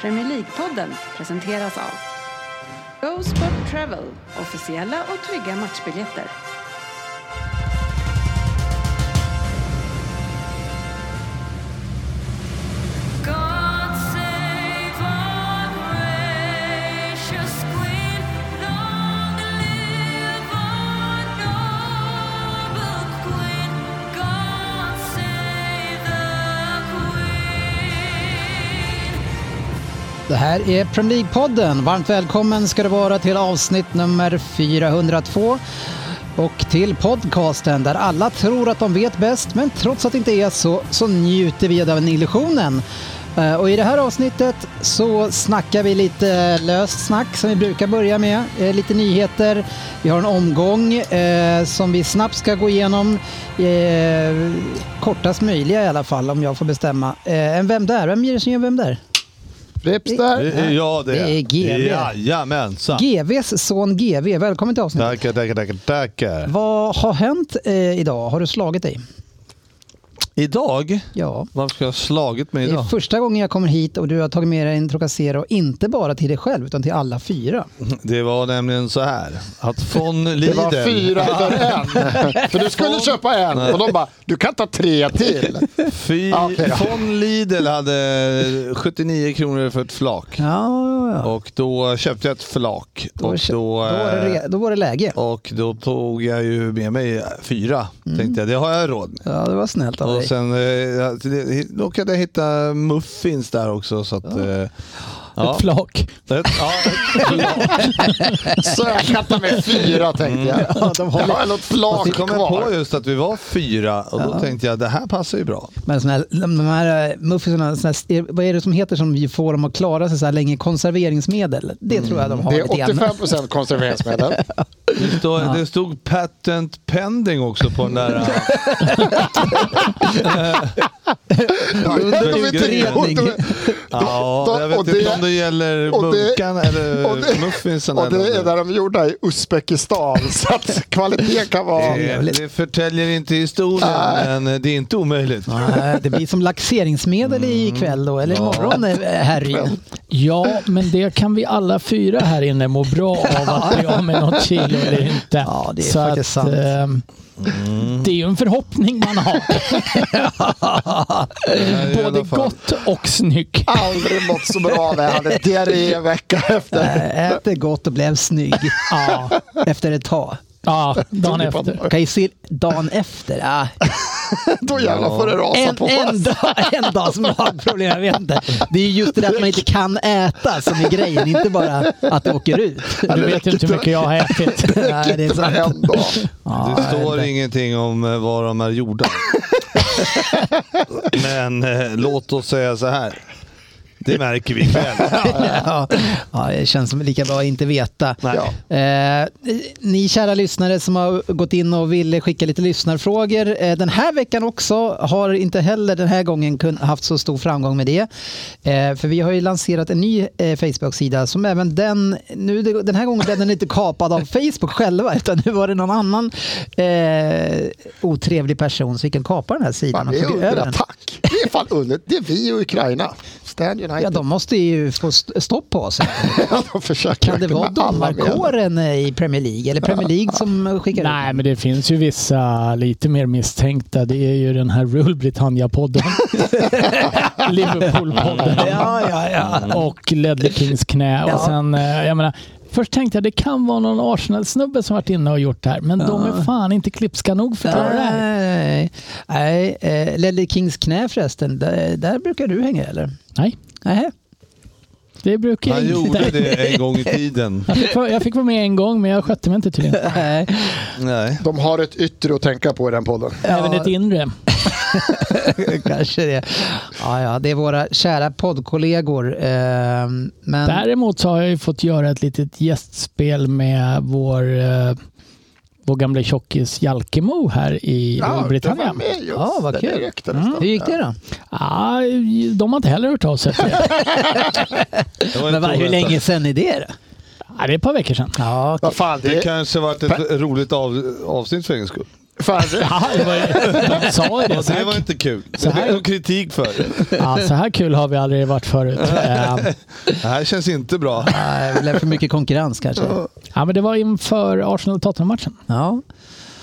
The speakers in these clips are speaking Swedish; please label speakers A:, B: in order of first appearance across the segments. A: Premier League-podden presenteras av Go Sport Travel, officiella och trygga matchbiljetter.
B: God save our precious Queen. Long live our noble Queen. God save the Queen.
C: Det här är Premier League-podden. Varmt välkommen ska du vara till avsnitt nummer 402 och till podcasten där alla tror att de vet bäst men trots att det inte är så, så njuter vi av den illusionen. Eh, Och i det här avsnittet så snackar vi lite löst snack som vi brukar börja med, eh, lite nyheter. Vi har en omgång eh, som vi snabbt ska gå igenom, eh, kortast möjliga i alla fall om jag får bestämma. Eh, en Vem där? Vem ger sig en Vem där?
D: Rips där.
C: Ja.
E: Ja, det
C: Det är E. GV.
E: Jajamensan.
C: GVs son GV, välkommen till avsnittet.
D: Tackar, tackar, tackar, tackar.
C: Vad har hänt eh, idag? Har du slagit dig?
E: Idag?
C: Ja.
E: Varför ska jag ha slagit mig
C: Det är
E: idag?
C: första gången jag kommer hit och du har tagit med dig en Trocacero, inte bara till dig själv utan till alla fyra.
E: Det var nämligen så här att von Lidl...
D: Det var fyra utav en. För du skulle köpa en och de bara, du kan ta tre till.
E: Fy,
D: Ja, okej då.
E: von Lidl hade 79 kronor för ett flak.
C: Ja, ja.
E: Och då köpte jag ett flak.
C: Då,
E: och,
C: kö- då,
E: då,
C: var det,
E: eh,
C: re- då var det läge.
E: och då tog jag ju med mig fyra. Tänkte jag, det har jag råd med.
C: Mm. Ja, det var snällt av
E: Och
C: dig.
E: sen eh, jag- det- då kan jag hitta muffins där också. Så att, eh, ja.
C: Ett flak.
E: Ett- ja, ett flak.
D: Så jag kan ta med fyra tänkte jag.
C: de håller-
D: Jag har något
E: Så
D: flak
E: kom jag på
D: kvar.
E: just att vi var fyra och då tänkte jag det här passar ju bra.
C: Men såna här, de här eh, muffinsarna, såna här, är- vad är det som heter som vi får dem att klara sig så här länge? Konserveringsmedel? Det tror jag de
E: Mm,
C: har
D: Det
C: lite
D: är
C: grann.
D: 85 procent konserveringsmedel.
E: Det stod, det stod patent pending också på den där.
D: De är inte-
C: Utredning.
D: och de-
E: ja, jag vet
D: och det-
E: inte om det gäller
D: och det-
E: bunkarna
D: och det-
E: eller muffinsen.
D: Och det
E: eller-
D: är där de är gjorda i Uzbekistan. Så att kvaliteten kan vara...
E: det, det förtäljer inte historien, men det är inte omöjligt.
C: Nej, Det blir som laxeringsmedel
E: Mm.
C: ikväll då, eller imorgon, eh, Harry.
F: Ja, men det kan vi alla fyra här inne må bra av att bli av med något kilo eller inte.
C: Ja, det är faktiskt sant. Mm.
F: ehm, Det är ju en förhoppning man har.
E: i alla
F: Både
E: fall.
F: gott och snygg.
D: Aldrig mått så bra när jag hade diarré en vecka efter.
C: Eh, Äter gott och blev snygg
F: Ja,
C: efter ett tag.
F: ja dagen efter.
C: Kan ju se dagen efter. Ah,
D: Då jävlar får det rasa
C: en,
D: på
C: en,
D: oss.
C: dag, en dag som magproblem, jag vet inte. Det är just det där att man inte kan äta som är grejen, inte bara att det åker ut.
F: Du vet ju inte hur mycket jag har ätit.
C: Nej, det är sant.
D: En dag.
C: Ja,
E: Det står
C: det-
E: ingenting om eh, vad de är gjorda. Men eh, låt oss säga så här. Det märker vi ikväll.
C: Ja, ja, det känns som lika bra att inte veta.
E: Nej.
D: Ja.
C: Eh, ni kära lyssnare som har gått in och vill skicka lite lyssnarfrågor. Eh, den här veckan också har inte heller den här gången kun, haft så stor framgång med det. Eh, för vi har ju lanserat en ny eh, Facebook-sida som även den, nu, den här gången blev den inte kapad av Facebook själva utan nu var det någon annan eh, otrevlig person som fick en kapa den här sidan
D: Fan,
C: och
D: det är
C: tog över
D: under
C: den.
D: attack. Det är fan under. Det är vi och Ukraina. Stand United.
C: Ja, de måste ju få st- stopp på sig.
D: de försöker
C: Kan det vara
D: med alla medel.
C: domarkåren i Premier League? Eller Premier League som skickar ut?
F: Nej, men det finns ju vissa lite mer misstänkta. Det är ju den här Rule Britannia-podden. Liverpool-podden.
C: Ja, ja, ja.
F: och ledde Kings knä.
C: Ja.
F: Och sen, eh, jag menar, först tänkte jag det kan vara någon Arsenal-snubbe som varit inne och gjort det här, men de är fan inte klipska nog för att göra det här.
C: Nej, nej, eh, Ledley Kings knä förresten, där, där brukar du hänga eller?
F: Nej,
C: Nej.
F: det brukar jag
E: Han gjorde
F: inte.
E: det en gång i tiden.
F: Jag fick, vara- jag fick vara med en gång, men jag skötte mig inte tydligen.
C: Nej.
E: Nej.
D: De har ett yttre att tänka på i den podden.
F: Även ett inre.
C: Kanske det. Ja, ja, det är våra kära poddkollegor. eh, Men
F: Däremot så har jag ju fått göra ett litet gästspel med vår, eh, vår gamla tjockis Jalkemo här i
D: Ja, det var
F: Britannia.
D: med just.
C: Ja, vad
D: Det
C: kul. Mm,
D: räckte nästan.
C: hur gick det då?
F: Ah, de har inte heller hört av sig. efter det.
E: Det var
C: Men va,
E: inte
C: hur
E: oväntat.
C: länge sedan är det då?
F: Ah, det är ett par veckor sedan.
C: Ja,
D: Vad fan, det
E: Det
D: är
E: kanske varit ett roligt av, avsnitt för egen skull. Alltså,
D: Färre.
F: Aha, det var, de sa ju det. Så
E: det
F: här,
E: var inte kul.
F: så
E: Så
F: här-
E: här... Det är kritik för det.
F: ja, så här kul har vi aldrig varit förut. Eh,
E: Det här känns inte bra.
C: Nej, det är för mycket konkurrens kanske.
F: Ja, men det var inför Arsenal-Tottenham-matchen.
C: Ja.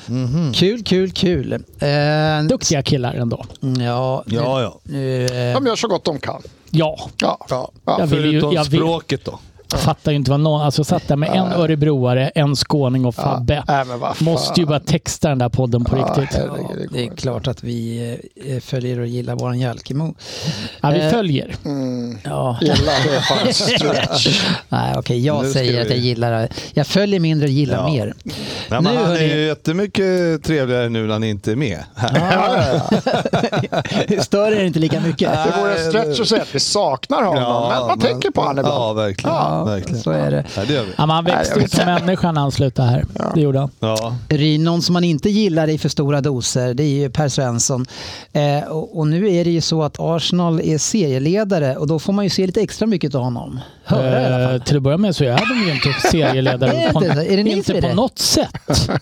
D: Mhm.
C: Kul, kul, kul. Eh,
F: Duktiga killar ändå.
C: Ja,
E: Ja, ja.
C: nu, eh,
D: De gör så gott de kan.
F: Ja,
D: Ja.
E: Ja.
F: jag vill ju,
E: Förutom
F: jag vill,
E: språket då.
F: fattar ju inte vad någon... Alltså satt där med en örebroare, en skåning och Fabbe.
D: Nej, men vad fan.
F: Måste ju bara texta den där podden på riktigt.
D: herregud.
C: ja,
D: det går
C: det är
D: inte.
C: klart att vi eh, följer och gillar våran Jalkemo.
F: Ja, vi
C: Eh,
F: följer.
C: Ja.
D: Gilla, det är fan stretch.
C: Nej, okej, jag
E: Nu ska
C: säger
E: vi-
C: att jag gillar Jag följer mindre och gillar
E: Ja.
C: mer.
E: Nej, men
C: Nu,
E: han är
C: hörni.
E: ju jättemycket trevligare nu när han inte är med. Här.
C: Stör er inte lika mycket.
D: Det vore en stretch att säga att vi saknar honom, men man tänker på honom ibland.
E: Ja, verkligen.
C: Ja,
E: verkligen.
C: så är det.
E: Ja, det gör vi.
F: Ja, men han växte ut som människa när han slutade här. Det gjorde han.
E: Ja.
C: Ry, någon som man inte gillar i för stora doser, det är ju Per Svensson. Eh, och, och nu är det ju så att Arsenal är serieledare och då får man ju se lite extra mycket av honom. Höra i alla fall.
F: Eh, till att börja med så är de ju inte serieledare.
C: Är det inte så? Är det ni som är
F: inte på
C: det?
F: något sätt.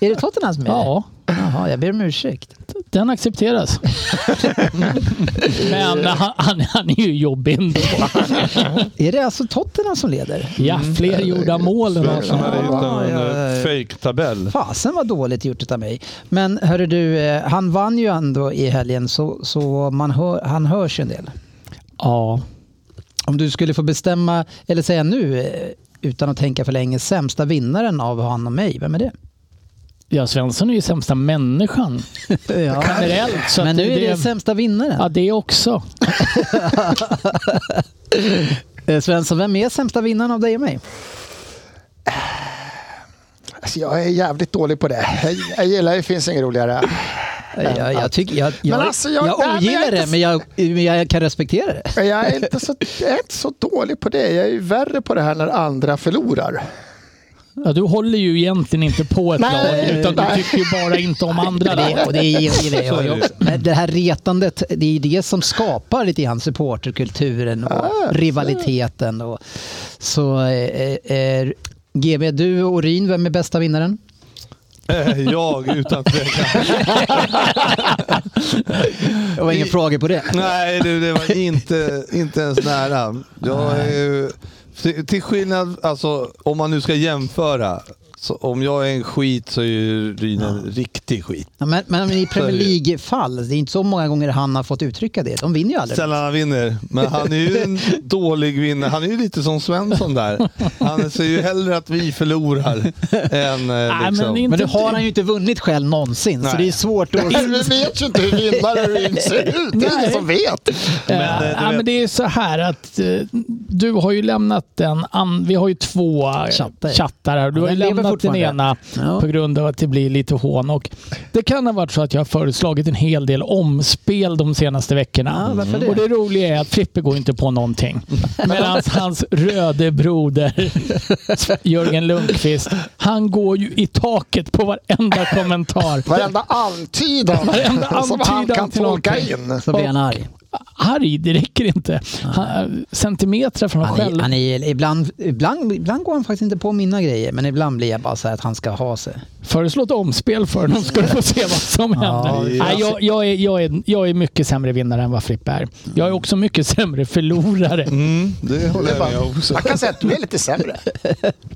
C: Är det Tottenham som är
F: Ja,
C: det? Jaha, jag ber om ursäkt.
F: den accepteras. Men han, han, han är ju jobbig ändå.
C: Är det alltså Tottenham som leder?
F: Ja, fler gjorda mål än
E: Svensson
F: Arsenal.
E: hade gjort en
C: Ja, ja, ja.
E: eh, fake-tabell.
C: Fasen vad dåligt gjort av mig. Men hörru du, eh, han vann ju ändå i helgen så, så man hör, han hörs ju en del.
F: Ja,
C: Om du skulle få bestämma, eller säga nu eh, utan att tänka för länge, sämsta vinnaren av han och mig, vem är det?
F: ja, Svensson är ju sämsta människan generellt. Så
C: Men
F: att
C: nu är det sämsta vinnaren.
F: Ja, det också.
C: Eh, Svensson, vem är sämsta vinnaren av dig och mig?
D: Alltså, jag är jävligt dålig på det. Jag, jag gillar det, finns inget roligare.
C: Eh, Jag, jag, tycker, jag, jag,
D: alltså, jag- nej,
C: jag
D: men
C: ogillar
D: jag är
C: det,
D: inte-
C: men jag, men jag kan respektera det.
D: Men Jag är, inte så, jag är inte så dålig på det. Jag är ju värre på det här när andra förlorar.
F: Ja, du håller ju egentligen inte på ett
D: Nej,
F: lag, utan du
D: nej.
F: tycker ju bara inte om andra lag.
C: Och det gillar
E: Så är
C: jag.
E: det ju.
C: jag. Men det här retandet, det är ju det som skapar lite grann supporterkulturen och rivaliteten. Och, så eh, eh, GB, du och Ryn, vem är bästa vinnaren?
E: Eh, Jag utan tvekan.
C: Det var ingen
E: I-
C: fråga på det.
E: Nej, du, det var inte, inte ens nära. Jag är ju, till- till skillnad, alltså, om man nu ska jämföra. Så om jag är en skit så är ju Ryn en riktig skit.
C: Ja, Men, men i Premier League-fall, det är inte så många gånger han har fått uttrycka det. De vinner ju aldrig.
E: Sällan han vinner, men han är ju en dålig vinnare. Han är ju lite som Svensson där. Han ser ju hellre att vi förlorar än... eh,
F: Nej,
E: Liksom.
F: men inte
C: Men nu har han ju inte vunnit själv någonsin, så
E: Nej.
C: det är svårt att...
D: Vi vet ju inte hur vinnare och vinst ser ut. Det är ingen som vet.
E: Men, eh, du
F: ja,
E: vet-
F: men det är så här att eh, du har ju lämnat en an- Vi har ju två eh,
C: Chattar.
F: chattar här. Du har ju
C: Den lever
F: lämnat den
C: fortfarande.
F: ena
C: Ja.
F: på grund av att det blir lite hån. Och det kan ha varit så att jag har föreslagit en hel del omspel de senaste veckorna. Mm.
C: Ja, varför det?
F: Och det roliga är att Frippe går inte på någonting. Medan hans röde broder Jörgen Lundqvist, han går ju i taket på varenda kommentar.
D: Varenda antydan,
F: Varenda
D: som han
F: antydan
D: kan
F: till
D: tolka
F: någonting.
D: in.
C: Så blir han arg.
F: Arg, det räcker inte. Han, eh, centimeter från att
C: Han är,
F: själv.
C: han är, ibland, ibland, ibland går han faktiskt inte på mina grejer, men ibland blir jag bara så här att han ska ha sig.
F: Föreslå ett omspel för honom ska du få se vad som händer.
E: ja.
F: Nej, jag, jag, är, jag, är, jag är mycket sämre vinnare än vad Frippe är. Jag är också mycket sämre förlorare.
E: Mm, det håller jag med om.
D: Man kan säga att du är lite sämre.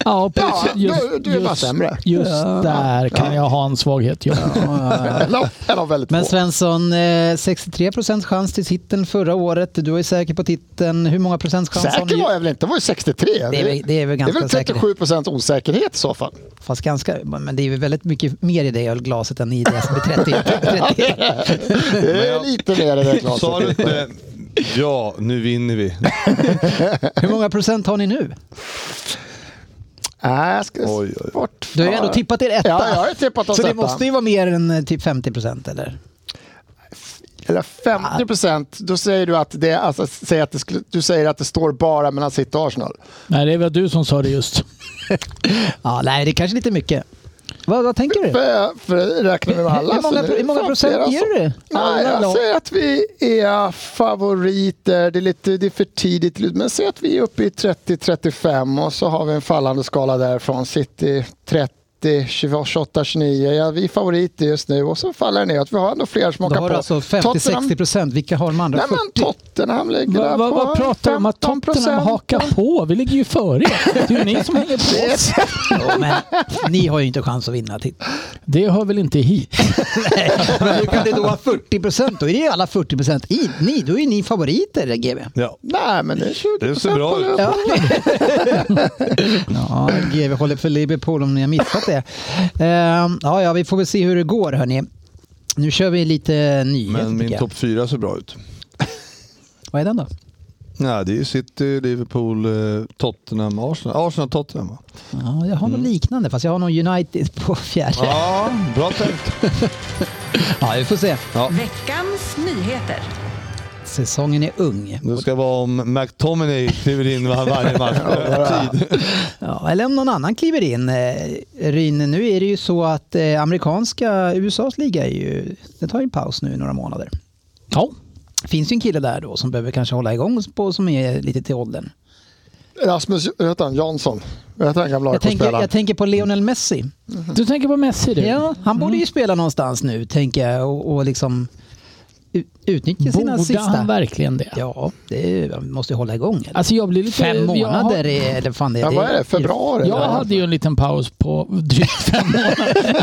F: Ja, precis.
D: du- du är bara sämre.
F: Just där kan jag ha en svaghet. Ja.
D: Eller eller väldigt
C: Men
D: få.
C: Svensson, eh, 63 procents chans till titeln förra året. Du är säker på titeln. Hur många procents chans har
D: Säker
C: ni?
D: var jag väl inte? Det var ju 63.
C: Det är väl- det är väl
D: det är
C: ganska
D: väl 37 procent osäkerhet i så fall.
C: Fast ganska, men det är ju väldigt mycket mer i det ölglaset än i det som är 30. 30.
D: Det är lite mer i det
E: Sa du
D: glaset.
E: inte ja, nu vinner vi?
C: Hur många procent har ni nu?
D: Nej, jag ska
E: Oj, oj.
D: bort.
C: Du har ju ändå tippat er etta.
D: Ja, jag har ju tippat oss
C: Så det
D: etta.
C: måste ju vara mer än eh, typ 50 procent eller?
D: Eller 50 procent. Då säger du att det, alltså, säg att det skulle, du säger att det står bara mellan City och Arsenal.
F: Nej, det var du som sa det just.
C: Ja, nej, det är kanske lite mycket. Vad, vad tänker du?
D: För, för räknar vi med alla.
C: Hur många,
D: så det är
C: hur många
D: fan
C: procent
D: flera som-
C: ger du?
D: Nej,
C: Alla
D: jag
C: lag.
D: säger att vi är favoriter. Det är, lite, det är för tidigt. Men säg att vi är uppe i 30-35 och så har vi en fallande skala därifrån. City 30. 30, 28, 29. Ja, vi är favoriter just nu och så faller det ner att vi har ändå fler som
C: Då
D: åker
C: har
D: på.
C: du alltså 50-60 procent. Vilka har de andra?
D: Nej,
C: 40?
D: men Tottenham ligger
F: Vad va, va, pratar du om? Att
D: 15
F: Tottenham hakar på? Vi ligger ju före er. Det är ju ni som hänger på oss.
C: Ja, men ni har ju inte chans att vinna till.
F: Det hör väl inte hit?
C: Men hur kan det då vara 40 procent? Då är det ju alla 40 procent. Ni, då är ni favoriter, GB.
E: Ja.
D: Nej, men det är 20
E: Det ser bra
D: på
E: ut.
D: det.
C: Ja. ja, GV håller för Liverpool om ni har missat det. Ehm, ja, ja, vi får väl se hur det går hörni. Nu kör vi lite nyheter
E: Men
C: tycker
E: min
C: jag.
E: topp fyra ser bra ut.
C: Vad är den då?
E: Nej, det är City, Liverpool, eh, Tottenham, Arsenal. Arsenal, Tottenham va?
C: Ja, jag har något liknande fast jag har någon United på fjärde. Ja,
E: Mm. Ja, bra tänkt.
C: vi får se.
E: Ja.
A: Veckans nyheter.
C: Säsongen är ung.
E: Det ska vara om McTominay kliver in var- varje match. Tid.
C: Ja, eller om någon annan kliver in. Eh, Ryn, nu är det ju så att eh, amerikanska USAs liga är ju, det tar ju en paus nu i några månader.
F: Ja.
C: finns ju en kille där då som behöver kanske hålla igång på, som är lite till åldern.
D: Rasmus vad heter han? Jansson. Vad heter han gamla
C: Jag tänker,
D: AIK-spelaren?
C: jag tänker på Lionel Messi.
D: Mm-hmm.
F: Du tänker på Messi du?
C: Ja, han borde
F: Mm.
C: ju spela någonstans nu, tänker jag, och, och liksom ut, utnyttja sina
F: Borde
C: sista...
F: han verkligen det?
C: Ja, det är, man måste ju hålla igång. Eller?
F: Alltså jag blir lite...
C: Fem
F: jag har-
C: månader är det fan det.
D: Ja, vad är det? Februari?
F: Jag
D: eller?
F: hade ju en liten paus på drygt fem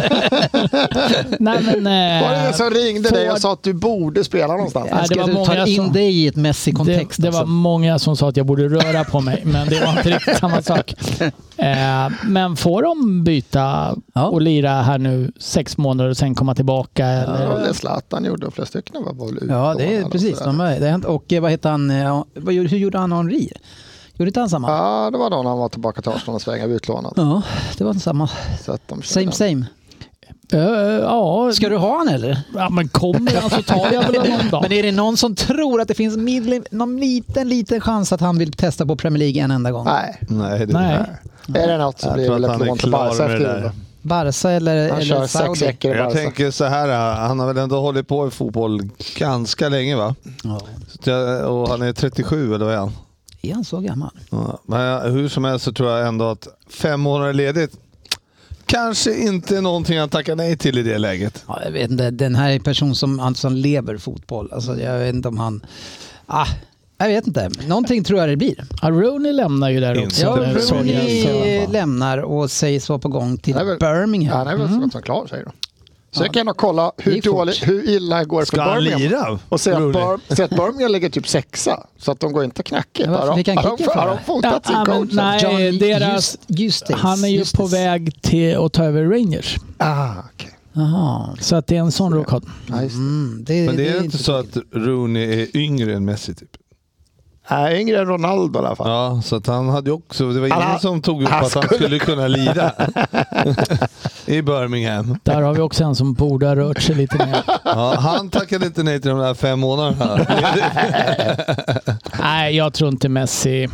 F: månader. Nej, men, eh,
D: Var det en som ringde dig och sa att du borde spela någonstans?
F: Ja,
C: Jag
F: det
C: ska
F: var
C: du
F: många
C: ta in
F: som-
C: dig i ett Messi-kontext.
F: Det, det var
C: alltså.
F: många som sa att jag borde röra på mig, men det var inte riktigt samma sak. Eh, men får de byta
C: Ja.
F: och lira här nu sex månader och sen komma tillbaka?
D: Det var
F: Eller?
D: väl det Zlatan gjorde och flera stycken var väl
C: Ja, det är
D: utlånade och
C: precis.
D: sådär.
C: De är, det har hänt. och eh, vad heter han? eh, Vad, gjorde- hur gjorde han Henri? Gjorde inte han samma?
D: Ja, det var då när han var tillbaka till Arsenal och svängade utlånad.
C: Ja, det var samma.
D: Så att de körde
C: Same
D: den.
C: same.
F: Eh, ja,
C: Ska du ha han eller?
F: ja, men kommer han så tar jag väl någon dag.
C: Men är det någon som tror att det finns midli- någon liten, liten chans att han vill testa på Premier League en enda gång?
D: Nej,
E: Nej, det
F: Nej.
D: är det något så
E: Jag
D: blir det
E: tror
D: väl
E: att
D: ett
E: han är
D: lån till
E: klar
D: Barca
E: med
D: efter
E: det där.
D: jul.
C: Barca eller,
D: Han
C: eller
D: kör sex
C: Saudi?
D: veckor i
E: Jag
D: Barca.
E: tänker så här, han har väl ändå hållit på i fotboll ganska länge va?
C: Ja.
E: Så jag- Och han är 37 eller vad är han?
C: Är han så gammal?
E: Ja, Men jag- hur som helst så tror jag ändå att fem månader ledigt kanske inte är någonting han tackar nej till i det läget.
C: Ja, jag vet inte. Den här är en person som, alltså, som lever fotboll. Alltså, jag vet inte om han... Ah, jag vet inte. Någonting tror jag det blir.
F: Ja, Rooney lämnar ju där också.
E: Ja,
F: Det såg jag
C: Rooney
F: också.
C: eh, lämnar och sägs vara på gång till
D: Nej, men- Ja,
C: Birmingham.
D: han är väl så gott som klar säger de. Så jag kan nog kolla
C: Mm. Det
D: hur,
C: är fort.
D: dålig, hur illa går det
E: Ska
D: för
E: han
D: Birmingham.
E: lira?
D: Och se att,
E: Rooney?
D: Bir- se att Birmingham ligger typ sexa. Så att de går inte knackigt.
C: Ja, varför
D: Har de-
C: fick han
D: har de-
C: kicken för
D: har de
C: det?
D: fotat
F: Ja,
D: sin
F: men
D: coach?
F: nej.
C: John
F: deras-
C: Just, Eustace.
F: Han är ju på
C: Eustace.
F: väg till att ta över Rangers.
D: Ah, okej.
C: Jaha.
F: Så att det är en sån rockad.
D: Ja, just det.
C: Mm, det,
E: Men det är inte så
C: kul.
E: att Rooney är yngre än Messi typ?
D: Nej, yngre än Ronaldo i alla fall.
E: Ja, så att han hade ju också, det var ingen
D: Han-
E: som tog upp
D: han
E: att han
D: skulle-
E: skulle kunna lira i Birmingham.
F: Där har vi också en som borde ha rört sig lite mer.
E: Ja, han tackade inte nej till de där fem månaderna.
F: Nej, jag tror inte Messi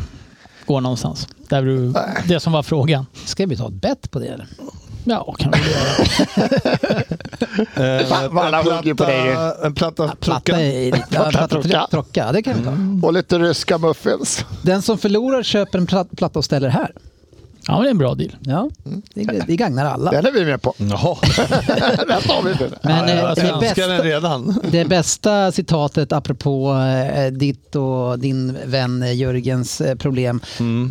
F: går någonstans. Där du, det som var frågan.
C: Ska vi ta ett bett på det eller?
F: Ja, kan vi göra.
E: Eh,
D: Va- va- alla hugger ju på dig ju.
E: en platta
C: Platta
E: trucka.
C: i lite. Ja, platta
D: Trocka.
C: tro- trocka. Det kan vi ta.
D: Och lite ryska muffins.
C: Den som förlorar köper en plat- platta och ställer här.
F: Ja, men det är en bra deal.
C: Ja, det, det gagnar alla.
D: Den är vi med på.
E: Jaha,
D: Den tar vi för.
C: Men eh,
E: jag
C: det,
E: älskar den
C: bästa,
E: redan.
C: det bästa citatet apropå eh, ditt och din vän eh, Jörgens eh, problem.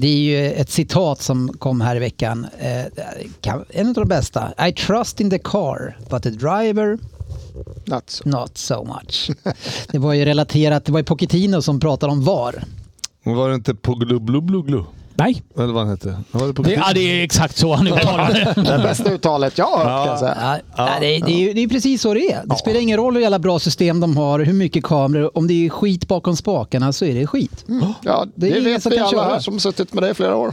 C: Det är ju ett citat som kom här i veckan. Eh, kan- En av de bästa. I trust in the car, but the driver
D: Nuts.
C: not so much. Det var ju relaterat, det var ju Pochettino som pratade om VAR.
E: Var det inte på glubblubblugglu?
F: Nej,
E: Eller vad han hette? Var det på
F: det, ja, det är exakt så han uttalar det.
D: Det bästa uttalet jag har hört kan jag säga.
C: Ja, nej, det, är- det, är ju, det är ju precis så det är. Det spelar ingen roll hur jävla bra system de har, hur mycket kameror. Om det är skit bakom spakarna så är det skit.
D: Ja,
C: Det
D: det
C: är ingen
D: vet
C: som
D: vi
C: kan
D: alla
C: köra.
D: här som suttit med dig i flera år.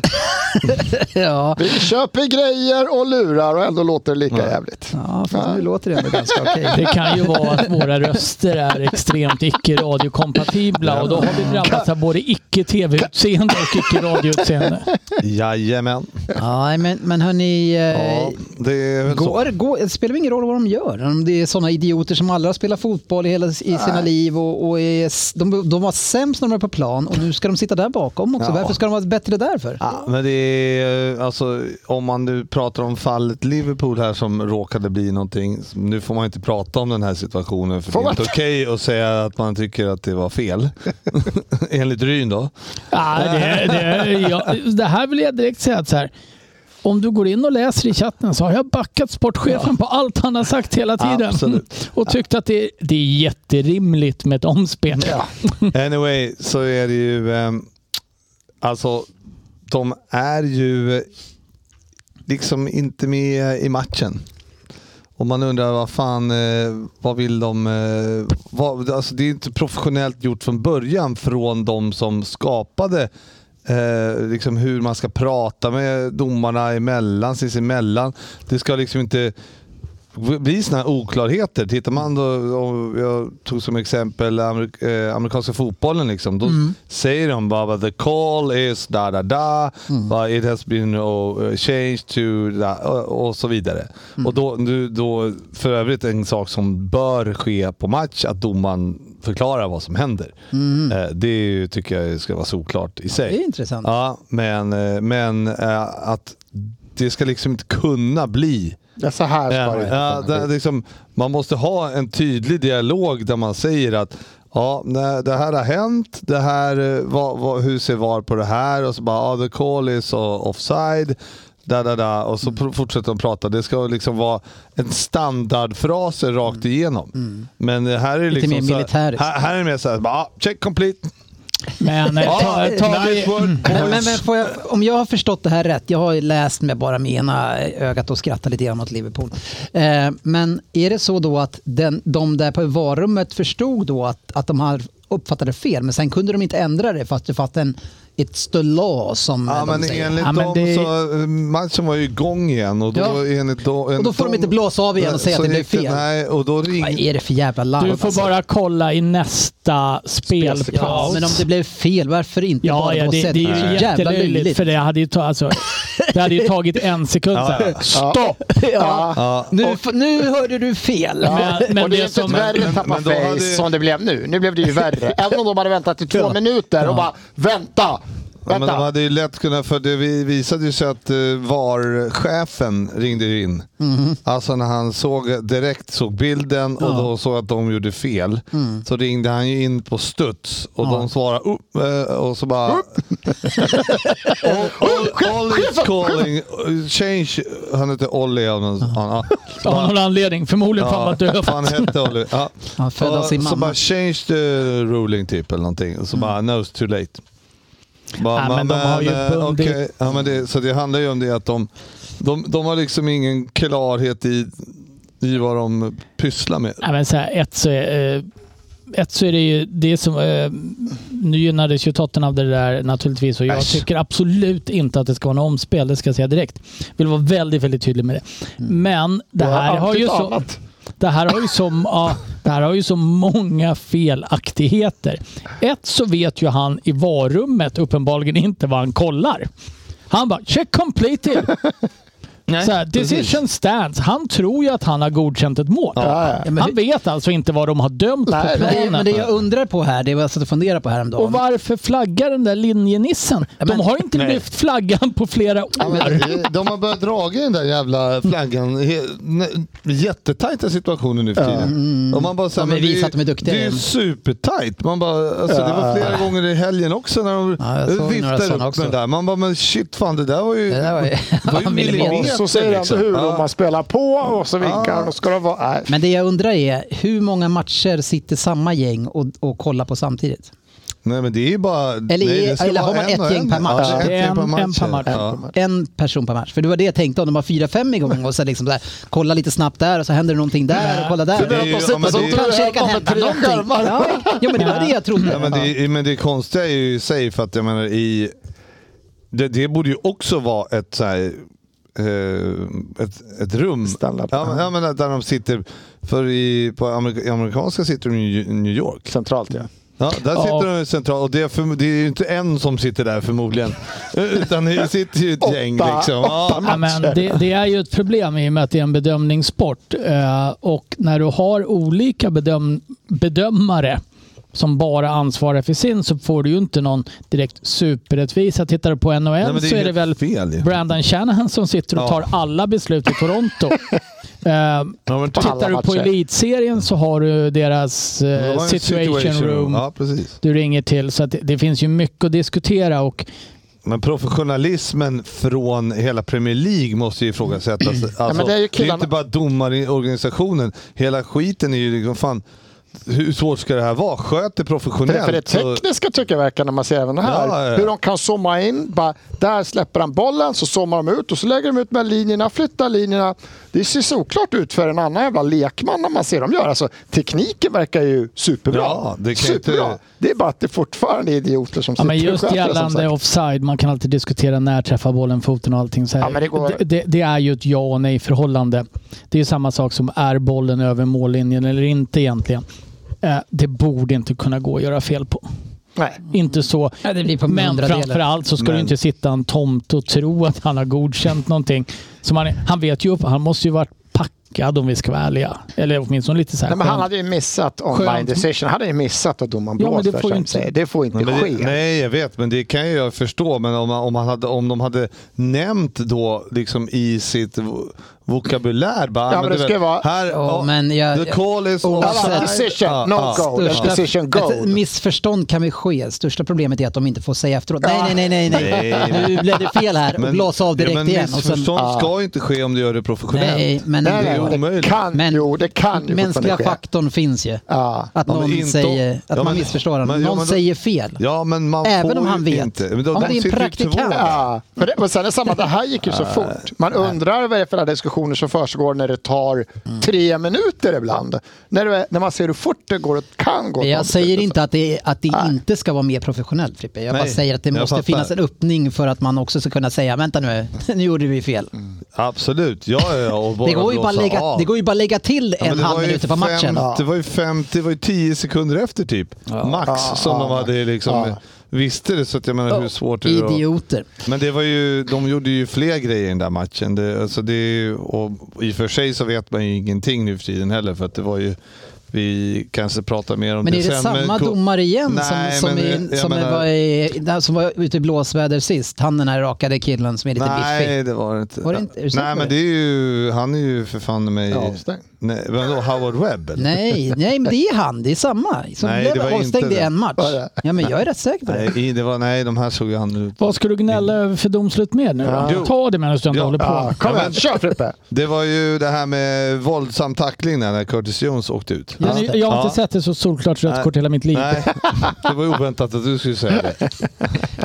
C: Ja.
D: Vi köper grejer och lurar och ändå låter det lika jävligt.
C: Ja, fan, nu låter det ändå ganska okej.
F: Det kan ju vara att våra röster är extremt icke-radiokompatibla och då har vi drabbats av både icke-tv-utseende och icke-radioutseende.
E: Jajamän.
C: Ja, nej, men, men hörni, eh,
E: Ja, det är väl så.
C: går, går, det spelar väl ingen roll vad de gör. Om det är sådana idioter som aldrig har spelat fotboll i, hela, i sina liv och, och är, s- de, de var sämst när de var på plan och nu ska de sitta där bakom också.
E: Ja.
C: Varför ska de vara bättre där för?
E: Ja, men det är, alltså, om man nu pratar om fallet Liverpool här som råkade bli någonting. Nu får man inte prata om den här situationen för
D: Får
E: det är
D: man
E: inte okej att säga att man tycker att det var fel. Enligt Ryn då.
F: Ja, det, det, ja, det här vill jag direkt säga att så här. Om du går in och läser i chatten så har jag backat sportchefen på allt han har sagt hela tiden.
E: Absolut.
F: Och tyckt att det, det är jätterimligt med ett omspel.
E: Anyway, så är det ju... ehm, Alltså, de är ju eh, liksom inte med i matchen. Och man undrar vad fan, eh, vad vill de? eh, Vad, alltså det är inte professionellt gjort från början från de som skapade eh, liksom hur man ska prata med domarna emellan, sinsemellan. Det ska liksom inte blir sådana här oklarheter. Tittar man då, om jag tog som exempel amerik- eh, amerikanska fotbollen, liksom, då
C: Mm.
E: säger de bara the call is da da da,
C: Mm.
E: va, it has been oh, changed to da, eh, och, och så vidare.
C: Mm.
E: Och då, nu, då, för övrigt en sak som bör ske på match, att domaren förklarar vad som händer. Eh, det är ju, tycker jag ska vara såklart i sig.
C: Mm. Det är intressant.
E: Ja, men, eh, men eh, att det ska liksom inte kunna bli
D: Ja, så här ska
E: Ja,
D: det inte
E: ja,
D: kunna
E: det,
D: bli.
E: liksom, man måste ha en tydlig dialog där man säger att ja, nej, det här har hänt, det här, eh, vad, vad, hur ser VAR på det här? Och så bara, ja, the call is eh, offside. Da, da, da. Och så pr- fortsätter de prata. Det ska liksom vara en standardfras rakt igenom. Men eh, här är det
C: Lite
E: liksom
C: mer
E: så här-
C: militäriskt.
E: här, här är det mer såhär, ja, check complete.
F: Men eh,
E: Ja,
F: ta, ta
E: nice
F: vi,
E: work,
C: Men, men,
E: boys.
C: men får jag, om jag har förstått det här rätt, jag har ju läst med bara med ena ögat och skrattat lite grann åt Liverpool. Eh, men är det så då att den, de där på varummet förstod då att, att de här uppfattade fel, men sen kunde de inte ändra det fast det fanns en it's the law som
E: Ja,
C: de
E: men
C: säger.
E: enligt
F: Ja, men
E: dem
F: det-
E: så, eh, matchen var ju igång igen och då,
C: Ja.
E: enligt då,
C: Och då får de inte blåsa av igen och säga att det blev fel.
E: Nej, och då ring,
C: Vad är det för jävla larv? alltså?
F: du
E: Alltså.
F: får bara kolla i nästa spelpaus.
C: Ja, men om det blev fel, varför inte
F: Ja,
C: bara
F: ja
C: på
F: det,
C: sätt?
F: det är
C: så
F: ju
C: jävla
F: jättelöjligt
C: löjligt.
F: för det hade ju, ta, alltså, det hade ju tagit en sekund.
E: Ja,
F: så här.
E: ja.
C: Stopp! Ja.
E: Ja.
C: Nu, nu hörde du fel.
F: Men, men
D: och det är
F: det
D: inte
F: som...
D: ett värre
E: men-
D: tappa
E: men då
D: face
E: hade-
D: som det blev nu. Nu blev det ju värre. Även om de hade väntat i två minuter och bara vänta,
E: Ja, men de
D: vänta.
E: hade ju lätt kunnat, för det vi- visade ju sig att eh, VAR-chefen ringde ju in. Alltså när han såg, direkt såg bilden och då såg att de gjorde fel. Så ringde han ju in på studs och de svarade upp eh, och så bara... All- all, all is calling, eh, change, han heter Olli av någon... Ja,
F: Av någon anledning. Förmodligen för att du
E: Ja,
F: har
E: han hette Oliver. Ja.
C: Han födde av
E: Och
C: sin
E: Så
C: mamma. Mm.
E: bara change the ruling typ eller någonting. Och så bara no it's too late. Bara,
F: Ja, men de har ju
E: eh,
F: bundit-
E: okej. ja, men det, Så det handlar ju om det att de, de, de har liksom ingen klarhet i, i vad de pysslar med.
F: Nej, men så här, ett, så är, eh, ett så är det ju det som... Eh, nu gynnades ju Tottenham av det där naturligtvis och jag
E: Äsch.
F: tycker absolut inte att det ska vara något omspel. Det ska jag säga direkt. Vill vara väldigt, väldigt tydlig med det. Men det här har ju
D: antytt
F: så...
D: annat.
F: Det här har ju så, ja, det här har ju så många felaktigheter. Ett så vet ju han i varummet uppenbarligen inte vad han kollar. Han bara “check completed”. så här, decision stands. Han tror ju att han har godkänt ett mål.
D: Ja, ja.
F: Han vet alltså inte vad de har dömt
D: Nej,
F: på
C: Nej, men
F: planen.
C: det jag undrar på här, det var jag satt och funderade på häromdagen.
F: Och varför flaggar den där linjenissen? De
C: men-
F: har inte lyft flaggan på flera år.
E: De har börjat dra i den där jävla flaggan. He- ne- Jättetajta situationer nu för tiden. Och man bara, så här,
C: De har
E: men det
C: visat att de är duktiga
E: Det är ju
C: igen.
E: supertajt. Man bara, alltså, det var flera gånger i helgen också när de
C: Ja, jag såg några
E: viftade
C: sådana
E: upp
C: också.
E: den där. Man bara, men shit fan det där var ju,
C: Det där var ju-
E: det var ju
D: Och
E: millimeter.
D: så säger han
E: liksom.
D: hur
E: Ja.
D: och man spelar på och så vinkar han och ska det vara... Nej.
C: Men det jag undrar är, hur många matcher sitter samma gäng och, och kollar på samtidigt?
E: Nej men det är ju bara... Eller,
C: i- eller har man ett gäng per match?
E: Ja, ett
F: Det är
E: gäng per
F: en-
E: match.
F: en per match.
E: Ja.
C: En person per match. För det var det jag tänkte, om de har fyra, fem igång och så liksom så här, kolla lite snabbt där och så händer det någonting där och kolla
E: Det är
C: där.
E: ju-
C: Och så,
E: ja, men
C: och så
E: det är ju-
C: kanske det
D: ja,
C: kan
D: men
C: hända
D: tre
C: någonting.
D: skärmar.
C: Ja, jo, men det var det jag
E: Ja, men,
C: trodde.
E: det, men det konstiga är ju i sig för att jag menar i... Det, det borde ju också vara ett så här, eh, ett, ett rum.
D: Standard.
E: Ja, men, ja, men där de sitter. För i, på amerik- amerikanska sitter de i New York.
D: Centralt ja.
E: Ja, där
F: Ja.
E: sitter de centralt och det är, för, det är ju inte en som sitter där förmodligen. Utan det sitter ju ett gäng
D: Åtta-
E: liksom. Ja.
F: Ja, men det, det är ju ett problem i och med att det är en bedömningssport. Eh, och när du har olika bedöm, bedömare som bara ansvarar för sin så får du ju inte någon direkt superrättvisa. Tittar du på NHL
E: men det är
F: så är det
E: helt
F: väl
E: fel ju.
F: Brandon Shanahan som sitter och
E: Ja.
F: tar alla beslut i Toronto. Ehm,
E: Ja, men
D: Alla
F: Tittar du på
D: matcher.
F: elitserien så har du deras eh,
E: Det var en
F: situation, room
E: Ja, precis.
F: du ringer till. Så att det, det finns ju mycket att diskutera. Och,
E: Men professionalismen från hela Premier League måste ju ifrågasättas. Alltså,
D: men det är ju killarna-
E: inte bara domarorganisationen. Hela skiten är ju liksom fan. Hur svårt ska det här vara? Sköt det
D: För det,
E: professionellt.
D: för det
E: så-
D: tekniska tycker jag verkar när man ser även det
E: Ja,
D: här.
E: ja, ja.
D: Hur de kan zooma in. Bara, där släpper han bollen, så zoomar de ut och så lägger de ut med linjerna, flyttar linjerna. Det ser såklart ut för en annan jävla lekman när man ser dem göra. Alltså, tekniken verkar ju superbra.
E: Ja, det kan ju inte-
D: superbra. Det är bara att det fortfarande är idioter som
F: ja, men
D: sitter och
F: just
D: sköter det, som
F: gällande
D: sagt.
F: offside, man kan alltid diskutera när träffar bollen foten och allting. Så här.
D: Ja, men det går-
F: Det, det, det är ju ett ja och nej förhållande. Det är ju samma sak som är bollen över mållinjen eller inte egentligen. Eh, Det borde inte kunna gå att göra fel på.
D: Nej.
F: Inte så.
C: Ja, det blir på
F: Men
C: hundradelar.
F: framförallt så ska
E: Men-
F: du inte sitta en tomt och tro att han har godkänt någonting. Så man, han vet ju upp, han måste ju varit packad om vi ska vara ärliga. Eller åtminstone lite så här.
D: Nej, men han
F: skönt.
D: hade ju missat online
F: Skönt.
D: decision. Han hade ju missat att domaren
F: Ja, men
D: blåser.
F: det får ju
D: som
F: inte-
D: säger. Det får inte
E: Nej, men
D: ske.
E: det, nej, jag vet, men det kan ju jag förstå. Men om, man- om, han hade, om de hade nämnt då liksom i sitt vo- vokabulär. Bara,
D: Ja, men det
E: du
D: ska
E: vet,
D: vara-
E: Här,
C: Ja,
E: ja,
C: men jag-
E: the call is
C: Oavsett-
E: offside.
D: Decision, no
E: ja.
D: goal.
C: Största-
D: Decision
C: Ett
D: goal.
C: missförstånd kan ju ske. Största problemet är att de inte får säga efteråt. Nej, nej, nej, nej, nej.
E: Nej.
C: Nu blev det fel här och blås av direkt
E: ja, men
C: igen. Och sen,
E: Missförstånd ska ju inte ske om du gör det professionellt.
C: nej, men
D: Nej,
E: det är ju
D: nej, det
E: omöjligt.
D: kan,
C: Men-
D: jo, det kan ju
C: mänskliga
D: fortfarande ske.
C: faktorn finns ju.
D: Ja.
C: Att
E: Ja, men
C: någon
E: inte-
C: säger, att
E: Ja,
C: man
E: men-
C: missförstår den.
E: men- ja,
C: Någon
E: men då-
C: säger fel.
E: Ja, men man
C: Även
E: får
C: om han
E: ju
C: vet.
E: Inte.
C: Ja, men det är en
E: sitter ju
C: praktikant.
E: två där.
D: Ja, men det, och sen är det samma, det här gick ju så fort. Man undrar vad det är för diskussioner som försiggår när det tar tre minuter ibland. När, det, är- när man ser hur fort det går och kan gå.
C: Men Jag säger inte att det, att det inte ska vara mer professionellt Frippe. Jag bara
E: Nej,
C: säger att det
E: jag
C: måste
E: fattar.
C: finnas en öppning för att man också ska kunna säga vänta nu, nu gjorde vi fel.
E: Absolut, ja, ja, ja. Och bara
C: Det går, ju bara
E: blåsa
C: lägga,
E: av.
C: det går ju bara lägga till
E: Ja, men
C: en
E: det
C: halv
E: var ju
C: minut på
E: fem-
C: matchen.
E: Det var ju 50, det var ju 10 sekunder efter typ. Max som de hade liksom visste det. Så att jag menar
C: Oh,
E: hur svårt är det att-
C: Idioter.
E: Men det var ju, de gjorde ju fler grejer i den där matchen. Det, alltså det, och I och för sig så vet man ju ingenting nu för tiden heller. För att det var ju, vi kanske pratar mer om
C: Men
E: det
C: är det
E: sen.
C: samma
E: ko-
C: domare igen
E: Nej,
C: som, som,
E: men
C: är,
E: jag
C: som,
E: menar-
C: var i, där som var ute i blåsväder sist? Han den här rakade killen som är lite biffig.
E: Nej, det var det inte.
C: Var det inte? Är du säker
E: Nej,
C: på
E: men
C: det?
E: det är ju, han är ju för fan mig...
D: Ja, avstängd.
E: Nej, vadå, Howard Webb? eller?
C: Nej, nej, men det är han. Det är samma. Som
E: Nej,
C: blev
E: det var inte
C: avstängd i
E: det.
C: en match. Ja, men jag är rätt säker på det.
E: Nej, i- det var, nej, de här såg ju annorlunda ut.
F: Vad ska du gnälla över för domslut med nu?
E: Ja.
F: Ta det medan du ändå
E: Ja.
F: håller på.
D: Mm. Ja, kom igen, kör Frippe!
E: Det var ju det här med våldsam tackling där när Curtis Jones åkte ut.
F: Den är- jag har inte
E: Ja.
F: sett ett så solklart rött
E: Nej.
F: kort i hela mitt liv.
E: Nej, det var ju oväntat att du skulle säga det.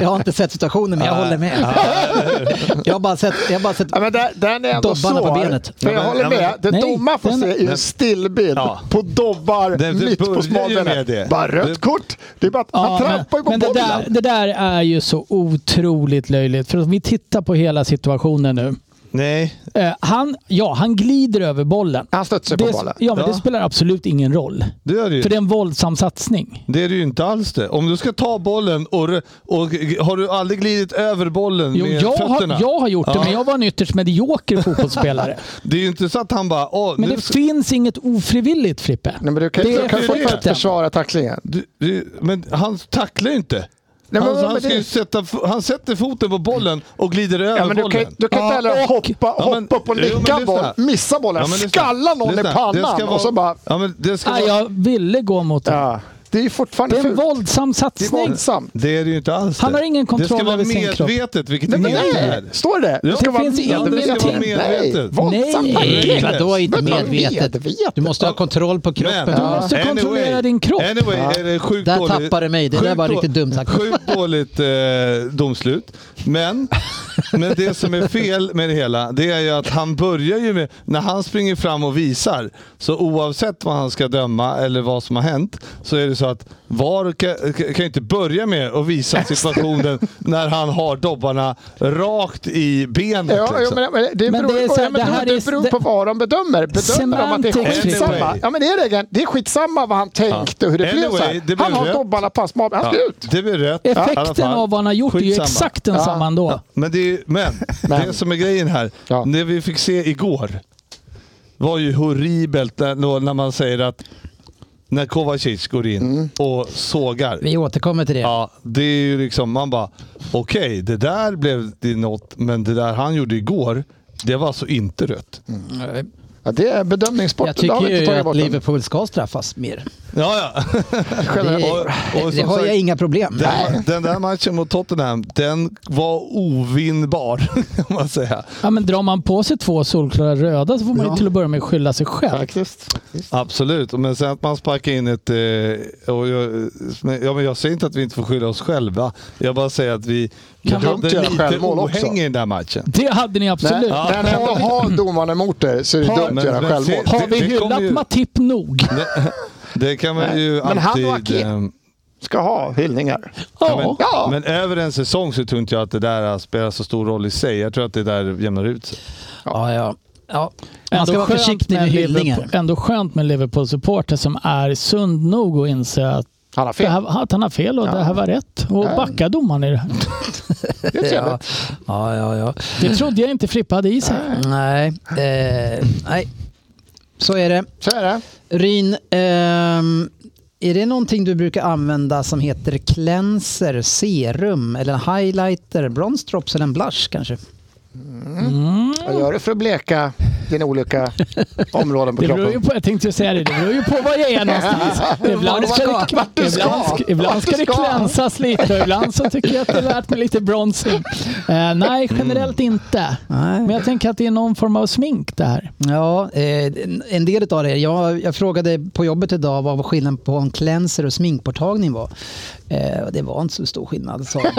C: Jag har inte sett situationen, men jag håller med. Jag har bara sett... Jag har bara sett
D: Ja, men den, den är ändå
C: Dobbarna på
D: svår.
C: benet.
D: För jag
E: Ja, men-
D: håller
E: ja,
D: med,
E: men-
D: det
F: Nej,
D: domaren får
F: den-
D: se är en
E: den-
D: stillbild
E: Ja.
D: på dobbar
E: Det- det
D: mitt på
E: börjar ju med
D: smalbenet.
E: det.
D: Bara rött
E: Det-
D: kort. Det är bara att han
F: men-
D: trampar ju på
F: men det, där,
D: bollen.
F: det där är ju så otroligt löjligt. För om vi tittar på hela situationen nu.
E: Nej,
F: Eh, han, ja, han glider över bollen.
D: Han studsar på
F: Det,
D: bollen.
F: ja, men
E: Ja.
F: det spelar absolut ingen roll.
E: det gör det ju.
F: För det är en våldsam satsning.
E: Det är det ju inte alls det. Om du ska ta bollen och, och har du aldrig glidit över bollen
F: Jo,
E: med
F: jag,
E: fötterna?
F: har, jag har gjort det,
E: Ja.
F: men jag var en ytterst medioker fotbollsspelare.
E: Det är ju inte så att han bara... Åh,
F: Men
E: nu
F: det
E: ska-
F: finns inget ofrivilligt, Frippe.
D: Nej, men du kan,
F: Det
D: du
F: är
D: kan fortfarande
F: frukten.
D: försvara tacklingen.
E: du, du, men han tacklar ju inte.
D: Nej, men-
E: han,
D: men
E: han, ska
D: det-
E: ju sätta, f- han sätter foten på bollen och glider över
D: Ja, men du
E: bollen.
D: kan, du kan inte heller hoppa,
E: Ja, men-
D: hoppa upp och
E: jo, men
D: nicka en
E: lyssna.
D: boll, missa bollen,
E: Ja, men lyssna.
D: skalla någon
E: Lyssna.
D: i
E: Det
D: pannan
E: ska vara-
D: och så bara...
E: Ja, men det, ska
F: Nej,
E: vara,
F: Ah, jag ville gå mot det.
D: Ja, det är ju fortfarande
F: Det är en
D: fult. Det
F: våldsam
D: är
F: satsning.
D: våldsamt.
E: det är det ju inte alls.
F: Han
E: det.
F: har ingen
E: Det ska
F: kontroll
E: vara
F: över sin kropp.
E: medvetet, vilket
D: Nej,
E: det
D: men
E: inte
D: nej,
E: är.
D: står det?
E: Ja,
D: Det ska
E: det
D: vara
F: finns inte-
E: det ska vara
D: medvetet. Nej,
E: medvetet.
D: våldsam
F: Nej.
D: tackling.
C: Vadå är inte
D: Men vad
C: medvetet?
D: medvetet?
C: Du måste ha kontroll på kroppen.
E: Men-
F: Du måste
E: Anyway.
F: kontrollera din kropp.
E: Anyway, är det sjukt
C: Där
E: dåligt,
C: tappade du mig. Det där
E: sjukt
C: var
E: då-
C: riktigt dumt sagt.
E: Sjukt dåligt eh, domslut. Men, men det som är fel med det hela, det är ju att han börjar ju med, när han springer fram och visar, så oavsett vad han ska döma eller vad som har hänt, så är det så att VAR kan, kan ju inte börja med att visa situationen när han har dobbarna rakt i benet.
D: Ja, jo,
E: liksom.
D: men, men det
F: Men
D: beror,
F: det är så här,
D: ja, men
F: det
D: då-
F: här
D: det
F: är-
D: beror
F: det-
D: på vad de bedömer. Bedömer de att det är
F: Semantics-
D: skitsamma?
E: Anyway.
D: Ja, men det är det. egentligen. Det är skitsamma vad han tänkte och hur det blev.
E: Anyway,
D: Så här.
E: det
D: Han
E: blev
D: har
E: rätt.
D: dobbarna på hans mage. Han ska ut.
E: det blir rätt. i alla
F: Effekten
E: fall.
F: av vad han har gjort är ju
E: Skitsamma.
F: exakt densamma ändå.
E: Ja, men det, är ju- men,
D: Men.
E: det som är grejen här,
D: Ja.
E: det vi fick se igår var ju horribelt när, då- när man säger att när Kovacic går in
D: Mm.
E: och sågar.
C: Vi återkommer till det.
E: Ja, det är ju liksom, man bara, okej, det där blev det något, men det där han gjorde igår, det var alltså inte rött.
D: Mm. Ja, det är bedömningssport.
C: Jag
D: Det har
C: tycker
D: vi inte
C: ju
D: tagit
C: att
D: bort än.
C: Liverpool ska straffas mer.
E: Ja, ja.
D: Generellt.
E: Och- och
C: det
E: som
C: har jag
E: sagt,
C: inga problem med.
E: Den, den där matchen mot Tottenham, den var ovinnbar, kan man säga.
F: Ja, men drar man på sig två solklara röda så får man ju till att börja med skylla sig själv.
D: Faktiskt.
E: Absolut, men sen att man sparkar in ett... eh, Och jag, men- ja, men jag säger inte att vi inte får skylla oss själva. Jag bara säger att vi
D: Men dumt att
E: hade
D: göra
E: lite
D: självmål också.
E: ohäng i den där matchen.
F: Det hade ni
D: Nej,
F: absolut.
D: När ni ändå har domaren emot er så är det
E: Ja,
D: dumt
E: men-
D: att göra
E: men
D: självmål.
E: se-
F: Har vi
E: det- det kommer
F: hyllat
E: ju-
F: Matip nog?
E: Det, det kan man ju
D: Men han och
E: alltid...
D: Aké-
E: ehm,
D: Ska ha hyllningar.
E: Ja, men,
D: Ja.
E: men över en säsong så tror inte jag att det där eh, spelar så stor roll i sig. Jag tror att det där jämnar ut sig.
C: Ja, ja. ja. Man
F: Ändå
C: ska vara
F: skönt
C: försiktig med hyllningar.
F: Liverpool- Ändå skönt med Liverpool-supporter som är sund nog att inse att,
D: Han har
F: det
D: fel.
F: här, att han har fel och det här var rätt. Och backa domaren i det här.
D: Det är
C: Ja,
D: trevligt.
C: ja, ja. ja.
F: Det trodde jag inte Frippe hade i sig.
C: Nej, eh, nej. Så är det.
D: Så är det.
C: Ryn, ehm, är det någonting du brukar använda som heter cleanser, serum eller en highlighter, bronsdrops eller en blush kanske?
D: Vad gör du för att bleka dina olika områden på
F: Det beror ju
D: kroppen?
F: på, jag tänkte ju säga det, det beror ju på var jag är någonstans. Ibland ska,
C: ska,
F: det,
D: du ska.
F: ibland, ska- ibland ska det
D: Vart du ska.
F: klänsas lite och ibland så tycker jag att det är värt med lite bronsing. Eh, nej, generellt inte.
C: Nej.
F: Men jag tänker att det är någon form av smink det här.
C: Ja, eh, en del av det. Jag, jag frågade på jobbet idag vad skillnaden på en cleanser och sminkborttagning var. Eh, och det var inte så stor skillnad. Så.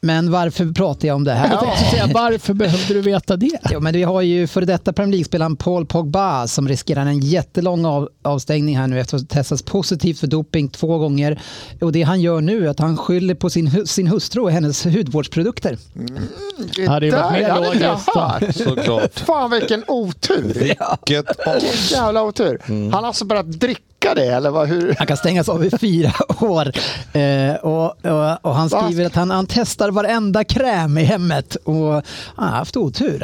C: Men varför pratar jag om det här?
F: Jag tänkte säga, varför behövde du veta det?
C: Ja, men vi har ju före detta Premier League-spelaren Paul Pogba som riskerar en jättelång av, avstängning här nu efter att ha testats positivt för doping två gånger. Och det han gör nu är att han skyller på sin, hu- sin hustru och hennes hudvårdsprodukter.
D: Det
F: hade ju varit
D: där
F: mer
D: hade inte jag
F: logiskt då.
D: hört.
E: Såklart.
D: Fan vilken otur.
E: Vilket as.
D: Vilken jävla otur.
E: Mm.
D: Han har alltså börjat dricka det eller vad, hur?
C: Han kan stängas av i fyra år. Eh, och, och, och han
D: Va?
C: skriver att han, han testar varenda kräm i hemmet och han har haft otur.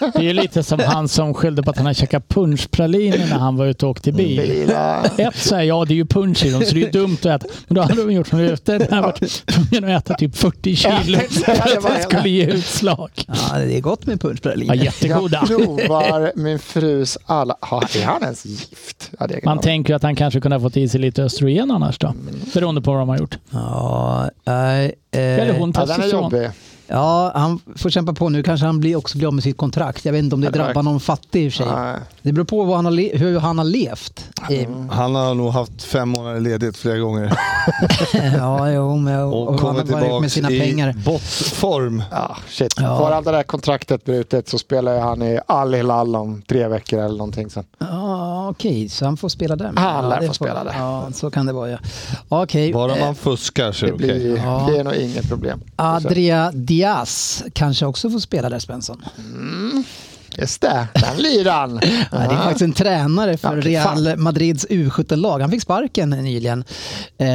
F: Det är ju lite som han som skyllde på att han hade käkat punschpraliner när han var ute och åkte
D: Mm,
F: bil.
D: Ila.
F: Ett så här, ja det är ju punch i dem så det är ju dumt att äta. Men då hade de gjort som du ute. Han hade varit tvungen att äta typ 40 kilo för att det skulle ge utslag.
C: Ja, det är gott med
F: Ja,
C: punschpraliner.
F: jättegoda.
D: Provar min frus alla... Ha, är han ens gift? Ja, det kan
F: Man
D: vara.
F: tänker att han kanske kunde ha fått i sig lite östrogen annars då. Beroende på vad de har gjort.
C: Ja, nej, eh,
F: Eller hon
D: ja, den är
F: testosteron.
D: jobbig.
C: Ja, han får kämpa på nu. Kanske han blir också blir av med sitt kontrakt. Jag vet inte om det
D: Ja, det
C: drabbar
D: verkar-
C: någon fattig i och för sig.
D: Nej. Mm.
C: Det beror på vad han har le- hur han har levt. Eh,
E: Han har nog haft fem månader ledigt flera gånger.
C: Ja, jo, men, och,
E: Och,
C: och han
E: kommer
C: har varit med
E: tillbaks
C: sina
E: i
C: pengar.
E: bottform.
D: Ja, shit.
C: Ja.
D: Får han det där kontraktet brutet så spelar ju han i Al Hilal om tre veckor eller någonting sen.
C: Ja, okej, så han får spela där.
D: Han lär
C: det
D: få spela där.
C: Ja, så kan det vara ja. Okej,
E: Bara
C: eh,
E: man fuskar så är
D: Det
E: det okej.
D: blir,
C: Ja.
D: det är nog inget problem.
C: Adria Diaz kanske också får spela där Svensson.
D: Just det, den liran.
C: Nej, det är faktiskt en tränare för
D: Ja, okej, fan.
C: Real Madrids U17-lag. Han fick sparken nyligen. Eh,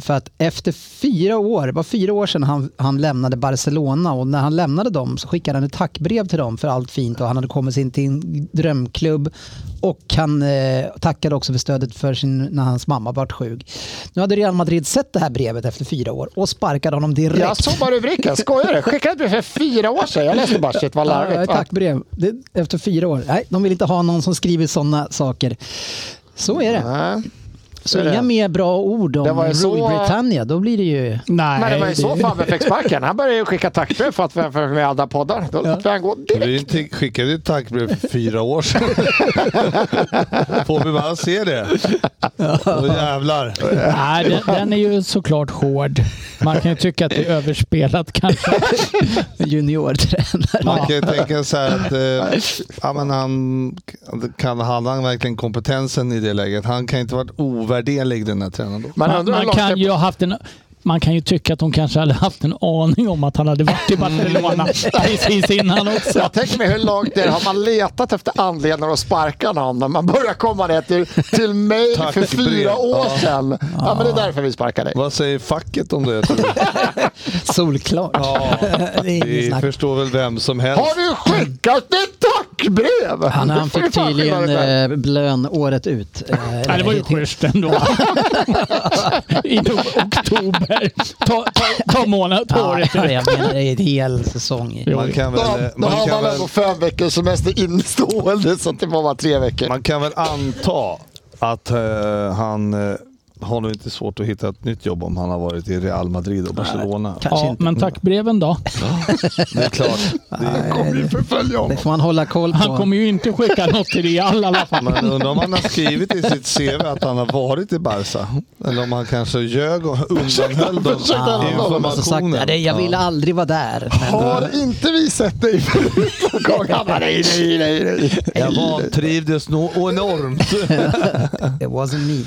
C: för att efter fyra år, det var fyra år sedan han, han lämnade Barcelona och när han lämnade dem så skickade han ett tackbrev till dem för allt fint och han hade kommit in till en drömklubb och han eh, tackade också för stödet för sin, när hans mamma vart sjuk. Nu hade Real Madrid sett det här brevet efter fyra år och sparkade honom direkt.
D: Jag såg bara rubriken, skojar du? Skickade ett brev för fyra år sedan. Jag läste bara shit vad
C: Ja,
D: larvigt.
C: tack brev. Det, efter fyra år. Nej, de vill inte ha någon som skriver sådana saker. Så är det.
D: Ja.
C: Så
D: är det.
C: inga mer bra ord
D: Det
C: om
D: var ju
C: Rule
D: så-
C: Britannia. Då blir det ju...
F: Nej,
D: Men det var ju så
F: det-
D: Fabbe fick sparken. Han började ju skicka tackbrev för att för, för med alla poddar. Då lät vi han gå direkt.
E: Vi inte- skickade ett tackbrev för fyra år sedan. Får vi bara se det? Då jävlar.
F: Nej, den, den är ju såklart hård. Man kan ju tycka att det är överspelat kanske.
C: Juniortränare.
E: Man kan ju tänka så här att eh, ja, men han, kan, hade han verkligen kompetensen i det läget? Han kan inte varit ovärderlig den här tränaren då.
D: Man
F: Man,
D: undrar hur
F: man,
D: långt
F: kan
D: det-
F: ju ha haft en, man kan ju tycka att hon kanske hade haft en aning om att han hade varit i Barcelona precis innan också.
D: Jag tänker mig hur långt det är. Har man letat efter anledningar att sparka någon när man börjar komma ner till, till mig
E: Tack,
D: för fyra
E: brev.
D: år
E: Ja.
D: sedan? Ja, men det är därför vi sparkar dig.
E: Vad säger facket om det? Tror du?
C: Solklart.
E: Ja,
C: det är inget
E: det
C: snack.
E: förstår väl vem som helst.
D: Har du skickat ett tackbrev!
C: Han,
D: Det
C: han
D: får ju
C: fick
D: fan
C: tydligen
D: skillnaden där.
C: eh, blön året ut. Eh,
F: Nej, det var ju
C: till-
F: schysst ändå. I no- oktober. Ta, ta, ta månad på
C: Ja,
F: året.
C: jag menar, det är en hel säsong.
F: Jo.
E: Man kan
D: Då,
E: väl, eh,
D: då
E: man
D: har
E: kan
D: man
E: väl,
D: ändå fem veckors semester instående så att det var bara tre veckor.
E: man kan väl anta att eh, han eh, har nog inte svårt att hitta ett nytt jobb om han har varit i Real Madrid och Barcelona.
C: Kanske
F: Ja,
C: inte.
F: men tack breven då.
E: Det är klart.
D: Det kommer ju förfölja
C: Det
D: honom.
C: får man hålla koll på.
F: Han kommer ju inte skicka något till Real i alla fall.
E: Men undrar om han har skrivit i sitt CV att han har varit i Barca. Eller om han kanske ljög och undanhöll dem
D: Ursäkta, han har
C: Alltså sagt,
E: informationen.
C: ja, det- jag ville aldrig vara där. Men,
D: Har inte vi sett dig förut någon gång? Han bara, nej, nej, nej, nej.
E: Jag vantrivdes nog enormt.
C: It wasn't me.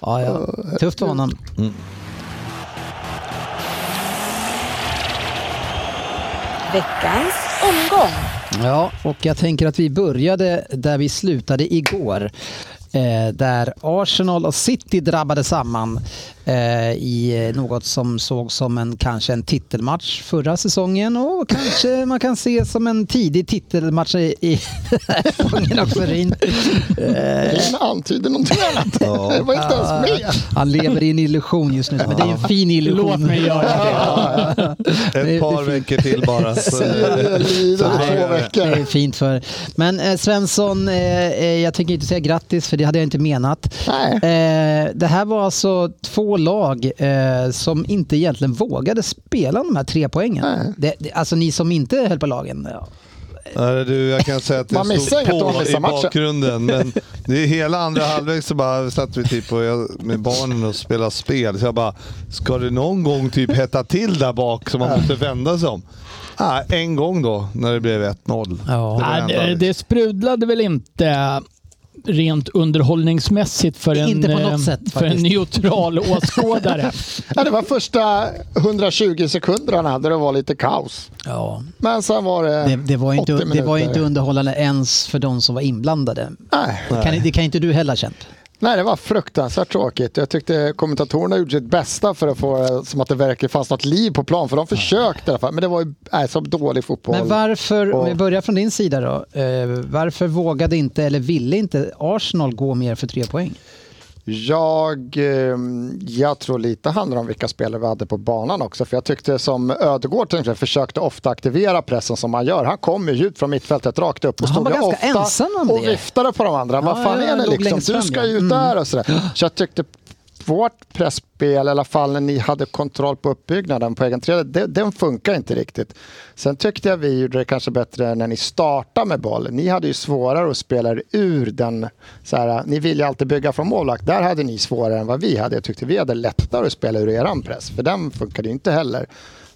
C: Ja, ja. Tufft för honom.
G: Veckans omgång.
C: Ja, och jag tänker att vi började där vi slutade igår. Eh, där Arsenal och City drabbade samman eh, i eh, något som såg som en, kanske en titelmatch förra säsongen och kanske man kan se som en tidig titelmatch i, i säsongen också. Rin. Eh,
D: Rin antyder någonting annat. Det var inte ens med.
C: Han lever i en illusion just nu, men det är en fin illusion.
F: Låt mig göra det.
E: Ett par veckor till bara. Så,
D: Jag lider i två
C: Det är
D: veckor.
C: fint för Men eh, Svensson, eh, eh, jag tänker inte säga grattis för det hade jag inte menat.
D: Nej.
C: Eh, det här var alltså två lag eh, som inte egentligen vågade spela de här tre poängen.
D: Nej.
C: Det, det, alltså ni som inte höll på lagen. Ja.
E: Nej, du, jag kan säga att det
D: Man missar
E: stod
D: inget om man
E: på
D: missar
E: i
D: matchen.
E: bakgrunden. Men det är hela andra halvlek så bara satt vi typ och jag, med barnen och spelade spel. Så jag bara, ska det någon gång typ hetta till där bak som man måste vända sig om? Ah, en gång då, när det blev 1-0.
C: Ja.
E: var liksom-
F: Nej,
E: enda.
F: det, det sprudlade väl inte rent underhållningsmässigt för en,
C: Inte på något
F: eh,
C: sätt,
F: för en
C: faktiskt.
F: neutral åskådare.
D: Ja, det var första 120 sekunderna där det var lite kaos.
C: Ja.
D: Men sen var det,
C: Det, det, var ju inte,
D: 80
C: det var ju inte
D: minuter.
C: underhållande ens för de som var inblandade.
D: Nej.
C: Det kan, det kan inte du heller ha känt.
D: Nej, det var fruktansvärt tråkigt. Jag tyckte kommentatorerna gjorde sitt bästa för att få det som att det verkligen fanns något liv på plan. För de försökte i alla fall, men det var ju nej, som dålig fotboll.
C: Men varför, om
D: Och-
C: vi börjar från din sida då. Eh, varför vågade inte eller ville inte Arsenal gå mer för tre poäng?
D: Jag, eh, jag tror lite handlar om vilka spelare vi hade på banan också. För jag tyckte som Ödegård till exempel, försökte ofta aktivera pressen som han gör. Han kom ju djupt från mittfältet rakt upp och
C: Han
D: stod
C: var
D: ju
C: ganska
D: ofta
C: ensam om
D: och
C: det.
D: viftade på de andra. Vad
C: Ja,
D: fan
C: ja,
D: är
C: han
D: ni
C: låg
D: liksom?
C: längst
D: Du
C: fram,
D: ska
C: ja.
D: ju ut där och sådär. Så jag tyckte vårt pressspel i alla fall när ni hade kontroll på uppbyggnaden på egen tredje, det, den funkar inte riktigt. Sen tyckte jag vi gjorde det kanske bättre när ni startade med boll. Ni hade ju svårare att spela er ur den, så här, ni vill ju alltid bygga från målvakt, där hade ni svårare än vad vi hade. Jag tyckte vi hade lättare att spela ur eran press, för den funkade ju inte heller.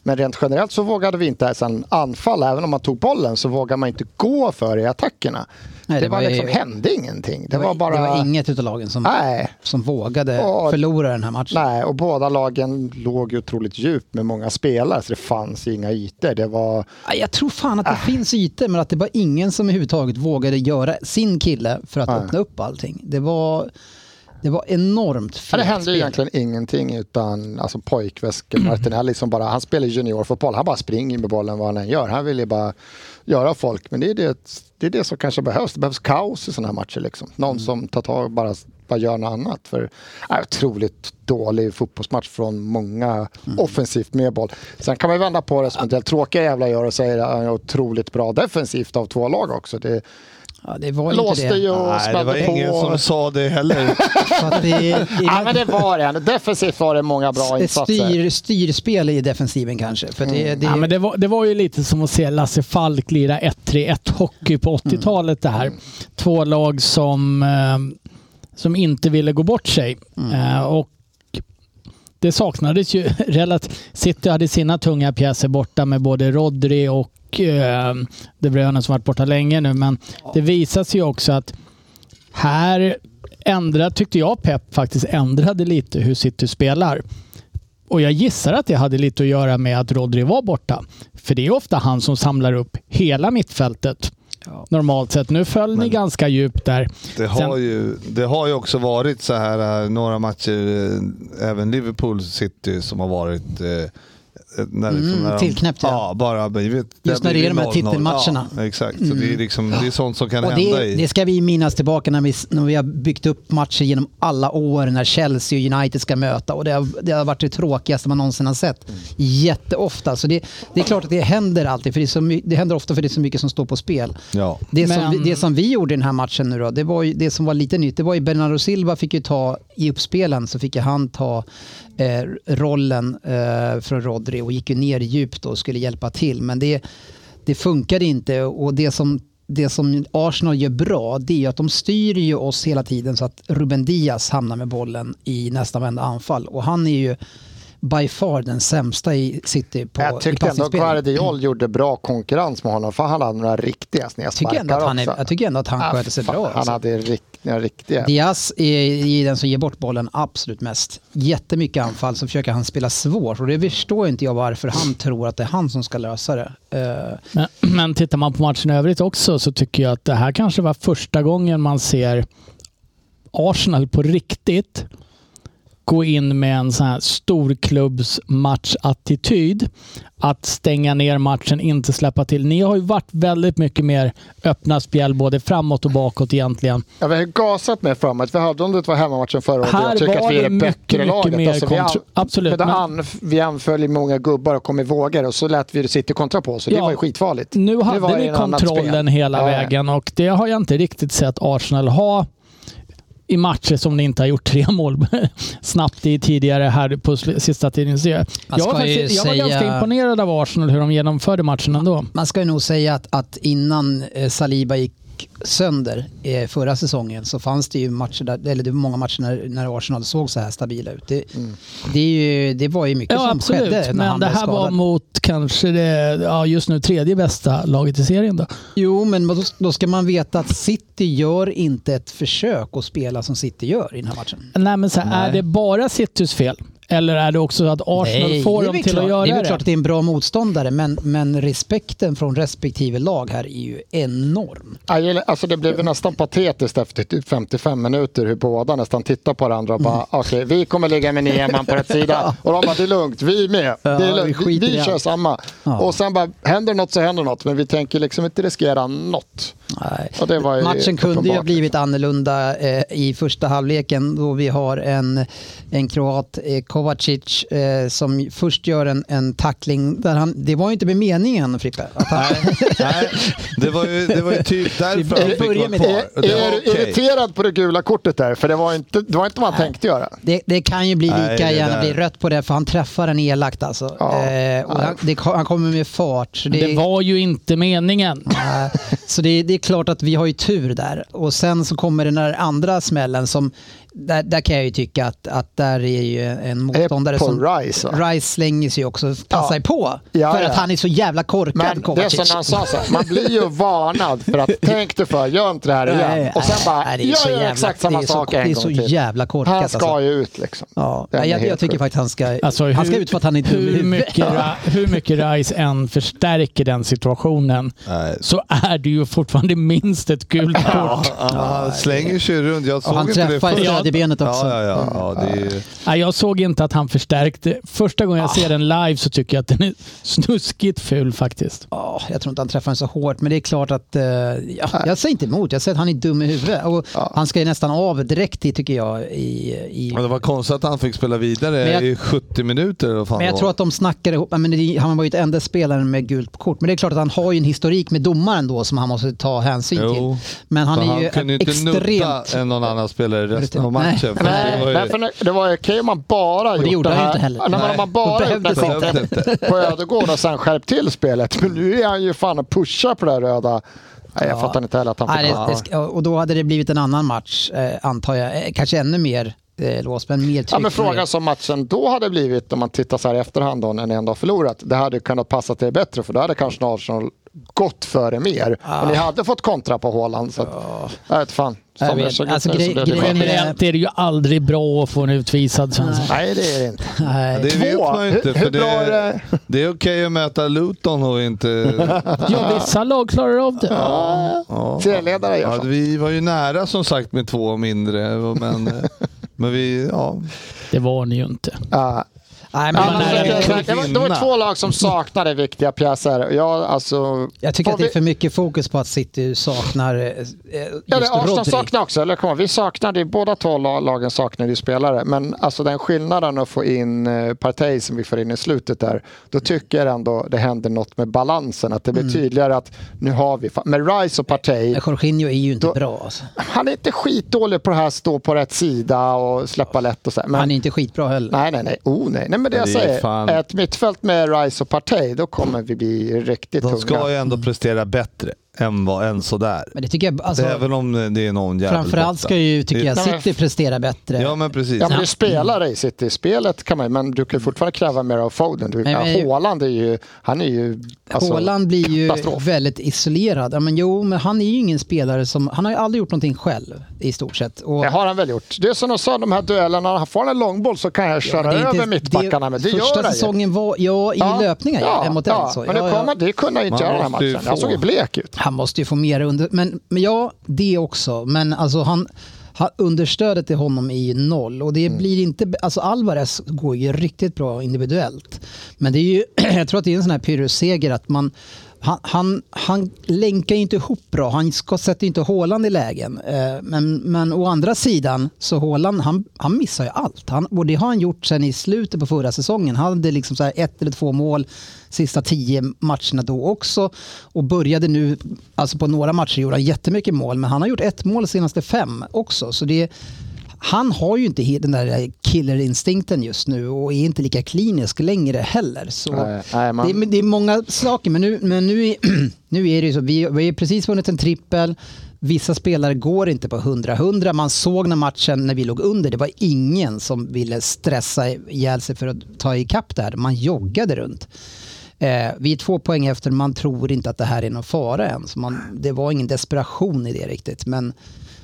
D: Men rent generellt så vågade vi inte ens en anfall, även om man tog bollen så vågade man inte gå för i attackerna.
C: Nej,
D: det,
C: det
D: var
C: var ju-
D: liksom, hände ingenting. Det, var, bara...
C: det var inget utav lagen som,
D: Nej.
C: som vågade
D: Ja.
C: förlora den här matchen.
D: Nej, och båda lagen låg ju otroligt djupt med många spelare så det fanns ju inga ytor. Det var...
C: Nej, Jag tror fan
D: Ah.
C: att det finns ytor men att det var ingen som överhuvudtaget vågade göra sin kille för att öppna upp allting. Det var, det var enormt
D: Ja, Det
C: fegt
D: hände ju
C: spel.
D: egentligen ingenting utan alltså, pojkväske Martinelli som bara, han spelar juniorfotboll, han bara springer med bollen vad han än gör. Han vill ju bara göra folk, men det är det, det, är det som kanske behövs. Det behövs kaos i sådana här matcher. Liksom. Någon som tar tag och bara, bara gör något annat. För, äh, otroligt dålig fotbollsmatch från många offensivt med boll. Sen kan man ju vända på det som en del tråkiga jävla gör och säger att det är otroligt bra defensivt av två lag också. Det,
C: Ja, det var inte
D: Låste
C: det.
D: ju
E: Nej,
D: och
E: det var
D: smällde på.
E: ingen som sa det heller.
C: Så att det,
D: Ja, men det var det. Defensivt var det många bra
C: det
D: insatser.
C: styr, styrspel i defensiven kanske. För
D: Mm.
C: det, det,
F: Ja, men det, var, det var ju lite som att se Lasse Falk lira 1-3-1 hockey
C: Mm.
F: på 80-talet det här. Två lag som, eh, som inte ville gå bort sig.
C: Mm.
F: Eh, och det saknades ju relativt... City hade sina tunga pjäser borta med både Rodri och eh, De Bruyne som varit borta länge nu. Men det visar sig ju också att här ändra, tyckte jag Pep faktiskt ändrade lite hur City spelar. Och jag gissar att det hade lite att göra med att Rodri var borta. För det är ofta han som samlar upp hela mittfältet.
C: Ja.
F: Normalt sett. Nu föll ni ganska djupt där.
E: Det har, ju, det har ju också varit så här eh, några matcher, eh, även Liverpool City, som har varit eh, Eh, När liksom,
C: Mm,
E: när de-
C: tillknäppt, ja.
E: ja. bara, men, vet,
C: Just när
E: blir
C: det är de här
E: 0-0.
C: titelmatcherna. Mm.
E: Ja, exakt, så det, är liksom, det är sånt som kan
C: Och
E: hända
C: det,
E: i...
C: det ska vi minnas tillbaka när vi, när vi har byggt upp matcher genom alla år när Chelsea och United ska möta. Och det, har, det har varit det tråkigaste man någonsin har sett. Jätteofta. Så det, det är klart att det händer alltid. För det, är så my, det händer ofta för det är så mycket som står på spel.
E: Ja.
C: Det, som
F: Men-
C: vi, det som vi gjorde i den här matchen nu då, det, var ju, det som var lite nytt, det var ju Bernardo Silva fick ju ta, i uppspelen så fick ju han ta eh, rollen eh, från Rodri och gick ju ner djupt och skulle hjälpa till. Men det, det funkade inte och det som, det som Arsenal gör bra det är ju att de styr ju oss hela tiden så att Ruben Diaz hamnar med bollen i nästan varenda anfall och han är ju by far den sämsta i City på
D: jag tyckte
C: i
D: ändå
C: passningsspelet.
D: Guardiol gjorde bra konkurrens med honom för han hade några riktiga
C: Jag tycker, ändå
D: snedsparkar
C: att han är,
D: också.
C: jag tycker ändå att han
D: Ah,
C: sköter sig
D: fan,
C: bra.
D: Han
C: alltså.
D: hade riktiga, riktiga.
C: Diaz är, är den som ger bort bollen absolut mest. Jättemycket anfall så försöker han spela svårt och det förstår inte jag varför han tror att det är han som ska lösa det. Eh,
F: Men, men tittar man på matchen i övrigt också så tycker jag att det här kanske var första gången man ser Arsenal på riktigt gå in med en sån här storklubbsmatchattityd. Att stänga ner matchen, inte släppa till. Ni har ju varit väldigt mycket mer öppna spjäll både framåt och bakåt egentligen.
D: Ja, vi har gasat med framåt. Vi hade om det var hemmamatchen förra året.
F: Här
D: Jag tycker
F: var
D: att vi är
F: det
D: det
F: mycket,
D: bättre
F: mycket
D: laget. Alltså, vi,
F: mer kontro- absolut,
D: men då
F: men-
D: anf- vi anföll ju många gubbar och kom i vågor och så lät vi City kontra på oss. och Det
F: Ja.
D: var ju skitfarligt.
F: Nu
D: var
F: hade
D: det
F: ni
D: en annat
F: kontrollen
D: spel.
F: hela
D: Ja, ja.
F: vägen och det har jag inte riktigt sett Arsenal ha i matcher som ni inte har gjort tre mål snabbt i tidigare här på sl- sista tiden. Så jag,
C: Man
F: jag, var
C: ska ju
F: faktiskt, jag var
C: säga-
F: ganska imponerad av Arsenal hur de genomförde matchen ändå.
C: man ska ju nog säga att, att innan eh, Saliba gick sönder eh, förra säsongen så fanns det ju matcher där, eller det var många matcher när, när Arsenal såg så här stabila ut. Det, det, är ju, det var ju mycket
F: Ja,
C: som skedde
F: absolut.
C: när han
F: Men det
C: blev
F: här var
C: skadad.
F: mot kanske det, ja, just nu tredje bästa laget i serien. Då.
C: Jo, men då, då ska man veta att City gör inte ett försök att spela som City gör i den här matchen.
F: Nej, men så här, Är det bara Citys fel? Eller är det också att Arsenal får
C: det är
F: dem
C: väl
F: till
C: klart,
F: att göra
C: det.
F: det?
C: är väl klart att det är en bra motståndare, men, men respekten från respektive lag här är ju enorm.
D: Ja, jag gillar- Alltså det blev
C: Mm.
D: ju nästan patetiskt efter typ 55 minuter hur båda nästan tittar på varandra och bara
C: Mm.
D: okej vi kommer ligga med nio man på rätt sida och de bara det är lugnt, vi är med, det
C: Ja,
D: är
C: vi
D: lugnt. vi,
C: skiter i
D: vi kör
C: allt."
D: samma.
C: Ja.
D: Och sen bara händer något så händer något men vi tänker liksom inte riskera något. Ja, det var ju
C: Matchen kunde ju ha
D: uppenbart.
C: blivit annorlunda eh, i första halvleken då vi har en, en kroat, eh, Kovacic, eh, som först gör en, en tackling. Där han, det var ju inte med meningen, Frippe. Att han,
E: Nej, nej, det var ju, det var ju typ därför han fick
C: börjar
E: vara
C: med
E: kvar.
D: Är,
E: Och det var
D: är du
E: okej.
D: irriterad på det gula kortet där? För det var inte, det var inte vad han tänkte göra.
C: Det, det kan ju bli
E: Nej,
C: lika
E: det
C: gärna
E: där-
C: bli rött på det för han träffar den elakt alltså.
D: Ja.
C: Eh, och han, det, han kommer med fart. Så det,
F: det var ju inte meningen.
C: Eh, Så det, det är klart att vi har ju tur där. Och sen så kommer den där andra smällen som, där, där kan jag ju tycka att, att där är ju en motståndare
D: Eh, på
C: som...
D: Rice, va?
C: Rice slänger sig ju också, passar
D: Ja.
C: ju på.
D: Ja,
C: för
D: ja.
C: att han är så jävla korkad,
D: Men det är
C: Kovacic.
D: som han sa, så här, man blir ju varnad för att tänk dig för, gör inte det här igen.
C: Nej,
D: Och sen bara,
C: nej, det är så
D: jag
C: jävla-
D: gör exakt samma
C: det är så-
D: sak
C: Det
D: en
C: är
D: gång
C: så
D: till.
C: jävla korkat. alltså.
D: Han ska ju ut liksom.
C: Ja,
D: Den
C: jag,
D: är
C: jag,
D: helt
C: tycker
D: sjuk.
C: faktiskt han ska,
F: Alltså, hur,
C: han ska ut för att han är dum i
F: hur
C: huvudet.
F: mycket, ra- hur mycket Rice än förstärker den situationen
E: Nej.
F: så är det ju fortfarande minst ett gult kort.
E: Ja, han slänger sig runt. Jag såg
C: han
E: inte det
C: träffar ju
E: först.
C: tredjebenet också. Mm.
E: Ja, ja, ja. ja det är ju...
F: Nej, jag såg inte att han förstärkte. Första gången jag
C: Ah.
F: ser den live så tycker jag att den är snuskigt ful faktiskt.
C: Ja, jag tror inte han träffar den så hårt, men det är klart att... eh, ja, jag säger inte emot, jag säger att han är dum i huvudet. Och Han ska ju nästan av direkt, i, tycker jag. I, i,
E: Men det var konstigt att han fick spela vidare
C: Men jag-
E: i 70 minuter. eller Vad fan
C: men jag
E: det
C: tror
E: var.
C: att de snackar ihop. Men det, han var ju inte enda spelaren med gult kort. Men det är klart att han har ju en historik med domaren då som han måste ta hänsyn
E: Jo,
C: till. Men han
E: För
C: är ju
E: kunde ju inte nudda
C: extremt...
E: en någon annan spelare resten av
C: Nej.
E: matchen. för
D: Nej,
E: det var ju-
D: därför när- det var ju okej om man bara gjort
C: gjorde
D: det
C: han ju
D: här.
C: inte heller.
D: Nej, men
E: Nej.
D: om man bara gjort
C: Behövdes
D: det här
E: inte.
D: kortet på Ödegård och sen skärpt till spelet. Men nu är han ju fan och pushar på det här röda. Nej, jag
C: Ja.
D: fattar inte heller att han fick
C: Nej,
D: ha-
C: det, det, ska- och då hade det blivit en annan match, eh, antar jag. Eh, Kanske ännu mer eh, lås, men mer tryck.
D: Ja, men
C: mer-
D: frågan som matchen då hade blivit, om man tittar så här i efterhand, då, när ni ändå har förlorat. Det hade kunnat passa till er bättre, för då hade kanske Arsenal gått före mer. Och ni hade fått kontra på Haaland. Så att, Jag vet fan. Som
C: Jag vet.
D: det såg ut
C: Alltså,
D: nu,
C: grej-
D: så blev det
C: grejen
D: bra.
F: Generellt är det ju aldrig bra att få en utvisad svensk.
D: Nej, det är det inte.
C: Nej.
E: Det vet
D: Två.
E: man ju inte.
D: Hur-
E: För
D: hur
E: det,
D: bra är det?
E: är, det är okej att möta Luton och inte...
F: Ja, vissa lag klarar av det.
C: Ah.
E: Ja.
D: Serieledare gör
E: Ja,
D: så.
E: vi var ju nära som sagt med två mindre. Men, men vi... Ja.
F: Det var ni ju inte.
D: Ja,
C: Nej, men
D: Ja,
F: Man
D: men
F: är
D: så
F: en
D: ska jag säga,
E: kvinna.
D: det, var, det var två lag som saknade viktiga pjäser. Ja, alltså,
C: jag tycker
D: Får
C: att det är
D: vi-
C: för mycket fokus på att City saknar eh, eh, just
D: Eller Arsenal
C: Rodri.
D: saknar också, eller kom, vi saknade, ju- båda två la- lagen saknade ju spelare. Men alltså den skillnaden att få in eh, Partey som vi får in i slutet där, då tycker jag ändå det händer något med balansen. Att det
C: Mm.
D: blir tydligare att nu har vi, fa- med Rice och Partey,
C: Men Jorginho är ju inte
D: Då-
C: bra. Alltså.
D: han är inte skitdålig på det här stå på rätt sida och släppa lätt och så. här, Men,
C: Han är inte skitbra heller.
D: Nej, nej, nej. Oh, nej. nej men det jag
E: Typ. Det är
D: säger,
E: fan-
D: ett mittfält med Rice och Partey, då kommer vi bli riktigt
E: De
D: tunga.
E: ska ju ändå prestera bättre än, vad, än sådär.
C: Men det tycker jag, alltså,
E: Även om det är någon jävel
C: framförallt
E: borta.
C: ska ju, tycker jag,
D: Nej, men-
C: City prestera bättre.
E: Ja Mm. men precis.
D: Ja, men du spelar i City. Spelet kan man ju- men du kan ju fortfarande kräva mer av Foden. Du,
C: Nej, men-
D: Haaland är ju, han är ju... alltså,
C: Haaland blir ju
D: katastrof.
C: väldigt isolerad. Ja, men jo, men han är ju ingen spelare som... Han har ju aldrig gjort någonting själv i stort sett. Och,
D: Det har han väl gjort. Det är som de sa, de här duellerna, han får en långboll så kan jag
C: men
D: köra
C: det är inte-
D: över mittbackarna. Men det
C: första
D: gör han ju.
C: säsongen var... Ja, i löpningar ja, en mot en. Så.
D: men det,
C: ja, ja.
D: kommer, det kunde han ju inte
E: Man
D: göra den här
E: måste ju
D: matchen. Han
E: få-
D: såg ju blek ut.
C: Han måste ju få mer under... Men, men ja, det också. Men alltså han... han- Understödet till honom är ju noll och det blir inte, alltså Alvarez går ju riktigt bra individuellt. Men det är ju, jag tror att det är en sån här pyrrhusseger att man, han, han, han länkar ju inte ihop bra, han ska, sätter ju inte Haaland i lägen. Eh, Men, men å andra sidan så Haaland, han, han missar ju allt. Han, och det har han gjort sen i slutet på förra säsongen. Han hade liksom så här ett eller två mål sista tio matcherna då också. Och började nu, alltså på några matcher gjorde han jättemycket mål, men han har gjort ett mål senaste fem också. Så det, han har ju inte he- den där killerinstinkten just nu och är inte lika klinisk längre heller. Så
D: Nej, nej, man-
C: det, är- men det är många saker, men nu, men nu, är, nu är det ju så. Vi, vi har ju precis vunnit en trippel. Vissa spelare går inte på 100-100. Man såg när matchen, när vi låg under, det var ingen som ville stressa ihjäl sig för att ta ikapp det här. Man joggade runt. Eh, vi är två poäng efter, man tror inte att det här är någon fara än. Så man, det var ingen desperation i det riktigt. Men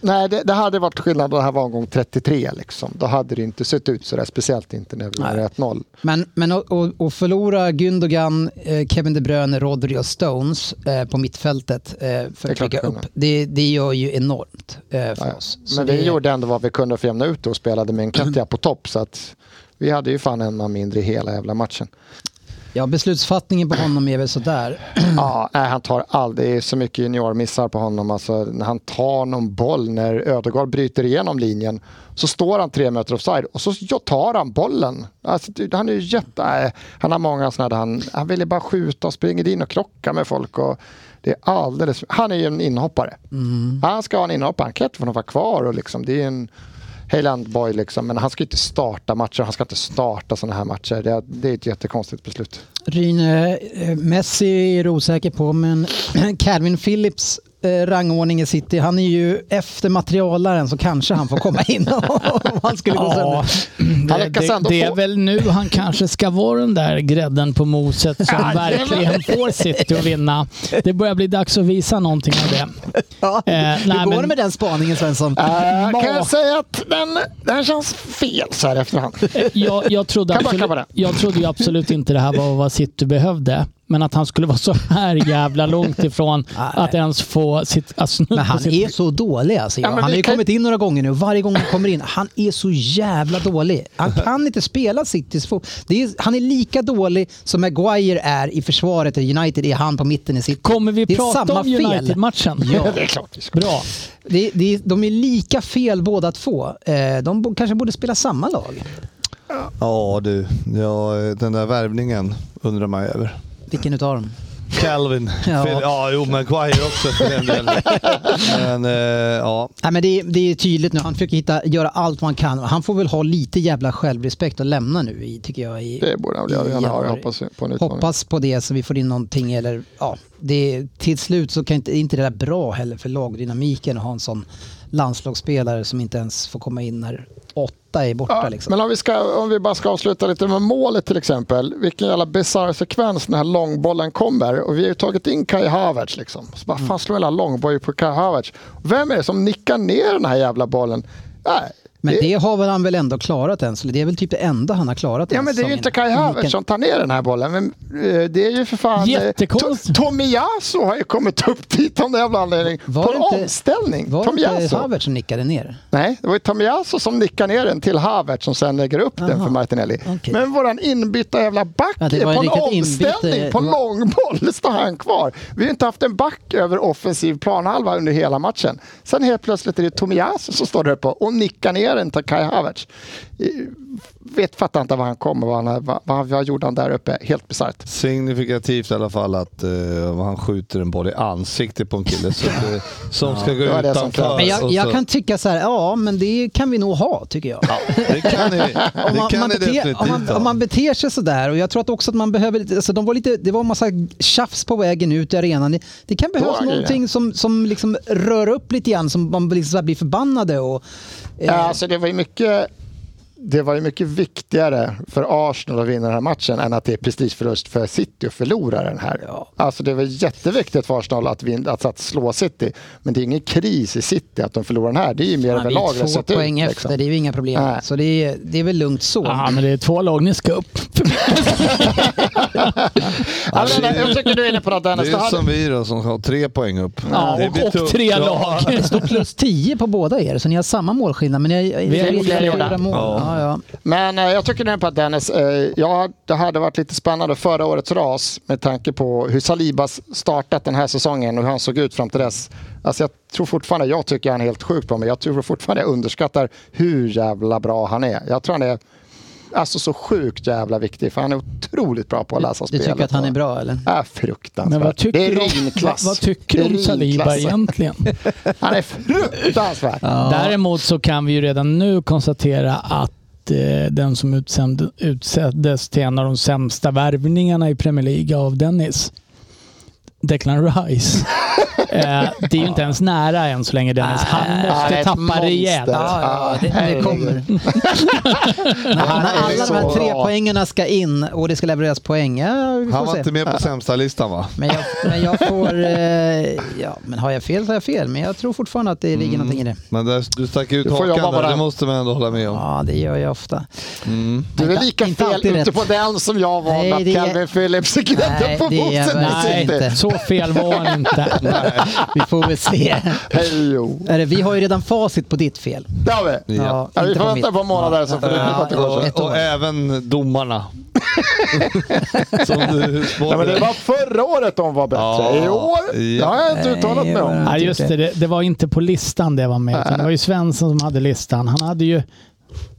D: Nej, det, det hade varit skillnad om det här var omgång 33. Liksom. Då hade det inte sett ut så där, speciellt inte när vi var 1-0.
C: Men, men att- att att förlora Gündogan, eh, Kevin De Bruyne, Rodri och Stones eh, på mittfältet eh, för
D: är
C: att
D: klart
C: bygga
D: det
C: upp,
D: kunde.
C: det, det gör ju enormt eh, för oss. Så
D: Men vi
C: det-
D: gjorde ändå vad vi kunde för att jämna ut det och spelade med en Katja på topp. Så att vi hade ju fan en man mindre i hela jävla matchen.
C: Ja, beslutsfattningen på honom är väl sådär.
D: Ja, nej, han tar all, det är så mycket juniormissar på honom. Alltså, när han tar någon boll när Ödegaard bryter igenom linjen så står han tre meter offside och så tar han bollen. Alltså, det- han är ju jätte... nej, han har många sådana där han, han vill ju bara skjuta och springer in och krocka med folk. Och det är alldeles, han är ju en inhoppare. Han ska ha en inhoppare, han kan inte få någon vara kvar. Och liksom, det är en Heyland boy liksom, men han ska ju inte starta matcher, han ska inte starta sådana här matcher. Det, det är ett jättekonstigt beslut.
C: Ryne, eh, Messi är du osäker på, men Calvin Phillips eh, rangordning i City, han är ju efter materialaren så kanske han får komma in om han skulle gå sönder.
F: Ja,
D: Han
F: det,
D: lyckas
F: det,
D: ändå
F: det är
D: få-
F: väl nu han kanske ska vara den där grädden på moset som verkligen får City att vinna. Det börjar bli dags att visa någonting av det.
C: Ja.
F: Eh, nej,
C: Hur går
F: men- Eh,
C: det med den spaningen Svensson?
D: Äh, kan
C: Ma-
D: jag säga att den, den känns fel så här efterhand.
F: Jag, jag, trodde
D: Kan bara
F: absolut,
D: klappa det.
F: jag trodde ju absolut inte det här var vad City behövde. Men att han skulle vara så här jävla långt ifrån att ens få sitt... Alltså,
C: Men han är så dålig alltså.
D: Ja, men
C: han har
D: vi
C: ju
D: kan-
C: kommit in några gånger nu och varje gång han kommer in, han är så jävla dålig. Han kan inte spela Citys fotboll. Det är- Han är lika dålig som Maguire är i försvaret i United, är han på mitten i City.
F: Kommer vi
C: det är
F: prata
C: samma
F: om United-matchen?
C: Ja.
D: Det är klart vi ska.
F: Bra.
C: Det, det, de är lika fel båda två. Eh, De bo- kanske borde spela samma lag.
E: Ja du, ja, den där värvningen undrar man ju över.
C: Vilken utav dem?
E: Calvin.
C: Ja.
E: Ja, ja jo, Maguire också för den delen. Men eh, ja,
C: Nej, men det, är- det är tydligt nu. Han försöker hitta, göra allt man kan. Han får väl ha lite jävla självrespekt och lämna nu, i, tycker jag. I,
D: Det borde han väl göra.
C: i
D: Han har-
C: januari.
D: Jag hoppas på en utmaning.
C: Hoppas på det så vi får in någonting. Eller, ja, det, till slut så kan inte, är inte det där bra heller för lagdynamiken att ha en sån landslagsspelare som inte ens får komma in när åtta är borta.
D: Ja,
C: liksom.
D: men om vi, ska, om vi bara ska avsluta lite med målet till exempel. Vilken jävla bisarr sekvens den här långbollen kommer. Och vi har ju tagit in Kai Havertz liksom. Så bara,
C: Mm.
D: fan slår hela långboll på Kai Havertz. Vem är det som nickar ner den här jävla bollen? Nej,
C: Men det har väl han väl ändå klarat än, så det är väl typ det enda han har klarat
D: Ja,
C: än
D: men det är ju
C: säsongen.
D: inte Kai Havertz som tar ner den här bollen. Men eh, det är ju för fan... eh,
F: Jättekonstigt.
D: To- Tomiyasu har ju kommit upp dit av någon jävla anledning.
C: Var
D: på
C: det
D: en
C: inte-
D: omställning.
C: Var det
D: Tomiyasu.
C: inte Havertz som nickade ner?
D: Nej, det var ju Tomiyasu som nickar ner den till Havertz som sen lägger upp den
C: Aha.
D: för Martinelli.
C: Okej.
D: Men våran inbytta jävla back
C: Ja, det
D: är
C: var
D: på
C: en
D: en
C: riktigt inbyte-
D: omställning, på
C: det var-
D: långboll står han kvar. Vi har inte haft en back över offensiv planhalva under hela matchen. Sen helt plötsligt är det Tomiyasu som står där uppe och nickar ner den till Kai Havertz. Eh, Vet, fattar inte var han kommer, vad han, vad, vad, vad gjorde han där uppe? Helt bisarrt.
E: Signifikativt i alla fall att eh, han skjuter en boll i ansiktet på en kille så att, eh, som ska gå
D: det var det som
E: utanför.
D: krävdes.
C: Men
E: och
C: jag,
E: så-
C: jag kan tycka så här, ja men det kan vi nog ha tycker jag.
E: Ja, det kan ni,
C: Om
E: det
C: man,
E: kan
C: man
E: ni
C: bete, om,
E: definitivt
C: man,
E: ha.
C: om man beter sig sådär och jag tror att också att man behöver lite, alltså de var lite, det var en massa tjafs på vägen ut i arenan. Det- Det kan behövas
D: var grejer.
C: någonting som, som liksom rör upp lite grann som man liksom så här blir förbannade och... eh,
D: Ja, Alltså, det var ju mycket det var ju mycket viktigare för Arsenal att vinna den här matchen än att det är prestigeförlust för City att förlora den här. Alltså det var jätteviktigt för Arsenal att, vinna, att, att slå City, men det är ingen kris i City att de förlorar den här. Det är ju mer
C: Ja, vi
D: överlag det
C: är två
D: har sett ut,
C: poäng
D: liksom.
C: efter, det är ju inga problem.
D: Nej.
C: Så det är, det är väl lugnt så.
F: Ja, men det är två lag ni ska upp.
D: Alltså, jag tycker du är inne på något
E: Det
D: Dennis.
E: är
D: Det
E: som
D: hade-
E: vi då som har tre poäng upp.
F: Ja,
E: Det
F: och,
E: blir
F: och
E: tufft.
F: tre
E: Ja.
F: lag.
C: Det står plus 10 på båda er, så ni har samma målskillnad. Men jag, jag,
F: Vi är
C: jag,
F: olika
C: jag,
F: gjorda.
C: mål. Ja, ja.
D: Men eh, jag tycker nu på att Dennis, eh, ja det hade varit lite spännande förra årets ras med tanke på hur Salibas startat den här säsongen och hur han såg ut fram till dess. Alltså jag tror fortfarande, jag tycker han är helt sjukt bra, men jag tror fortfarande jag underskattar hur jävla bra han är. Jag tror han är alltså så sjukt jävla viktig, för han är otroligt bra på att läsa
C: Du
D: spelet.
C: tycker att han är bra eller?
D: Ja, fruktansvärt.
F: Men vad
D: det
F: tycker
D: är
F: du om, vad,
D: rinklass.
F: vad tycker du
D: Det
F: om
D: är
F: Saliba
D: rinklass.
F: egentligen?
D: Han är fruktansvärd.
F: Däremot så kan vi ju redan nu konstatera att eh, den som utsänd, utseddes till en av de sämsta värvningarna i Premier League av Dennis, Declan Rice. eh, det är ju inte ens nära än så länge Dennis. Han
D: Han är
F: måste
D: ett
F: tappa rejält.
D: monster.
C: ja, det- det
D: herregud.
C: kommer.
D: Han
C: När
D: är
C: alla de här
D: så
C: tre
D: bra.
C: poängarna ska in och det ska levereras poäng. Ja, vi
E: Han
C: får
E: var
C: se.
E: inte med på sämsta listan va?
C: Men jag, men jag får... Eh, ja, men har jag fel så har jag fel. Men jag tror fortfarande att det ligger
D: Mm.
C: någonting i det.
E: Men där, du stack ut
D: Du får jobba
E: hakan
D: på
E: där, det
D: den.
E: måste man ändå hålla med om.
C: Ja, det gör jag ofta.
D: Du är
C: Inte-
D: lika
C: inte
D: fel
C: alltid
D: ute
C: rätt.
D: på den som jag var
C: Nej,
D: med
C: det är-
D: att Calvin Phillips grädde
C: Nej,
D: på
C: det är jag
D: moset i
C: verkligen
D: City.
F: Nej,
C: inte.
F: så fel var han inte.
C: Vi får väl se.
D: Hejo.
C: Är det, vi har ju redan facit på ditt fel.
D: Det har vi.
E: Ja.
C: Ja,
D: Ja, vi
C: inte
D: får
C: på
D: vänta
C: mitt.
D: på en månad där så får du
E: Ja,
D: veta vad det går.
C: ett
E: och,
C: år.
E: och även domarna. som du
D: Nej, men det
E: spådde.
D: var förra året de var bättre.
E: Ja.
D: I år? Det har jag inte uttalat mig om.
F: Ja, just det, det. Det var inte på listan det var med. utan Det var ju Svensson som hade listan. Han hade ju...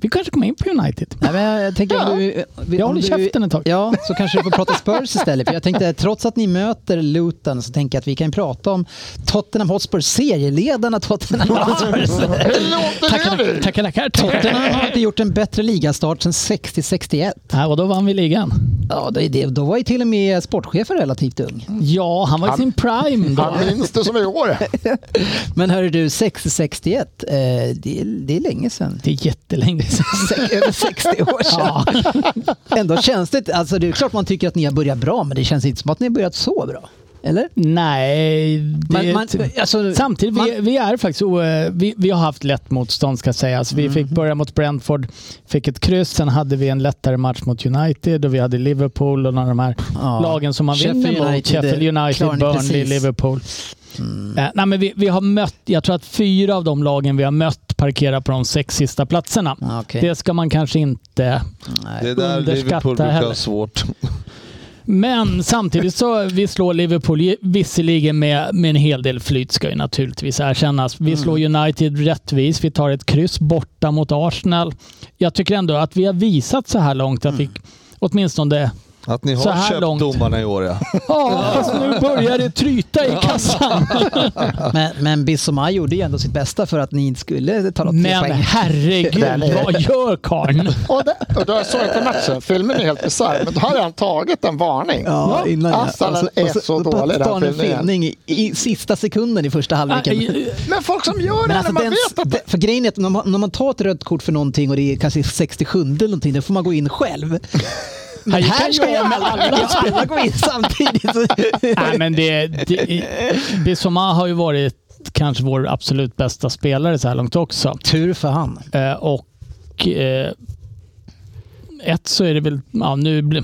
F: Vi kanske kommer in på United.
C: Nej, men jag, jag tänker om du,
F: Jag
C: om
F: håller
C: du,
F: käften ett tag.
C: Ja, så kanske du får prata Spurs istället. För jag tänkte, trots att ni möter Luton så tänker jag att vi kan prata om Tottenham Hotspur, serieledarna Tottenham Hotspur.
D: Hur låter det nu?
F: Tackar, tackar. tackar.
C: Tottenham har inte gjort en bättre ligastart sedan 60-61.
F: Ja, och då Äh, vann vi ligan.
C: Ja, då, är det, då var ju till och med sportchefen relativt ung.
F: Ja, han var i sin prime då.
D: Han minns det som igår.
C: Men hörru du, 60-61, eh, det, är- det är länge sedan.
F: Det är jättelänge sedan.
C: Se- Över 60 år sedan. Ändå känns det alltså det är klart man tycker att ni har börjat bra, men det känns inte som att ni har börjat så bra. Eller?
F: Nej, det
C: Man- man- alltså,
F: samtidigt, vi,
C: man-
F: vi är faktiskt o, vi, vi har haft lätt motstånd ska sägas.
C: Mm.
F: Vi fick börja mot Brentford, fick ett kryss, sen hade vi en lättare match mot United och vi hade Liverpool och några av de här
C: Ja.
F: lagen som man
C: Sheffield
F: vinner mot.
C: United,
F: Sheffield
C: det
F: United,
C: klarar ni
F: Burnley,
C: precis. Mm.
F: Liverpool. Eh, nej, men vi, vi har mött, jag tror att fyra av de lagen vi har mött parkerar på de sex sista platserna.
C: Ja, Ah, okej.
F: Det ska man kanske inte
E: Det är där
F: Underskatta
E: Liverpool brukar
F: heller.
E: ha svårt.
F: Men samtidigt så vi slår Liverpool ju- visserligen med, med en hel del flyt ska ju naturligtvis erkännas.
C: Mm.
F: Vi slår United rättvis. Vi tar ett kryss borta mot Arsenal. Jag tycker ändå att vi har visat så här långt att
C: Mm.
F: vi åtminstone...
E: Att ni
F: Så här
E: har köpt
F: långt.
E: domarna i år ja.
F: Ja, fast nu börjar det tryta i kassan.
C: Men, men Bissoma gjorde ju ändå sitt bästa för att ni inte skulle ta något tre
F: Men
C: poäng.
F: herregud, vad gör karln?
D: Och, det, och då jag såg inte matchen, filmen är helt bisarr, men då hade han tagit en varning.
C: Ja, innan jag-
D: Alltså, den
C: och
D: är
C: och
D: så
C: och
D: dålig, den
C: tar han en
D: filmen.
C: filmning i, i sista sekunden i första halvleken.
D: Men folk som gör det
C: Men alltså
D: när man
C: den,
D: vet att
C: den- för grejen är att när man, när man tar ett rött kort för någonting och det är kanske 67 eller någonting, då får man gå in själv. Men
F: gick
C: här
F: han
C: ska
F: ju
C: ju
F: av med
C: alla,
F: alla
C: ja, alla gå in samtidigt.
F: Nej, men det, det, det som har ju varit varit kanske vår absolut bästa spelare så här långt också.
C: Tur för han.
F: Eh, och eh, ett så är det väl, ja nu blir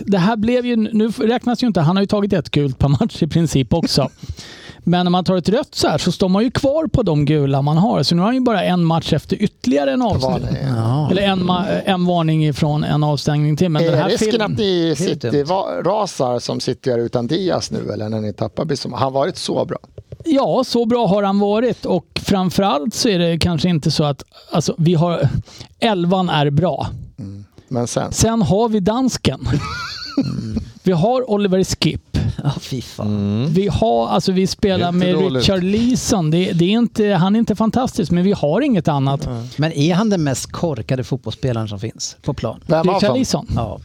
F: det här blev ju, nu räknas ju inte, han har ju tagit ett gult per match i princip också. Men om man tar ett rött så här så står man ju kvar på de gula man har. Så nu har han ju bara en match efter ytterligare en avstängning. Eller en, ma- en varning ifrån en avstängning till. Men den
D: Är
F: här
D: Eh, risken
F: filmen-
D: att ni
C: Helt
D: City
C: dumt.
D: va- rasar som City gör utan Diaz nu eller när ni tappar Bissom? Han har varit så bra.
F: Ja, så bra har han varit och framförallt så är det kanske inte så att, alltså vi har, elvan är bra.
D: Men sen,
F: Sen har vi dansken.
C: Mm.
F: Vi har Oliver Skipp.
C: Ja, fy fan.
F: Vi har, alltså vi spelar
E: Inte
F: med
E: dåligt.
F: Richard Leeson. Det, det är inte, han är inte fantastisk, men vi har inget annat.
C: Men är han den mest korkade fotbollsspelaren som finns på plan?
D: vem av
F: Richard
D: dem?
F: Leeson?
C: Ja.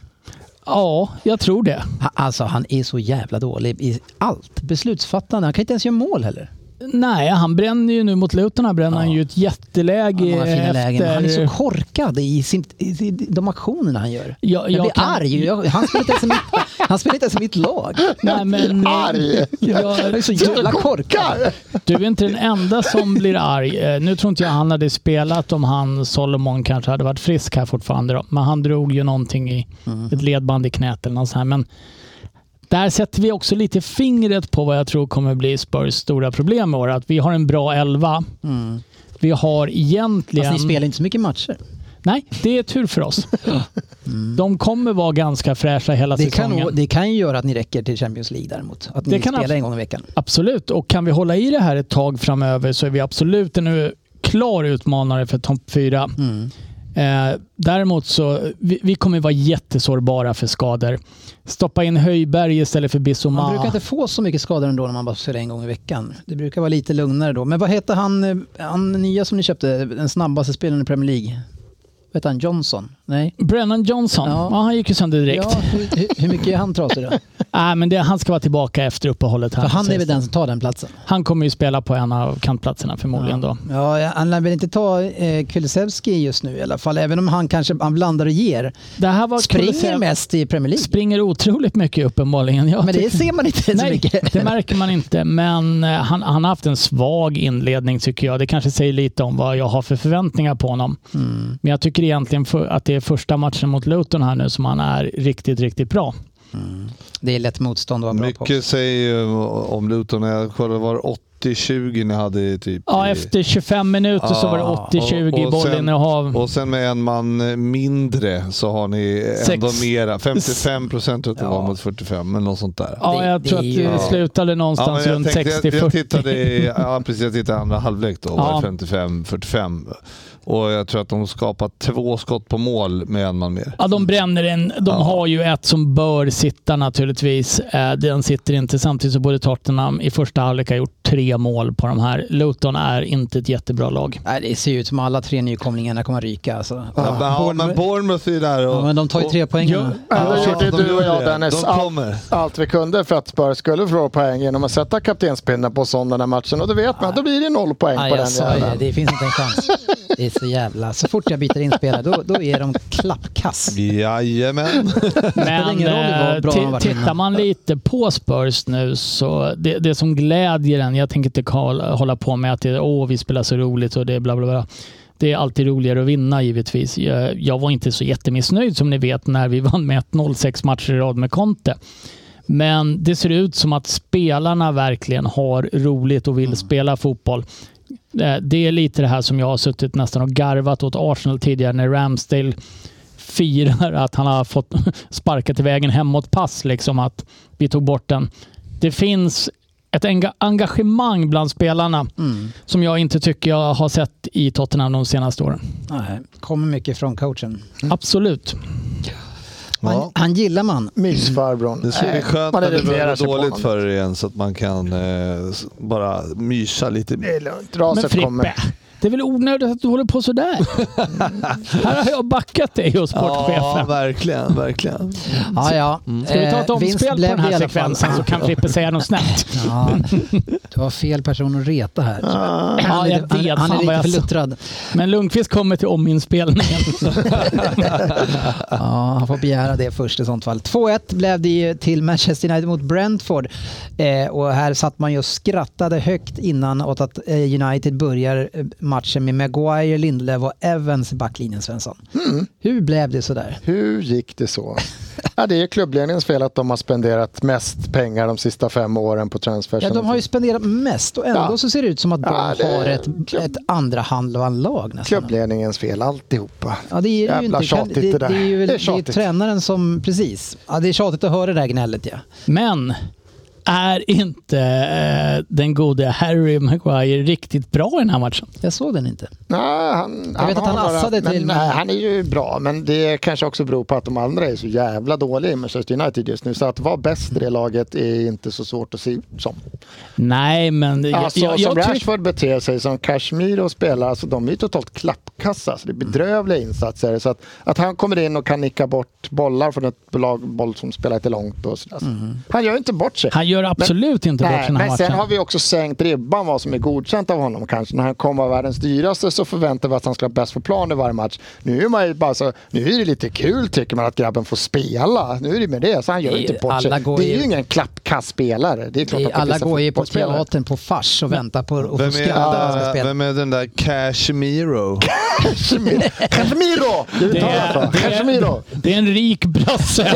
F: Ja, jag tror det.
C: Ha- Alltså han är så jävla dålig i allt. Beslutsfattande. Han kan inte ens göra mål heller.
F: Nej, han bränner ju nu mot Luton. Här bränner han ju ett jätteläge
C: Han har många fina
F: efter...
C: lägen. men Han är så korkad i, sin, i, i de aktionerna han gör.
F: Jag-
C: Jag,
F: jag
C: blir
F: kan-
C: arg. Jag, han spelar inte ens i mitt, han spelar inte ens i mitt lag.
F: Nej, men,
D: Arg!
C: Han är
F: Jag,
C: så eh, jävla korkad.
F: Du är inte den enda som blir arg. Eh, Nu tror inte jag han hade spelat om han Solomon kanske hade varit frisk här fortfarande. Då. Men han drog ju någonting i ett ledband i knät eller något sånt här. Men där sätter vi också lite fingret på vad jag tror kommer bli Spurs stora problem i år. Att vi har en bra elva. Vi har egentligen...
C: Fast ni spelar inte så mycket matcher.
F: Nej, det är tur för oss. De kommer vara ganska fräscha hela
C: Mm. Det kan,
F: säsongen.
C: nog- det kan ju göra att ni räcker till Champions League däremot. Att ni
F: Det kan
C: spelar
F: abs-
C: en gång i veckan.
F: Absolut, och kan vi hålla i det här ett tag framöver så är vi absolut en klar utmanare för topp fyra.
C: Mm.
F: Eh, däremot så vi, vi kommer vara jättesårbara för skador. Stoppa in Höjberg istället för
C: Man
F: Bissoma.
C: brukar inte få så mycket skador ändå när man bara spelar en gång i veckan. Det brukar vara lite lugnare då. Men vad heter han, eh, han nya som ni köpte, den snabbaste spelaren i Premier League? Vad heter han? Johnson? Nej?
F: Brennan Johnson, ja.
C: Ja.
F: han gick ju sönder direkt.
C: Ja, hur, hur- hur mycket är han trasig då?
F: Nej, men det, han ska vara tillbaka efter uppehållet. Här
C: För han är
F: precis.
C: väl den som tar den platsen.
F: han kommer ju spela på en av kantplatserna förmodligen då.
C: Ja, han lär väl inte ta eh, Kulusevski just nu i alla fall, även om han kanske han blandar och ger.
F: Det här var
C: Springer mest i Premier League.
F: Springer otroligt mycket uppenbarligen. Jag
C: Men det
F: tycker-
C: ser man inte så
F: Nej,
C: mycket.
F: det märker man inte. Men eh, han, han har haft en svag inledning tycker jag. Det kanske säger lite om vad jag har för förväntningar på honom.
C: Mm.
F: Men jag tycker egentligen för, att det är första matchen mot Luton här nu som han är riktigt, riktigt bra.
C: Det är lätt motstånd att vara bra på.
E: Mycket säger ju om Luton. Jag kollade, var det 80-20 ni hade i typ?
F: Ja,
E: i-
F: efter 25 minuter så var
C: Ah.
F: det 80-20
E: och-
F: i
E: och sen-
F: bollinnehav.
E: Och sen med en man mindre så har ni
F: Sex.
E: ändå mera. 55 procent tror jag att det var mot 45 eller något sånt där.
F: Ja,
C: det-
F: jag
C: det
F: tror
C: är
F: att
C: ju-
F: det
E: Ja,
F: slutade
E: men
F: någonstans
E: jag
F: runt
E: tänkte- Jag, jag
F: 60-40.
E: tittade i, ja, precis, jag tittade i andra halvlek då,
F: Ja.
E: var det 55-45. Och jag tror att de skapat två skott på mål med en man mer.
F: Ja, de bränner en. De har ju ett som bör sitta naturligtvis. Eh, Den sitter inte. Samtidigt så borde Tottenham i första halvlek ha gjort tre mål på de här. Luton är inte ett jättebra lag.
C: Nej, det ser ju ut som alla tre nykomlingarna kommer att ryka. Alltså.
E: Ja, men, ja, men Bournemouth är ju där och...
C: Ja, men de tar ju tre poäng. nu.
D: Eller
E: Ja,
D: gjorde
E: de
D: du och
E: gjorde
D: jag
E: det.
D: Dennis
E: De
D: allt,
E: kommer.
D: allt vi kunde för att Spurs skulle förlora poäng genom att sätta kaptenspinnen på sån den här matchen. Och det vet man, då blir det noll poäng
C: Ja,
D: på
C: jag
D: den
C: sa ju det,
D: jäveln.
C: det finns inte en chans. Det är så jävla... Så fort jag byter in spelare, då, då är de klappkass.
E: Jajamän.
F: Men
C: ingen roll hur bra
F: eh,
C: de har varit
F: ti- tittar
C: innan.
F: man lite på Spurs nu så det, det som glädjer en, jag tänker inte kal- hålla på med att det är, åh vi spelar så roligt och det är bla bla bla. Det är alltid roligare att vinna givetvis. Jag, jag var inte så jättemissnöjd som ni vet när vi vann med 1-0 sex matcher i rad med Conte. Men det ser ut som att spelarna verkligen har roligt
C: Mm.
F: och vill spela fotboll. Eh, Det är lite det här som jag har suttit nästan och garvat åt Arsenal tidigare när Ramsdale firar att han har fått sparkat iväg en hemåt-pass, liksom att vi tog bort den. Det finns ett enga- engagemang bland spelarna
C: Mm.
F: som jag inte tycker jag har sett i Tottenham de senaste åren.
C: Nej, kommer mycket från coachen.
F: Absolut.
C: Han, han gillar man.
D: Mysfarbrorn.
E: Det ska bli
D: Nej,
E: skönt när det
D: irriterar
E: börjar
D: sig
E: gå
D: på
E: dåligt
D: honom.
E: för er igen så att man kan eh, s- bara mysa lite.
D: Det är lugnt. Raset
F: Men Frippe,
D: kommer.
F: Det är väl onödigt att du håller på sådär? Här har jag backat dig och
E: Ja,
F: sportchefen.
E: verkligen, verkligen.
C: Ja, ja.
F: Ska vi ta ett
C: Eh, vinst
F: omspel på
C: blev
F: den
C: det i
F: här
C: alla fall.
F: sekvensen så kan Frippe säga något snällt.
C: Ja, du har fel person att reta här.
F: Ja,
C: Han är,
F: jag
C: han,
F: vet.
C: han
F: fan
C: är
F: vad
C: lite
F: jag sa.
C: förluttrad.
F: Men Lundqvist kommer till ominspelningen.
C: Ja, han får begära det först i sånt fall. 2-1 blev det ju till Manchester United mot Brentford. Eh, och här satt man ju och skrattade högt innan åt att eh, United börjar eh, matchen med Maguire, Lindelöf och Evans i backlinjen, Svensson.
D: Mm.
C: Hur blev det sådär?
D: Hur gick det så? Ja, det är klubbledningens fel att de har spenderat mest pengar de sista fem åren på transfers.
C: Ja, de har ju spenderat mest och ändå
D: Ja.
C: så ser det ut som att de
D: Ja, det är
C: har ett,
D: klubb-
C: ett andra handlag nästan.
D: Klubbledningens fel alltihopa.
C: Ja, det är det ju
D: Jävla
C: inte. Kan,
D: tjatigt
C: det, det
D: det där.
C: är ju väl,
D: Det
C: det
D: är
C: är
D: tjatigt.
C: tränaren som, precis. Ja, det är tjatigt att höra det där gnället ja.
F: Men är inte eh, den gode Harry Maguire riktigt bra i den här matchen?
C: Jag såg den inte.
D: Nej, han,
C: Jag vet att
D: har
C: han assade
D: men,
C: till-
D: Nej, han är ju bra, men det kanske också beror på att de andra är så jävla dåliga i Manchester United just nu. Så att vara bäst i det laget är inte så svårt att se ut som.
F: Nej, men jag,
D: Alltså,
F: jag,
D: som
F: jag, tyck-
D: Rashford beter sig, som Kashmir spelar, alltså, de är ju totalt klappkassa. Så det är bedrövliga insatser. Så att, att han kommer in och kan nicka bort bollar från ett lag, boll som spelar lite långt. Och sådär.
C: Mm.
D: Han gör inte bort sig.
F: han gör absolut inte bort sig i den här
D: men sen
F: matchen.
D: har vi också sänkt ribban vad som är godkänt av honom kanske. När han kom vara världens dyraste så förväntade vi att han skulle vara bäst på plan i varje match. Nu är, man ju bara så, nu är det lite kul tycker man att grabben får spela. Nu är det med det, så han gör
C: Det är
D: inte
C: ju-
D: bort sig.
C: alla går
D: Det är ju
C: ju-
D: ingen klappkastspelare. Det är klart att det
C: Alla
D: finns en
C: går ju på
D: fotbollsspelare.
C: teatern på fars och väntar på att få
E: Vem
C: skada när de ska
E: är,
C: spela.
E: vem är den där Cashmiro?
D: Casemiro! Det
F: Det
D: uttalar jag
F: är,
D: bra.
F: det,
D: Casemiro!
F: är, det är en rik brasse.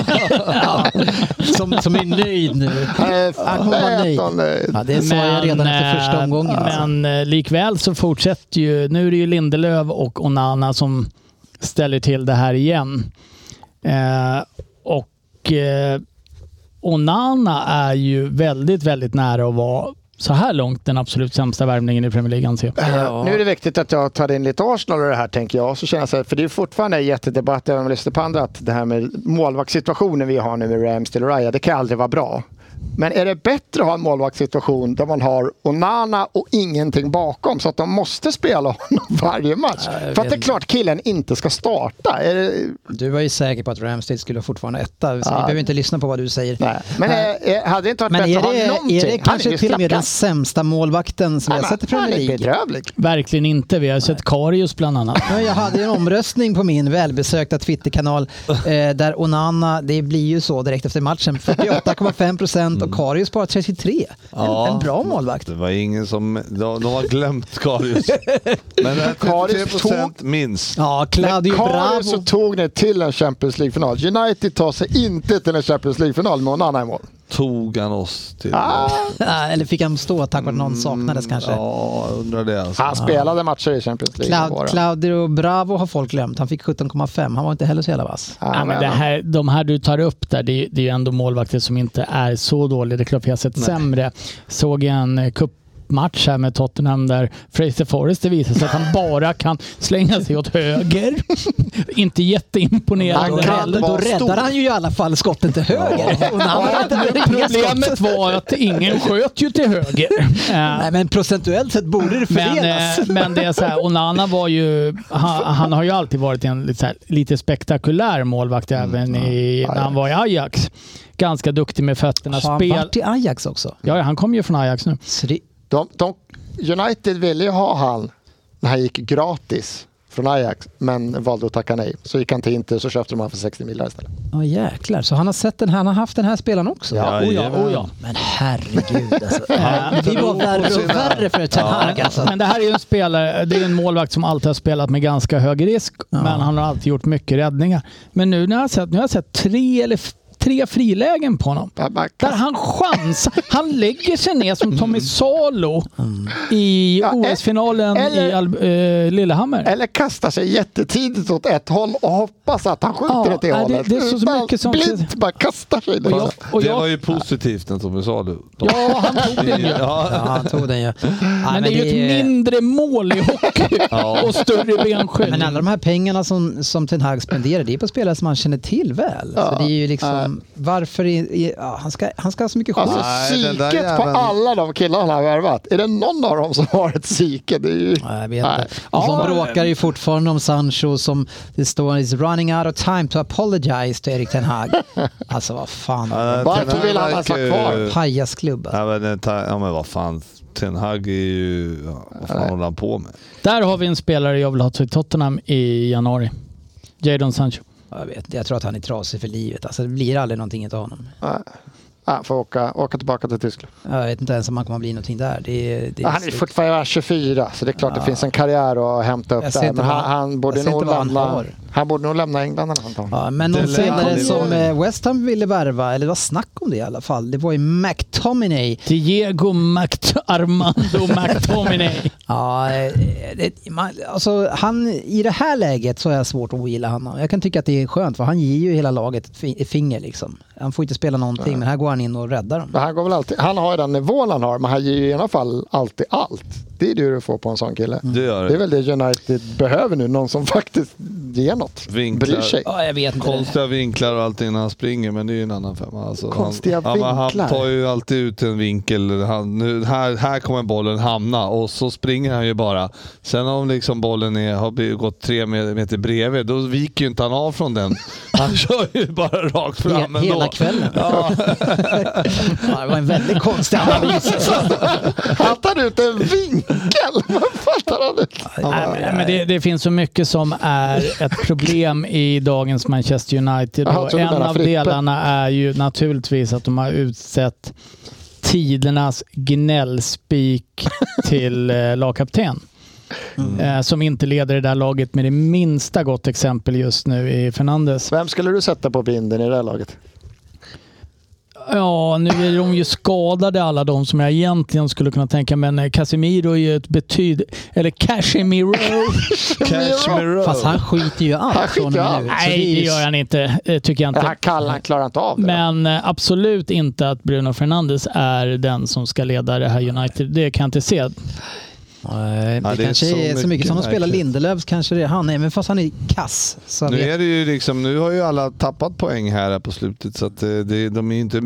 C: Som, som är nöjd nu.
D: Nej,
C: Han kommer vara nöjd.
D: fan, nej.
C: Ja, det sa jag redan efter första
F: eh,
C: omgången. alltså.
F: Men eh, likväl så fortsätter ju, nu är det ju Lindelöf och Onana som ställer till det här igen. Eh, och eh, Onana är ju väldigt, väldigt nära att vara så här långt den absolut sämsta värvningen i Premier League anser jag.
D: Eh, Nu är det viktigt att jag tar in lite Arsenal och det här tänker jag. Så känner jag så här, för det är fortfarande en jättedebatt, även om jag lyssnar på andra, att det här med målvaktssituationen vi har nu med Ramsdale och Raya, det kan aldrig vara bra. Men är det bättre att ha en målvaktssituation där man har Onana och ingenting bakom så att de måste spela honom varje match? för att det är klart killen inte ska starta. Är det,
C: Du var ju säker på att Ramsdale skulle vara fortfarande etta. Så vi behöver inte lyssna på vad du säger.
D: nej. Men eh, eh, hade det inte varit
C: Men
D: bättre
C: är
D: att ha
C: det,
D: någonting?
C: är det
D: Han är
C: kanske
D: ju
C: till och med den
D: slackast.
C: sämsta målvakten som vi har
D: Han-
C: sett i Premier
D: Han är
C: League?
D: bedrövlig.
F: Verkligen inte. Vi har sett Karius bland annat.
C: Ja, jag hade en omröstning på min välbesökta Twitterkanal eh, där Onana, det blir ju så direkt efter matchen, 48,5 procent
D: Mm.
C: och Karius bara 33.
E: Ja.
C: En, en bra målvakt.
E: Det var ingen som... De, de har glömt Karius. Men det här
D: Karius
E: 33% minst.
C: Ja, Claudio
D: Karius
C: Bravo.
D: så tog ni till en Champions League-final. United tar sig inte till en Champions League-final med någon annan i mål.
E: Tog han oss till...
C: Ah, Eller fick han stå tack vare att någon saknades kanske.
E: Ja, jag undrar det
F: Ah.
E: alltså.
D: Han spelade matcher i Champions League. det var
C: Clau-
D: det.
C: Claudio Bravo har folk glömt. Han fick 17,5. Han var inte heller så jävla vass.
D: Ja,
F: Ja, men det här, de här du tar upp där, det, är- det är ju ändå målvakter som inte är så dåliga. Det är klart vi har sett sämre. Såg en eh, cupmatch här med Tottenham där Fraser Forrest det visade sig att han bara kan slänga sig åt höger. inte
D: Han
C: Då,
F: jätteimponerande.
D: kan
C: rädd,
D: vara
C: då
D: stor.
C: räddar han ju i alla fall skotten till höger. Och när han hade inga skott.
F: Problemet var att ingen sköt ju till höger. Eh,
C: Nej, men procentuellt sett borde det
F: Men,
C: fördelas.
F: eh, men det är så här, Onana var ju, han, han har ju alltid varit en lite, så här, lite spektakulär målvakt
D: Mm.
F: även i, när han var i Ajax. Ganska duktig med fötterna.
C: har han
F: Spel,
C: varit i Ajax också?
F: ja, ja, han kom ju från Ajax nu.
C: Så det,
D: De, de, United ville ju ha han när han gick gratis från Ajax, men valde att tacka nej. Så gick han till Inter så köpte de han för 60 miljoner istället.
C: ja, jäklar. Så han har, sett den här, han har haft den här spelaren också?
E: Ja,
F: Oh ja,
E: jajamän.
F: oh ja.
C: Men herregud alltså. Vi var värre och värre för Ten Hag alltså.
F: Men det här är ju en spelare, det är en målvakt som alltid har spelat med ganska hög risk, men han har alltid gjort mycket räddningar. Men nu när jag har sett, nu har jag sett tre, eller f- tre frilägen på honom.
D: Ja, man
F: Där
D: kan-
F: han chansar. Han lägger sig ner som Tommy Salo i
D: Mm. Ja, e-
F: OS-finalen
D: eller-
F: i Al- eh, Lillehammer.
D: Eller kastar sig jättetidigt åt ett håll och hoppas att han skjuter
F: Ja,
D: åt det
F: ja, det-
D: hållet.
F: det är så- så
D: Utan
F: mycket som-
D: Blint bara kastar sig.
F: Och jag,
D: liksom.
F: och
E: Det var
F: jag,
E: ju positivt när Tommy sa det.
F: ja, han tog den ju.
C: Ja,
E: Ja,
C: han tog den ju. Ja,
F: Men det är ju ett mindre mål i hockey och större benskydd.
C: Men alla de här pengarna som, som Ten Hag spenderar, det är på spelare som han känner till väl. Så det är ju liksom, varför... i- i- ja, han, ska, han ska ha så mycket skit.
D: Alltså
E: Nej, den där
D: psyket på
E: jäveln-
D: alla de killarna han har värvat. Är det någon av dem som har ett psyke? Det är ju...
C: Nej, jag vet
D: Nej.
C: inte. Och
D: Ja,
C: de bråkar ju fortfarande om Sancho som det står is running out of time to apologize to Erik Ten Hag. Alltså vad fan.
D: Varför vill han ens vara kvar?
C: Pajasklubb. alltså.
E: eh, Ja men, den tar- ja men vad fan, Ten Hag är ju... Ja, vad fan håller han på med?
F: Där har vi en spelare jag vill ha till Tottenham i januari. Jadon Sancho.
C: Jag, vet, inte, jag tror att han är trasig för livet. Alltså, det blir aldrig någonting utav honom.
D: Han får åka, åka tillbaka till Tyskland.
C: Jag vet inte ens om han kommer att bli någonting där. Det, är- det är
D: Han är
C: slut.
D: fortfarande 24 så det är klart det finns en karriär att hämta
C: Jag
D: upp
C: ser
D: där.
C: inte
D: Men
C: vad
D: han,
C: han-
D: han, borde
C: jag ser
D: nog
C: inte vad han
D: lämna, han,
C: har.
D: borde nog lämna England eller något.
C: Ja, men
E: Det
C: någon
E: lär han
C: spelare
E: ju
C: som
E: göra.
C: eh, West Ham ville värva, eller det var snack om det i alla fall, det var ju McTominay.
F: Diego Mact Armando McTominay.
C: Ja, eh, det, man, alltså, han, I det här läget så har jag svårt att ogilla honom. Jag kan tycka att det är skönt för han ger ju hela laget ett fi- ett finger. Liksom. Han får inte spela någonting men här går han in och räddar dem.
D: Men han, går väl alltid, han har ju den nivån han har men han ger ju i alla fall alltid allt. Det är det du får på en sån kille.
C: Mm.
E: Det gör
D: Det är
E: det.
D: väl det United behöver nu, någon som faktiskt ger något.
E: Vinklar.
D: Bryr sig.
C: Ja, jag vet inte. det.
E: Konstiga vinklar och allting när han springer, men det är ju en annan femma. Alltså,
D: Konstiga
E: han, ja, men
D: vinklar.
E: Han tar ju alltid ut en vinkel. Han, nu, här, här kommer bollen hamna och så springer han ju bara. Sen om liksom bollen är, har blivit- gått tre me- meter bredvid, då viker ju inte han av från den. Han kör ju bara rakt fram
C: He-
E: ändå.
C: hela kvällen. Ja, det var en väldigt konstig analys.
D: Han tar ut en vinkel! Vad fattar han ut?
F: Nej, men- men det, det finns så mycket som är ett problem i dagens Manchester United.
D: Jaha, jag
F: Och
D: trodde du
F: en
D: menade
F: av
D: Frippe.
F: delarna är ju naturligtvis att de har utsett tidernas gnällspik till eh, lagkapten.
D: Mm.
F: Eh, som inte leder det där laget med det minsta gott exempel just nu i Fernandes.
D: Vem skulle du sätta på binden i det här laget?
F: Ja, nu är de ju skadade alla de som jag egentligen skulle kunna tänka men eh, Casemiro är ju ett betyd... Eller Casemiro.
E: Cashmere
C: Fast han skiter ju i
D: Han
C: allt
D: skiter
C: från
D: i
C: och
D: allt.
C: med nu. Så
F: Nej,
C: det är
F: det
C: ju-
F: gör han inte. eh, tycker jag inte.
D: Han, kallar, han klarar inte av det.
F: Men eh, absolut inte att Bruno Fernandes är den som ska leda det här United. Det kan jag inte se.
C: Nej, det,
E: Ja, det är
C: kanske
E: så
C: är så mycket
E: mycket
C: som de spelar
E: märkligt.
C: Lindelöfs kanske det är han, även fast han är kass. Så
E: Nu
C: vet-
E: är det ju liksom, nu har ju alla tappat poäng här på slutet så att eh, det, de är ju inte...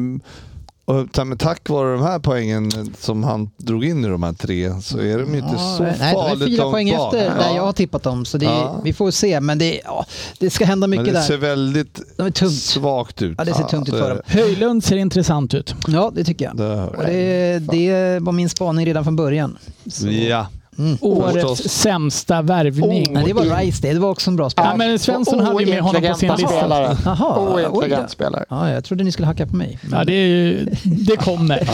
E: Och ta- men tack vare de här poängen som han drog in i de här tre så är de ju inte så
C: Nej, de är
E: farligt
C: fyra
E: långt
C: poäng
E: bak.
C: efter där
E: Ja.
C: jag har tippat dem. Så det, är-
E: Ja.
C: vi får se, men det, ja, det ska hända
E: Men
C: mycket
E: det ser
C: där.
E: väldigt
C: De är tungt.
E: svagt ut.
C: Ja, det ser tungt ut
E: så
C: för
E: är
C: dem.
E: det.
F: Höjlund ser intressant ut.
D: Mm.
C: Ja, det tycker jag.
E: Det hör
C: Och det, det var min spaning redan från början. Så.
E: Ja.
F: Årets
E: Förstås.
F: sämsta värvning.
D: Oh.
C: Nej, det var Rice det. Det var också en bra
F: Ja,
C: spaning.
F: men Svensson hade ju med honom på sin
D: Ointelligenta
F: lista.
D: spelare.
C: Jaha, oj då.
D: Ointelligent spelare.
C: Ja, jag trodde ni skulle hacka på mig.
F: Ja, det, är ju, det kommer.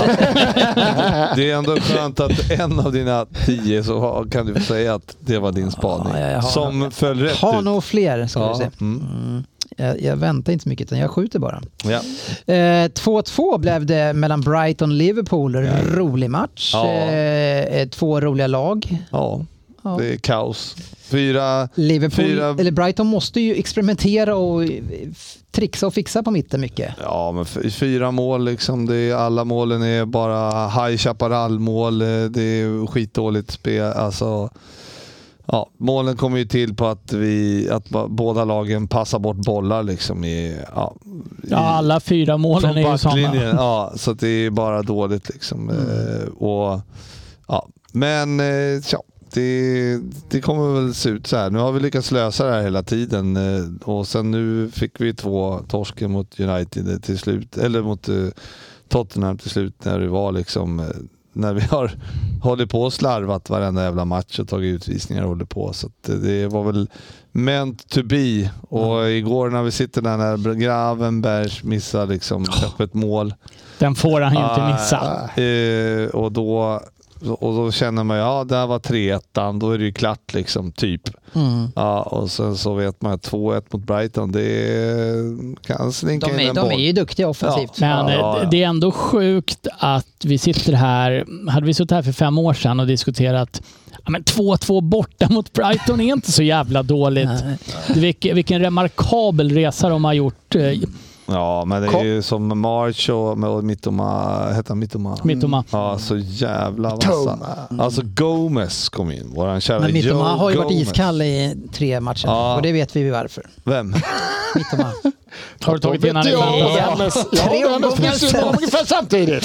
E: Det är ändå skönt att en av dina tio så har- kan du säga att det var din spaning.
C: Ja, jag har-
E: som föll rätt
C: Ha
E: ut.
C: nog fler, ska
E: Ja,
C: du se.
E: mm.
C: Mm. Jag, jag väntar inte så mycket, utan jag skjuter bara.
E: Ja.
C: Eh, 2-2 blev det mellan Brighton och Liverpool. Rolig match.
E: Ja.
C: Eh, eh, två roliga lag.
E: ja,
C: Ja.
E: det är kaos. Fyra...
C: Liverpool,
E: Fyra-
C: eller Brighton måste ju experimentera och eh, f- trixa och fixa på mitten mycket.
E: Ja, men f- fyra mål liksom. Det är, alla målen är bara High Chaparral-mål. eh, Det är skitdåligt spel. Alltså, ja, målen kommer ju till på att, vi, att ba- båda lagen passar bort bollar liksom i, ja, i,
F: Ja, alla fyra målen
E: från
F: är ju Mm. sådana.
E: backlinjen. Ja, så att det är bara dåligt liksom. Eh, och, ja. Men eh, tja, det, det kommer väl se ut så här. Nu har vi lyckats lösa det här hela tiden eh, och sen nu fick vi två torsken mot United till slut, eller mot eh, Tottenham till slut när det var liksom eh, när vi har hållit på och slarvat varenda jävla match och tagit utvisningar och håller på. Så att eh, det var väl meant to be. Och igår när vi sitter där när Gravenberg missar liksom öppet mål.
F: Den får han ju
D: Ah,
F: inte missa.
E: Eh, och, då, och då känner man ju, ja där var 3-1, då är det ju klart liksom, typ.
C: Mm.
E: Ja, och sen så vet man att 2-1 mot Brighton, det är- kan slinka
C: De
E: in
C: är,
E: en
C: de
E: boll.
C: är ju duktiga offensivt.
F: Men eh,
E: Ja, ja.
F: det är ändå sjukt att vi sitter här. Hade vi suttit här för fem år sedan och diskuterat ja, men 2-2 borta mot Brighton är inte så jävla dåligt.
C: Nej.
F: Vilken, vilken remarkabel resa de har gjort. eh,
E: Ja, men det är
D: Kom.
E: ju som March och med Mittoma, hette han Mittoma?
F: Mittoma.
E: Ja, så jävla
D: Mittoma.
E: vassa. Alltså Gomez kom in, våran kära
C: Men Mittoma
E: Joe
C: har ju varit
E: Gomez.
C: iskall i tre matcher
E: Ja.
C: och det vet vi ju varför.
E: Vem?
C: Mittoma.
F: Har du tagit in
D: Vet
F: han i
D: jag,
F: väntan?
D: och Dennis- Ja,
C: Tre
D: Dennis
C: omgångar
D: finns ju
C: sen.
D: ungefär samtidigt.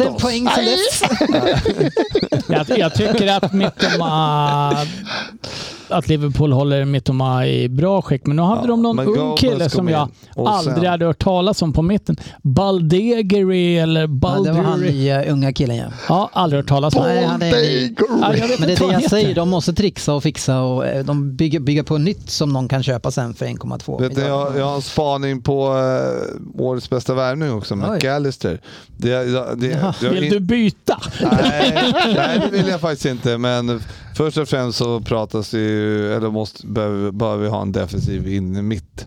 C: Inte en poäng för
D: Nej.
C: lätt.
F: Jag, jag tycker att Mittoma... Att Liverpool håller Mittoma i bra skick. Men nu hade
E: Ja,
F: de någon
E: men
F: ung
E: Gomez
F: kille
E: kom
F: som jag
E: in. Och sen-
F: aldrig hade hört talas om på mitten. Baldegeri eller
C: Ja, det var han
F: Balduri.
C: nya unga killen ja.
F: Ja, aldrig hört talas om.
C: Nej, han är ny.
F: Ja, jag vet
C: Men det är
F: inte
C: det
F: vad
C: jag
F: han
C: säger,
F: heter.
C: de måste trixa och fixa och eh, de bygger, bygger på nytt som någon kan köpa sen för 1,2
E: Vet ni, jag, jag har en spaning på eh, årets bästa värvning också, McAllister. Det, jag- det, jag-
F: Vill du byta?
E: Nej, nej, det vill jag faktiskt inte. Men först och främst så pratas det ju, eller måste, behöver, behöver vi ha en defensiv in i mitt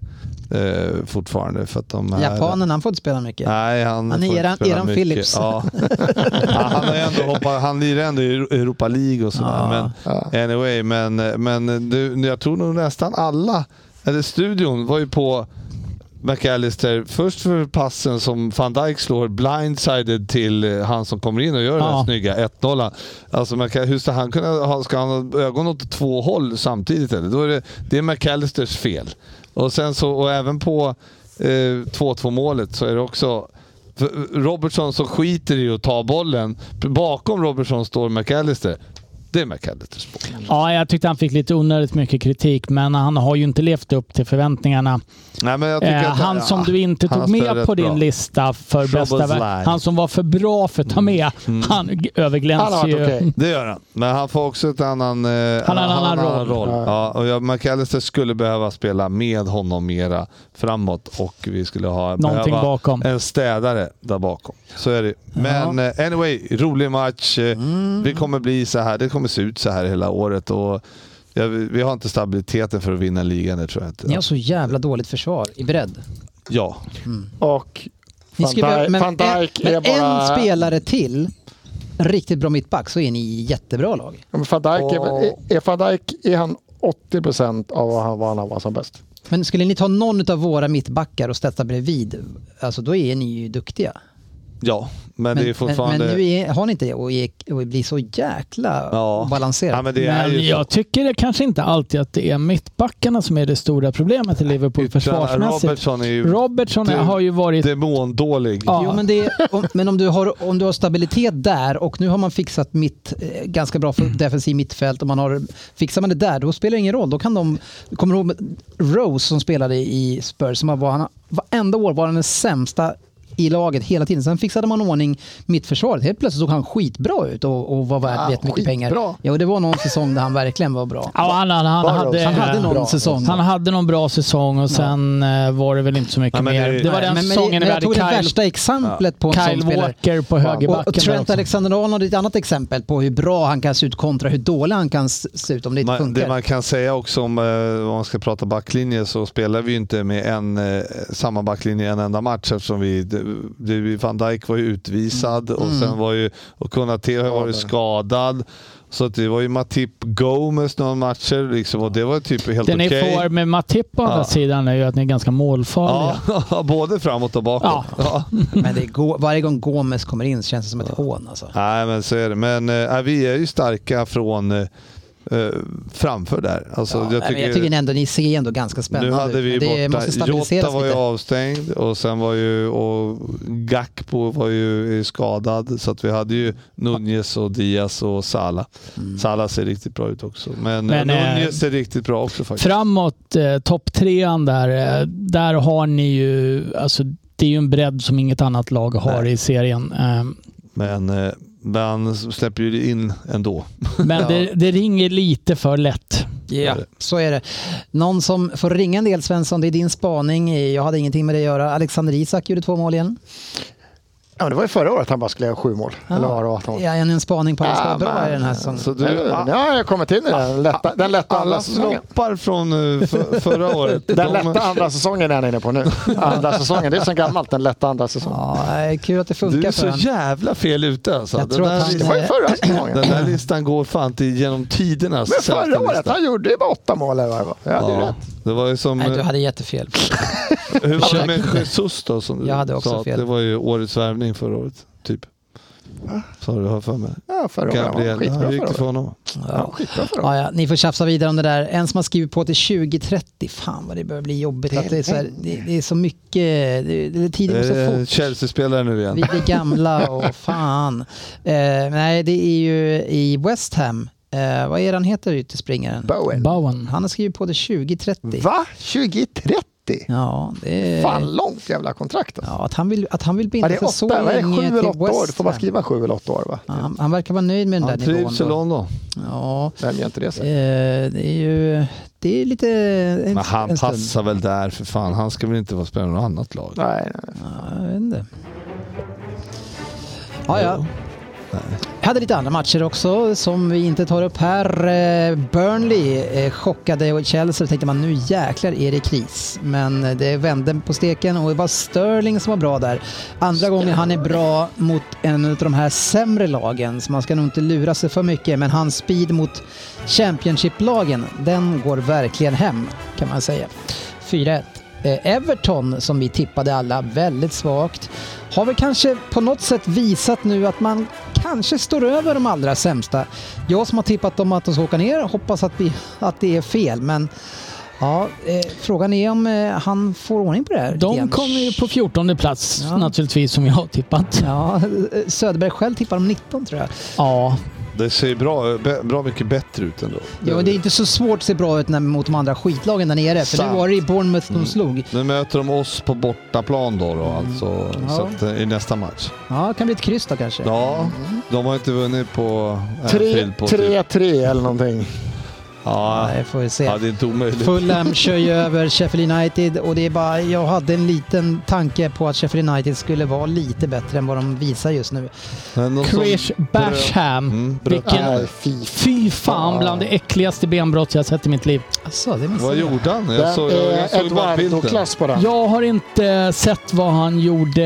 E: eh, fortfarande. För att de här,
C: Japanen, han får inte spela mycket.
E: Nej,
C: Han
E: han,
C: är
E: får inte
C: eran-
E: spela
C: eran
E: mycket.
C: Phillips.
E: Ja. han har ju ändå hoppat, han lirar ändå i Europa League och sådär. Men, anyway, men, men du, jag tror nog nästan alla, eller studion var ju på McAllister, först för passen som van Dijk slår blindsided till eh, han som kommer in och gör den
F: Ja.
E: här snygga 1-0. Alltså man kan, hur ska han kunna ha, ska han ha ögon åt två håll samtidigt eller? Då är det, det är McAllisters fel. Och sen så, och även på eh, 2-2 målet så är det också för eh, Robertson som skiter i att ta bollen. Bakom Robertson står McAllister. Det är McAllisters boll.
F: Ja, jag tyckte han fick lite onödigt mycket kritik, men han har ju inte levt upp till förväntningarna.
E: Nej, men jag tycker
F: Eh,
E: att-
F: han som
E: ja,
F: du inte
E: han har
F: tog med
E: spelat
F: på din
E: bra.
F: lista för
E: Troubles
F: bästa värld.
E: lie.
F: Han som var för bra för att ta
E: Mm.
F: med. Han g-
D: Han har
F: överglänser
D: varit
F: ju.
D: okej.
E: Det gör han. Men han får också ett annan, eh,
F: har en annan roll.
E: Ja, och jag, McAllister skulle behöva spela med honom mera framåt och vi skulle ha
F: Någonting
E: behöva
F: bakom.
E: en städare där bakom. Så är det Men eh, anyway, rolig match. Eh,
F: Mm.
E: Vi kommer bli så här. Det kommer se ut så här hela året. Och jag, vi har inte stabiliteten för att vinna ligan, det tror jag inte.
C: Ni har så jävla dåligt försvar i bredd.
E: Ja.
D: Och
C: Ni
D: van,
C: skriver-
D: Dijk, van Dijk
C: en,
D: är
C: men
D: bara...
C: en spelare till, riktigt bra mittback, så är ni jättebra lag.
D: Ja, men van Dijk är, väl- är, är, van Dijk, är han 80 procent av vad han, vad han var som bäst?
C: Men skulle ni ta någon av våra mittbackar och sätta bredvid, alltså då är ni ju duktiga.
E: Ja, men, det är fortfarande...
C: men, men nu är, har ni inte det och, är, och blir så jäkla
E: ja.
C: obalanserade.
E: Ja, men det är
F: Men
E: ju så.
F: jag tycker det kanske inte alltid att det är mittbackarna som är det stora problemet i Liverpool
E: Utan
F: försvarsmässigt.
E: Robertson är ju
F: Robertson
E: Du-
F: har ju varit...
E: demondålig.
F: Ja.
C: Jo, men det, om, men om, du har, om du har stabilitet där och nu har man fixat mitt, eh, ganska bra för defensiv mittfält och man har, fixar man det där då spelar det ingen roll. Då kan de, kommer du ihåg Rose som spelade i Spurs, som var, han, varenda år var han den sämsta i laget hela tiden. Sen fixade man ordning mittförsvaret. Helt plötsligt såg han skitbra ut och, och var värd
D: Ja,
C: jättemycket
D: skitbra.
C: pengar. Ja, och det var någon säsong där han verkligen var bra.
F: Ja, han, han, han,
D: Var
F: hade,
D: Robertson?
C: Han hade någon
D: Bra.
C: säsong.
F: han hade någon bra säsong och sen eh, var det väl inte så mycket
E: Ja, men det
F: mer.
E: är-
F: Det var
E: Nej,
F: den
C: men, men, det-
F: säsongen
C: men
F: när vi
C: jag
F: hade
C: tog det
F: Kyle,
C: värsta exemplet på en sån
F: Kyle
C: spelare.
F: Walker på högerbacken.
C: Och, och Trent
F: där också.
C: Alexander-Arnold är ett annat exempel på hur bra han kan se ut kontra hur dålig han kan s- se ut om det inte
E: Man,
C: funkar.
E: det man kan säga också om, eh, om man ska prata backlinje så spelar vi ju inte med en, eh, samma backlinje en enda match eftersom vi, det, det, van Dijk var ju utvisad och sen var ju och Konate har varit skadad. Så att det var ju Matip Gomez några matcher liksom, och det var typ helt
F: Det ni
E: okej.
F: får med Matip på andra
E: Ja.
F: sidan är ju att ni är ganska målfarliga.
E: Ja, både framåt och bakåt.
F: Ja.
E: Ja.
C: Men det går, varje gång Gomes kommer in så känns det som ett hån. Alltså.
E: Nej, men så är det. Men eh, vi är ju starka från eh, eh, framför där. Alltså, jag
C: Nej, men
E: tycker,
C: jag tycker ändå ni ser ändå ganska
E: nu
C: spännande
E: hade
C: ut,
E: vi
C: men det
E: borta,
C: måste
E: Jota
C: stabiliseras
E: var ju
C: lite.
E: avstängd och sen var ju och Gakpo var ju skadad. Så att vi hade ju Nunez och Diaz och Sala.
C: Mm.
E: Sala ser riktigt bra ut också. Men,
F: Men, eh,
E: Nunez ser riktigt bra också faktiskt.
F: Framåt, eh, topptrean där, eh, där har ni ju... Alltså, det är ju en bredd som inget annat lag har i serien. Eh,
E: Men, eh, men släpper ju in ändå.
F: Men det, det ringer lite för lätt.
C: Ja, så är det. Någon som får ringa en del Svensson, det är din spaning. Jag hade ingenting med det att göra. Alexander Isak gjorde två mål igen.
D: Ja, men det var ju förra året han bara skulle göra sju mål. Eller vad det var. att han-
C: Ja, en spaning på att det ska vara bra i den här säsongen.
E: Så
D: Nej,
E: du,
D: Nu har jag kommit in i den lätta, den lätta andra
E: alla
D: säsongen.
E: floppar från eh, för, förra året.
D: Den
E: De-
D: lätta andra säsongen är han inne på nu. Andra säsongen, det är så gammalt, den lätta andra säsongen.
C: Ja, det är kul att det
E: Du
C: funkar för
E: är så
C: honom.
E: jävla fel ute alltså.
C: Jag
E: Den
C: tror
E: där
C: att han-
D: Det
E: listan,
D: var ju förra säsongen.
E: den där listan går fan inte genom tidernas
D: Men
E: sämsta
D: förra året,
E: lista.
D: han gjorde ju bara åtta mål. Eller vad det var. Ja, det är
E: Ja,
D: rätt.
E: Det var ju som...
C: Nej, du hade jättefel.
E: hur var det med
C: Ursäkta.
E: Jesus då? Som du
C: Jag hade också
E: sa att
C: fel.
E: Det var ju årets värvning förra året, typ. Sa du, har för mig.
D: Ja, förra året. var
E: Gabriel,
D: Skitbra
E: hur gick det för
D: förra året.
E: honom?
C: Ja.
D: Skitbra förra året.
C: Ja, ja, ni får tjafsa vidare om det där. En som har skrivit på till 2030. Fan vad det börjar bli jobbigt. Det är, att det, är så här, det, det är så mycket. Det, det, tiden går så
E: Eh,
C: fort.
E: Chelsea-spelare nu igen.
C: Vi blir gamla och fan. Eh, nej, det är ju i West Ham. Eh, vad är han heter ytterspringaren?
D: Bowen.
F: Bowen.
C: Han har skrivit på det 2030.
D: Va? 2030?
C: Ja, det är...
D: Fan, långt jävla kontrakt. alltså.
C: Ja, att han vill, att han vill
D: Vad
C: binda
D: är det
C: sig
D: åtta?
C: så
D: Vad är det, sju
C: länge
D: eller
C: till
D: åtta år?
C: West
D: Då får man
C: Ham.
D: skriva sju eller åtta år va?
C: Ja, han, han verkar vara nöjd med den
E: Han
C: där nivån.
E: trivs i
C: Då.
E: London.
C: Ja,
D: Vem gör inte det
C: eh,
D: sen?
C: det är ju det är lite... En,
E: Men han
C: en stund.
E: passar väl där för fan. Han ska väl inte vara spelare i något annat lag?
D: Nej, nej.
C: Ja, jag vet inte. Ja, ja. Jag hade lite andra matcher också som vi inte tar upp här. Eh, Burnley eh, chockade Chelsea. Då tänkte man nu jäklar är det kris. Men eh, det vände på steken och det var Sterling som var bra där. Andra gången han är bra mot en av de här sämre lagen. Så man ska nog inte lura sig för mycket. Men hans speed mot Championship-lagen, den går verkligen hem kan man säga. 4-1. Eh, Everton som vi tippade alla väldigt svagt har väl kanske på något sätt visat nu att man kanske står över de allra sämsta. Jag som har tippat dem att de ska åka ner hoppas att, vi, att det är fel men ja, eh, frågan är om eh, han får ordning på det här
F: De
C: igen.
F: kommer ju på 14 plats
C: Ja.
F: naturligtvis som jag har tippat.
C: Ja, eh, Söderberg själv tippar om 19 tror jag.
F: Ja,
E: Det ser ju bra, be- bra mycket bättre ut ändå.
C: Jo, det är inte så svårt att se bra ut när, mot de andra skitlagen där nere för
E: Sant.
C: nu var det i Bournemouth de slog.
E: Nu möter de oss på bortaplan då, då alltså, så
C: Mm. Ja.
E: att, eh, i nästa match.
C: Ja, det kan bli ett kryss då kanske.
E: Ja, de har inte vunnit på eh, Anfield på typ-
D: 3-3 eller någonting.
E: Ja,
C: Ja, det får vi se.
E: ja, det är inte omöjligt.
C: Fulham kör ju över Sheffield United och det är bara, jag hade en liten tanke på att Sheffield United skulle vara lite bättre än vad de visar just nu.
E: Men de som-
F: Chris Basham.
E: Mm, bröt-
F: Vilken...
D: Nej, fy fan.
F: Fy fan bland det äckligaste benbrott jag sett i mitt liv.
C: Alltså, det
E: Vad
C: missade jag.
E: gjorde han? Jag,
D: Den
E: såg- jag, jag
D: är
E: såg bara bilden.
D: Eduardo-klass på den.
F: Jag har inte sett vad han gjorde.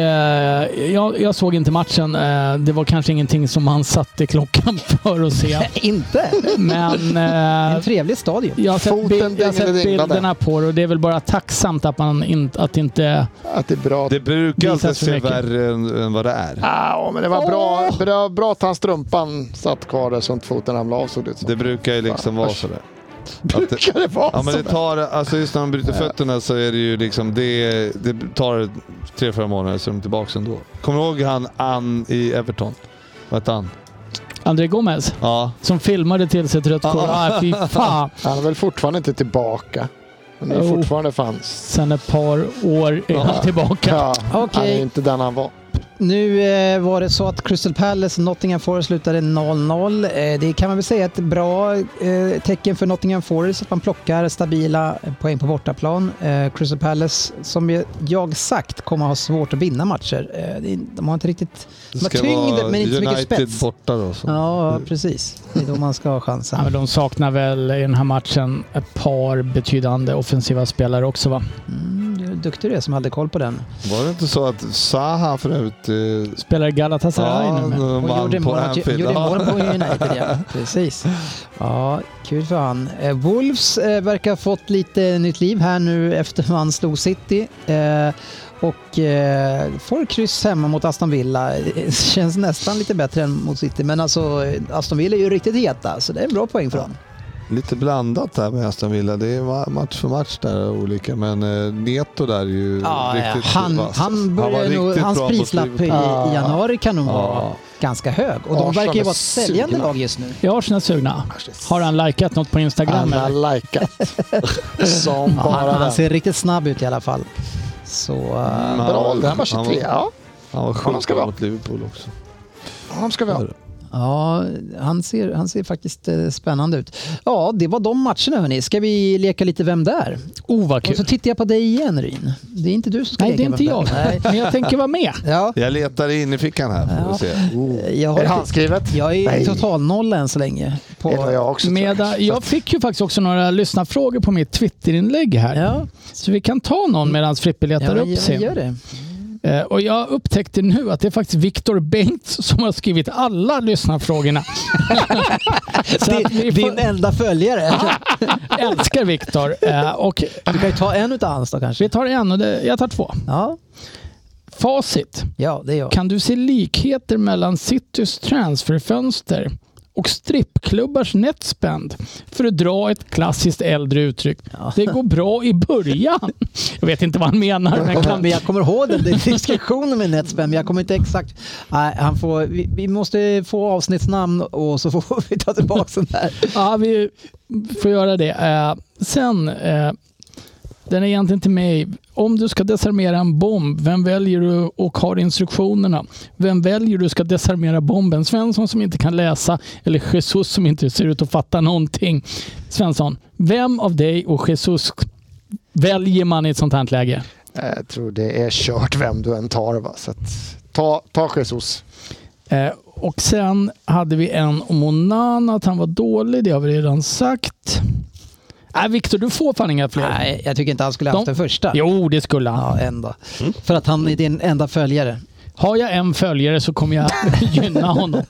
F: Jag, jag såg inte matchen. Eh, Det var kanske ingenting som han satte klockan för att se.
C: Inte?
F: Men eh,
C: En trevlig stadion.
F: jag har sett,
D: Foten
F: bild, jag har sett
D: dinglade.
F: bilderna på det och det är väl bara tacksamt att, man in, att inte...
D: Att det är bra.
E: Det brukar
F: Visas
E: alltid
F: för
E: se
F: mycket.
E: värre än, än vad det är.
D: Ah, ja, men det var bra,
F: Åh!
D: bra, bra att han strumpan satt kvar där så att foten ramlade av såg det ut som.
E: Det brukar ju liksom
D: Fan,
E: vara
D: usch.
E: sådär. Att det,
D: brukar det vara
E: ja, men det
D: sådär.
E: tar, alltså just när man bryter fötterna så är det ju liksom, det, det tar tre, fyra månader så är de tillbaka ändå. Kommer du ihåg han Ann i Everton? Vad hette han?
F: André Gomez,
E: Ja.
F: som filmade till sig ett rött kort. Ah, fy fan.
D: Han är väl fortfarande inte tillbaka. Han är
F: Jo.
D: fortfarande fanns.
F: Sen ett par år är han tillbaka.
D: Ja, Han är
C: Okej.
D: inte den han var.
C: Nu eh, var det så att Crystal Palace och Nottingham Forest slutade 0-0. Eh, det kan man väl säga är ett bra eh, tecken för Nottingham Forest att man plockar stabila poäng på bortaplan. Eh, Crystal Palace, som ju jag sagt, kommer ha svårt att vinna matcher. Eh, det är- de har inte riktigt...
E: Det
C: De har tyngd, men inte så mycket
E: United
C: spets.
E: borta då. Så.
C: Ja, precis. Det är då man ska ha chansen.
F: Ja, men de saknar väl i den här matchen ett par betydande offensiva spelare också va?
C: Mm, du är duktig du är som hade koll på den.
E: Var det inte så att Zaha förut... Eh,
F: Spelar i Galatasaray
E: ja,
F: nu med.
E: de
C: Och gjorde
E: vann på
C: mål mot-
E: Anfield.
C: gjorde mål
E: Ja.
C: på United, ja. Precis. Ja, kul för han. Eh, Wolves eh, verkar ha fått lite nytt liv här nu efter man slog City. Eh, och eh, får kryss hemma mot Aston Villa. Eh, Känns nästan lite bättre än mot City, men alltså eh, Aston Villa är ju riktigt heta, så det är en bra poäng för dem.
E: Lite blandat där med Aston Villa. Det är ma- match för match där olika. Men eh, Neto där är ju
C: Ja, ja.
E: riktigt
C: han,
E: vass.
C: han börjar
E: var
C: nog,
E: riktigt
C: hans
E: bra på
C: prislapp i,
E: slutet.
C: i januari kan nog vara
E: Ja.
C: ganska hög. Och de
D: Arsenal
C: verkar ju
D: är
C: vara ett säljande
D: sugna.
C: lag just nu.
F: Är Arsenal sugna? Har han likat något på Instagram
D: Han
F: eller?
D: har likat. Som bara
C: Han,
D: den.
C: han ser riktigt snabb ut i alla fall. Så... eh,
F: Mm.
E: Men han
D: Bra
E: var-
D: ålder, han var
E: han
D: 23. Ja,
E: Han var
D: Han
E: sjuk
D: ska vara.
E: mot Liverpool också.
D: han ska vi ha.
C: Ja, han ser, han ser faktiskt eh, spännande ut. Ja, det var de matcherna hörni. Ska vi leka lite Vem där?
F: Oh vad
C: Och så
F: kul.
C: tittar jag på dig igen Ryn. Det är inte du som ska
F: Nej,
C: leka
F: det är inte
C: Vem
F: jag.
C: där? Nej.
F: Men jag tänker vara med.
C: Ja,
E: Jag letar in i fickan här. Får vi se.
C: jag,
D: Är det
C: har,
D: handskrivet?
C: jag är
D: Nej,
C: total noll än så länge. På,
D: det var jag också. tror jag.
F: Medan, jag fick ju faktiskt också några lyssnarfrågor på mitt Twitterinlägg här.
C: Ja,
F: Så vi kan ta någon medan Frippe
C: ja
F: letar
C: men
F: upp
C: jag, jag
F: sin.
C: gör det.
F: Eh, och jag upptäckte nu att det är faktiskt Viktor Bengts som har skrivit alla lyssnarfrågorna. Så att vi
C: Din, din
F: får, Ah!
C: enda följare.
F: älskar Viktor. Eh, och
C: Du kan ju ta en utav hans då kanske.
F: vi tar en och det, jag tar två.
C: Ja,
F: Facit.
C: ja det gör jag.
F: Kan du se likheter mellan Citys transferfönster och strippklubbars netspend? För att dra ett klassiskt äldre uttryck. Det går bra i början. Jag vet inte vad han menar. Men jag
C: Men
F: kan...
C: jag kommer ihåg den där diskussionen med Netspend, men jag kommer inte exakt... Nej, han får, vi, vi måste få avsnittsnamn och så får vi ta tillbaka den där.
F: Ja, vi får göra det. Eh, sen, eh, den är egentligen till mig. Om du ska desarmera en bomb, vem väljer du och har instruktionerna? Vem väljer du ska desarmera bomben? Svensson som inte kan läsa eller Jesus som inte ser ut att fatta någonting. Svensson, vem av dig och Jesus väljer man i ett sånt här läge?
D: Jag Eh, tror det är kört vem du än tar. Va? Så att, ta, ta Jesus.
F: Eh, och sen hade vi en om Onana, att han var dålig. Det har vi redan sagt. Nej, Viktor, du får fan inga fler.
C: Nej, jag tycker inte han skulle haft
F: De-
C: den första.
F: Jo, Mm. det skulle han.
C: Ja, en då. För att han är din enda följare.
F: Har jag en följare så kommer jag gynna honom.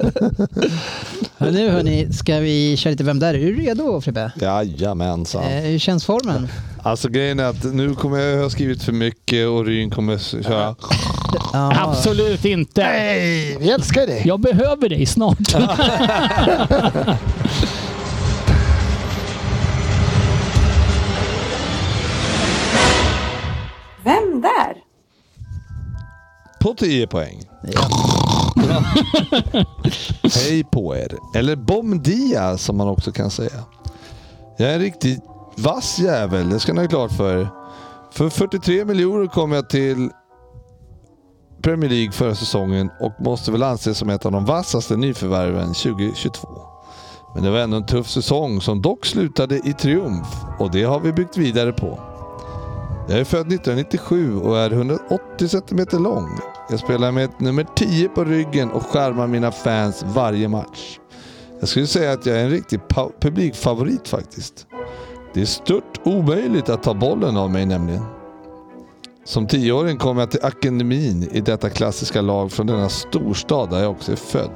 C: Men nu hörni, ska vi köra lite Vem där? Är du redo Fribbe?
E: Jajamensan.
C: Eh, hur känns formen?
E: Alltså grejen är att nu kommer jag ha skrivit för mycket och Ryn kommer s- köra.
C: Ja.
F: Absolut inte.
D: Nej, vi älskar dig.
F: Jag behöver dig snart.
G: Vem där?
E: På 10 poäng. Hej på er. Eller Bom Dia som man också kan säga. Jag är en riktigt vass jävel, det ska ni ha klart för er. För 43 miljoner kom jag till Premier League förra säsongen och måste väl anses som ett av de vassaste nyförvärven 2022. Men det var ändå en tuff säsong som dock slutade i triumf och det har vi byggt vidare på. Jag är född 1997 och är 180 centimeter lång. Jag spelar med ett nummer 10 på ryggen och skärmar mina fans varje match. Jag skulle säga att jag är en riktig pa- publikfavorit faktiskt. Det är stört omöjligt att ta bollen av mig nämligen. Som tioåring kom jag till akademin i detta klassiska lag från denna storstad där jag också är född.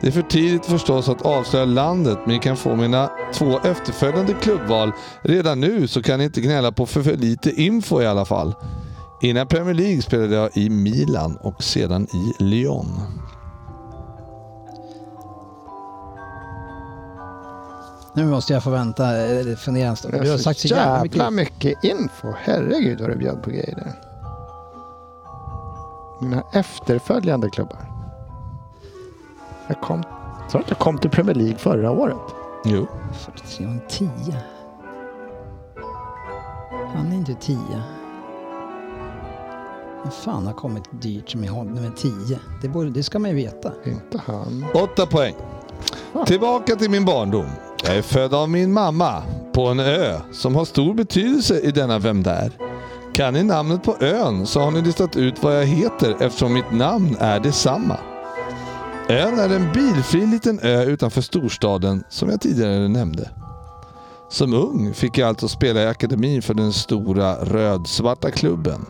E: Det är för tidigt förstås att avslöja landet, men ni kan få mina två efterföljande klubbval redan nu så kan ni inte gnälla på för, för lite info i alla fall. Innan Premier League spelade jag i Milan och sedan i Lyon.
C: Nu måste jag få vänta, eh, fundera en stund. Du har sagt så jävla mycket.
D: jävla mycket info. Herregud vad du bjöd på grejer där. Mina efterföljande klubbar. Jag kom, tror att jag kom till Premier League förra året.
E: Jo.
C: 43 och 10. Han är inte 10. Men fan har kommit dyrt som i honom med 10. Det, borde, det ska man ju veta.
D: Inte han.
E: Åtta poäng. Tillbaka till min barndom. Jag är född av min mamma på en ö som har stor betydelse i denna Vem där? Kan ni namnet på ön så har ni listat ut vad jag heter eftersom mitt namn är detsamma. Ön är en bilfri liten ö utanför storstaden som jag tidigare nämnde. Som ung fick jag alltså spela i akademin för den stora rödsvarta klubben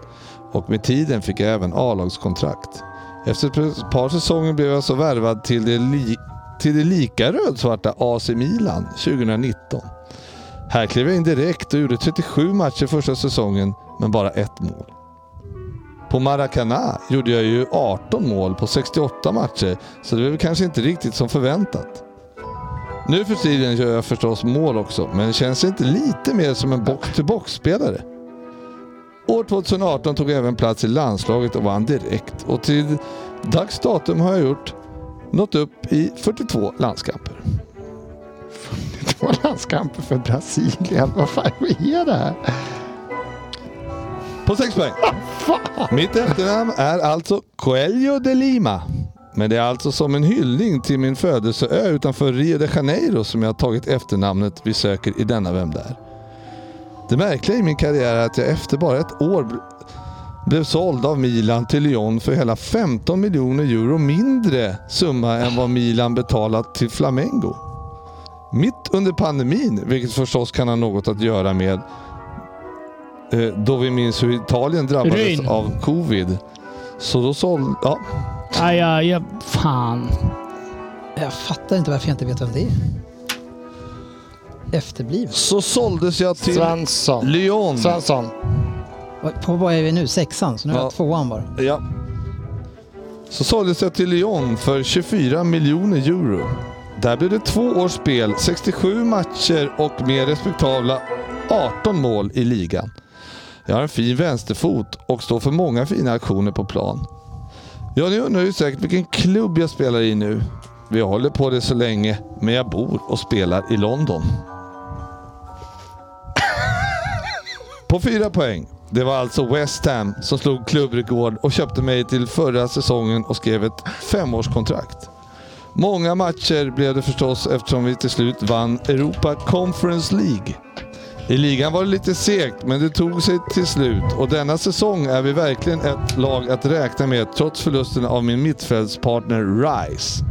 E: och med tiden fick jag även A-lagskontrakt. Efter ett par säsonger blev jag så värvad till det, li- till det lika rödsvarta AC Milan 2019. Här klev jag in direkt och gjorde 37 matcher första säsongen, men bara ett mål. På Maracana gjorde jag ju 18 mål på 68 matcher, så det blev kanske inte riktigt som förväntat. Nu för tiden gör jag förstås mål också, men känns inte lite mer som en box-to-box-spelare? År 2018 tog jag även plats i landslaget och vann direkt. Och till dags datum har jag gjort nått upp i 42 landskamper.
D: Två landskamper för Brasilien. Vad fan vad är det här?
E: På sex poäng. Mitt efternamn är alltså Coelho de Lima. Men det är alltså som en hyllning till min födelseö utanför Rio de Janeiro som jag har tagit efternamnet vi söker i denna Vem där? Det märkliga i min karriär är att jag efter bara ett år bl- blev såld av Milan till Lyon för hela 15 miljoner euro mindre summa än vad Milan betalat till Flamengo. Mitt under pandemin, vilket förstås kan ha något att göra med eh, då vi minns hur Italien drabbades
F: Ryn.
E: av covid, Så då sålde... Ja.
F: Aj, aj, aj, fan.
C: Jag fattar inte varför jag inte vet vem det är. Efterbliven.
E: Så såldes jag
C: Typ
E: till
D: Svensson.
E: Lyon.
D: Svensson.
C: Vad- På vad är vi nu? Sexan? Så nu är
E: Ja.
C: jag tvåan bara.
E: Ja. Så såldes jag till Lyon för 24 miljoner euro. Där blev det två års spel, 67 matcher och mer respektabla 18 mål i ligan. Jag har en fin vänsterfot och står för många fina aktioner på plan. Ja, ni undrar ju säkert vilken klubb jag spelar i nu. Vi har hållit på det så länge, men jag bor och spelar i London. På fyra poäng. Det var alltså West Ham som slog klubbrekord och köpte mig till förra säsongen och skrev ett femårskontrakt. Många matcher blev det förstås eftersom vi till slut vann Europa Conference League. I ligan var det lite segt, men det tog sig till slut och denna säsong är vi verkligen ett lag att räkna med trots förlusten av min mittfältspartner Rice.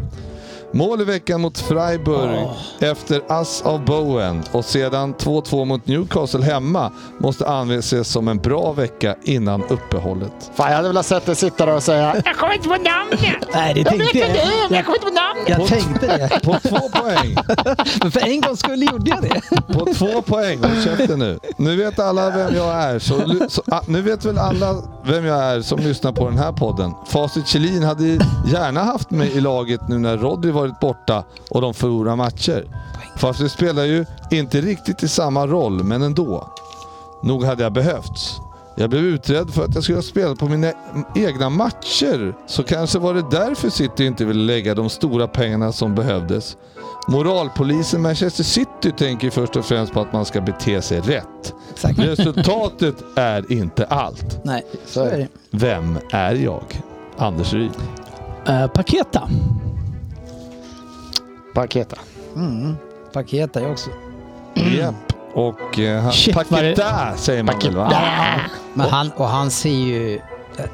E: Mål i veckan mot Freiburg efter ass av Bowen och sedan 2-2 mot Newcastle hemma måste anses som en bra vecka innan uppehållet.
D: Fan, jag hade velat sett dig sitta där och säga
C: Nej, det tänkte jag. Jag, jag tänkte det.
E: På två poäng.
C: Men för en gång skulle gjorde jag det.
E: På två poäng. Håll käften nu. Nu vet alla vem jag är. Så, ly- så, ah, nu vet väl alla vem jag är som lyssnar på den här podden. Facit Kjellin hade ju gärna haft mig i laget nu när Roddy varit borta och de förlorar matcher. Fast det spelar ju inte riktigt i samma roll, men ändå. Nog hade jag behövts. Jag blev utredd för att jag skulle ha spelat på mina egna matcher. Så kanske var det därför City inte ville lägga de stora pengarna som behövdes. Moralpolisen Manchester City tänker först och främst på att man ska bete sig rätt.
C: Exakt.
E: Resultatet är inte allt.
C: Nej, så är det.
E: Vem är jag? Anders Ryd.
F: Eh, Paketa.
D: Paketa.
C: Paketa jag Mm. också.
E: Japp. Och eh, han-
F: Shit, vad det-
E: Paketa säger man väl va?
C: Ah. Men han, och han ser ju...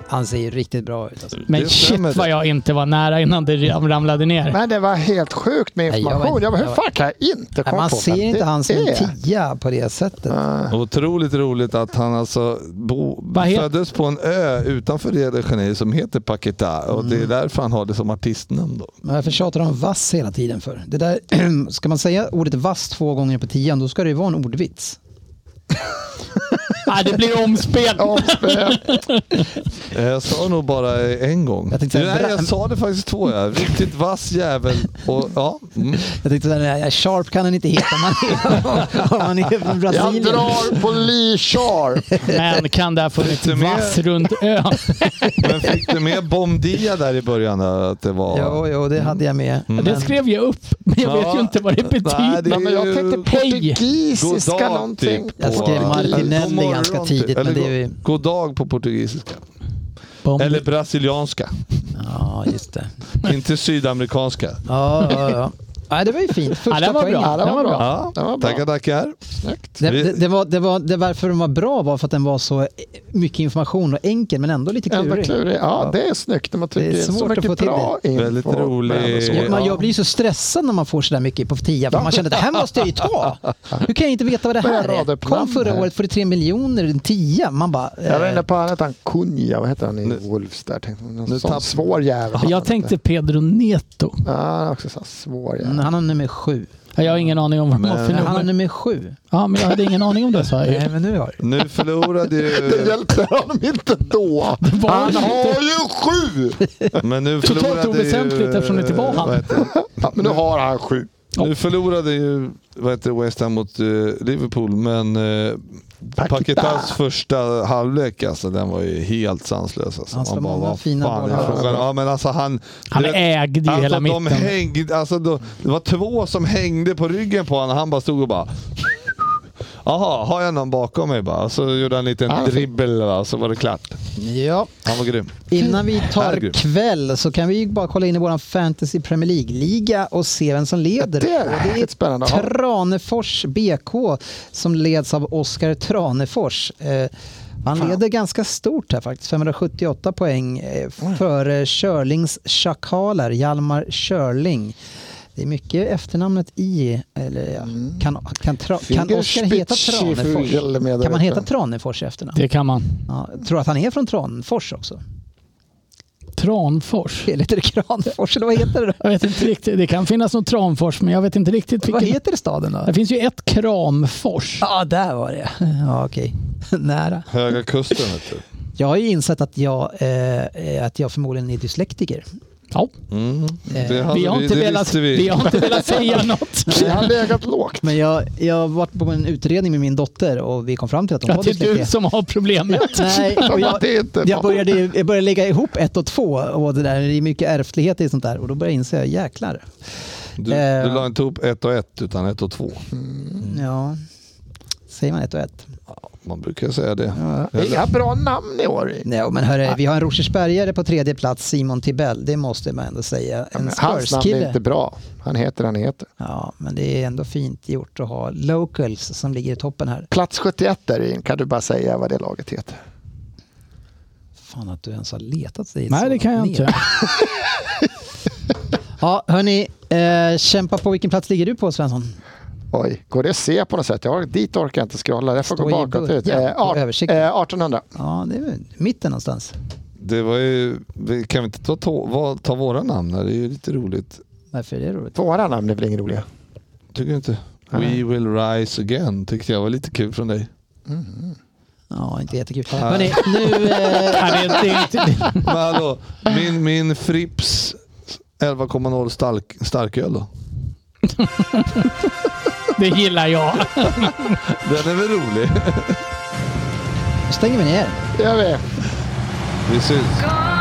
C: Han ser ju riktigt bra ut. Alltså.
F: Men
E: Det stämmer
F: shit vad
E: det.
F: jag inte var nära innan det ram- ramlade ner.
D: Men det var helt sjukt med
C: Nej, jag var
D: information.
C: inte-
D: jag bara,
C: jag
D: hur
C: var-
D: fan kan jag inte komma
C: Nej, man
D: på
C: ser
D: vem
C: inte
D: det
C: han som en
D: är?
C: tia på det sättet.
E: Otroligt roligt att han alltså bo,
F: Vad heter-
E: föddes på en ö utanför Rio de Janeiro som heter Paquetá och det är därför han har det som artistnamn då.
C: Men varför tjatar de vass hela tiden för? Det där, ska man säga ordet vass två gånger på tian, då ska det ju vara en ordvits.
F: Ah, det blir omspel.
D: Omspel.
E: Eh, Jag sa nog bara eh, en gång.
C: Jag tänkte säga
E: Nej,
C: bra-
E: jag sa det faktiskt två. Ja. Riktigt vass jävel. Och, ja. mm.
C: Jag tänkte såhär, sharp kan han inte heta om han är, om han är från
D: Jag
C: Brasilien.
D: drar på Lee Char.
F: Men kan det ha funnits
E: Lite mer.
F: vass runt ön?
E: Men fick du med Bomdia där i början? Där, att det var...
C: Jo, jo, det hade jag med.
F: Mm. Det skrev jag upp, men jag vet ju inte vad det
E: Nej, det
F: betyder.
E: är
D: Nej, men jag tänkte
F: Hej.
D: portugisiska
E: God dag,
D: någonting.
E: typ.
C: Jag skrev
E: Wow.
C: Martinelli
E: God morgon,
C: ganska
E: typ.
C: tidigt, men
E: Eller
C: det är ju...
E: god- God dag på portugisiska.
F: Bom-
E: Eller brasilianska.
C: Ja, just det.
E: Inte sydamerikanska.
C: Ja, ja, ja. Nej, det var ju fint.
F: Ja,
C: Första
F: den var
C: poängen.
F: bra.
D: Ja,
F: Den var bra.
E: Ja,
D: Det var bra.
E: tackar, tackar.
C: Det,
E: Vi-
C: det, det var, det var, det varför den var bra var för att den var så mycket information och enkel, men ändå lite
D: Ändå
C: klurig.
D: klurig. Ja, det är snyggt när man trycker
C: Det är
D: in så
C: svårt att få
D: mycket
C: till
D: bra info.
E: Väldigt rolig.
D: Men så-
C: Och man, jag blir så stressad när man får sådär mycket på tia, för man känner att det här måste jag ju ta. Hur kan jag inte veta vad det här
D: Börjar rada
C: är?
D: upp namn
C: Kom förra
D: här.
C: året, 43 miljoner, en tia. Man bara... eh,
D: Jag var inne på han hette han Kunja, vad hette han i Wolves där? Tänkte,
E: nu
D: någon sån
E: tapp-
D: svår jävel.
F: Jag tänkte Pedro Neto.
D: Ja, han är också sån svår jävel.
C: han har nummer sju.
F: Ja, Jag har ingen aning om vad det var
C: Han
F: för
C: har
F: nummer.
C: nummer sju.
F: Ja, men jag hade ingen aning om det sa jag ju.
C: Nej, men nu har
E: Nu förlorade
D: Det
E: ju...
D: hjälpte honom inte då.
F: var
D: Han
F: inte-
D: har ju sju!
E: Men nu
F: Totalt
E: förlorade ju-
F: oväsentligt eftersom det inte var han.
E: vad heter det?
D: Ja, men nu har han sju.
E: Nu förlorade ju vad heter det, West Ham mot eh, Liverpool, men eh,
D: Paketa.
E: Paketas första halvlek, alltså, den var ju helt sanslös. Alltså.
C: Han slår många
E: vad
C: fina
E: fan är
C: bollar.
E: frågan? Ja, men alltså, han,
F: Han
E: det-
F: ägde ju
E: alltså,
F: hela
E: de
F: mitten.
E: Hängde, alltså, då, det var två som hängde på ryggen på honom och han bara stod och bara Jaha, har jag någon bakom mig bara? Och Så gjorde han en liten
D: Ah,
F: Alltså-
D: fint.
E: dribbel va, så var det klart.
C: vi. Ja.
E: Han var grym.
C: Innan vi tar
E: Herregud.
C: kväll så kan vi ju bara kolla in i vår Fantasy Premier League-liga och se vem som leder.
D: Det
C: Och
D: är riktigt spännande. att ha.
C: Tranefors BK som leds av Oskar Tranefors. Eh, han leder ganska stort här faktiskt, 578 poäng eh, före Körlings Schakaler, Hjalmar Körling. Det är mycket efternamnet i, eller ja,
D: Mm.
C: kan, kan, tra, kan Oskar heta Tranefors?
D: Fingerspitschfugel med där
C: Kan man
D: uppe.
C: heta Tranefors i efternamn?
F: Det kan man.
C: Ja, jag tror att han är från Tranfors också.
F: Tranfors?
C: Heter det Kranfors? Eller vad heter det? då?
F: Jag vet inte riktigt. Det kan finnas någon Tranfors, men jag vet inte riktigt
C: Vad
F: vilken.
C: heter staden då?
F: Det finns ju ett Kramfors.
C: Ja, där var det. Ja, okej. Nära.
E: Höga kusten vet du.
C: Jag har ju insett att jag, eh, eh, att jag förmodligen är dyslektiker.
F: Ja.
E: Mm. Det, hade
F: Eh, Vi har,
E: vi,
F: inte
E: Alltså, det
F: velat,
E: visste vi.
F: vi. har inte velat säga något.
D: Jag har legat lågt.
C: Men jag, jag har varit på en utredning med min dotter och vi kom fram till att hon var
F: Att det är du
C: dyslektiker.
F: som har problemet.
C: Nej, och jag,
D: det är inte
C: jag, började, jag började lägga ihop ett och två och det där, det är mycket ärftlighet i sånt där och då började jag inse, jäklar.
E: Du,
C: Eh.
E: du la inte ihop ett och ett utan ett och två.
D: Mm.
C: Ja, säger man ett och ett?
E: Man brukar ju säga det.
D: Inga bra namn i år.
C: Nej, men hörru, vi har en Rosersbergare på tredje plats, Simon Tibell, det måste man ändå säga. En
D: Hans namn är
C: Spurs-kille.
D: inte bra. Han heter han heter.
C: Ja, men det är ändå fint gjort att ha locals som ligger i toppen här.
D: Plats 71 där in, kan du bara säga vad det laget heter?
C: Fan att du ens har letat dig
F: Nej,
C: så
F: det kan jag
C: ner.
F: inte.
C: Ja, hörni, eh, kämpa på. Vilken plats ligger du på, Svensson?
D: Oj, går det att se på något sätt? Jag, har- dit orkar jag inte scrolla. Jag får
C: Står
D: gå
C: i
D: bakåt ut.
C: början
D: Eh,
C: på
D: art-
C: översikten.
D: eh, 1800.
C: Ja, det är väl mitten någonstans.
E: Det var ju, vi- kan vi inte ta, ta, vad- ta våra namn här? Det är ju lite roligt.
C: Varför är det roligt?
D: Våra namn är väl inga roliga?
E: Tycker du inte? We will rise again tyckte jag var lite kul från dig.
C: Ja, inte jättekul. Hörni, nu... Eh,
F: Nej, det är inte- det är inte-
E: Men hallå, min, min Frips 11,0 stark, starköl då?
F: Det gillar jag.
E: Den är väl rolig?
C: stänger vi ner.
D: Det gör vi.
E: Vi syns.
B: God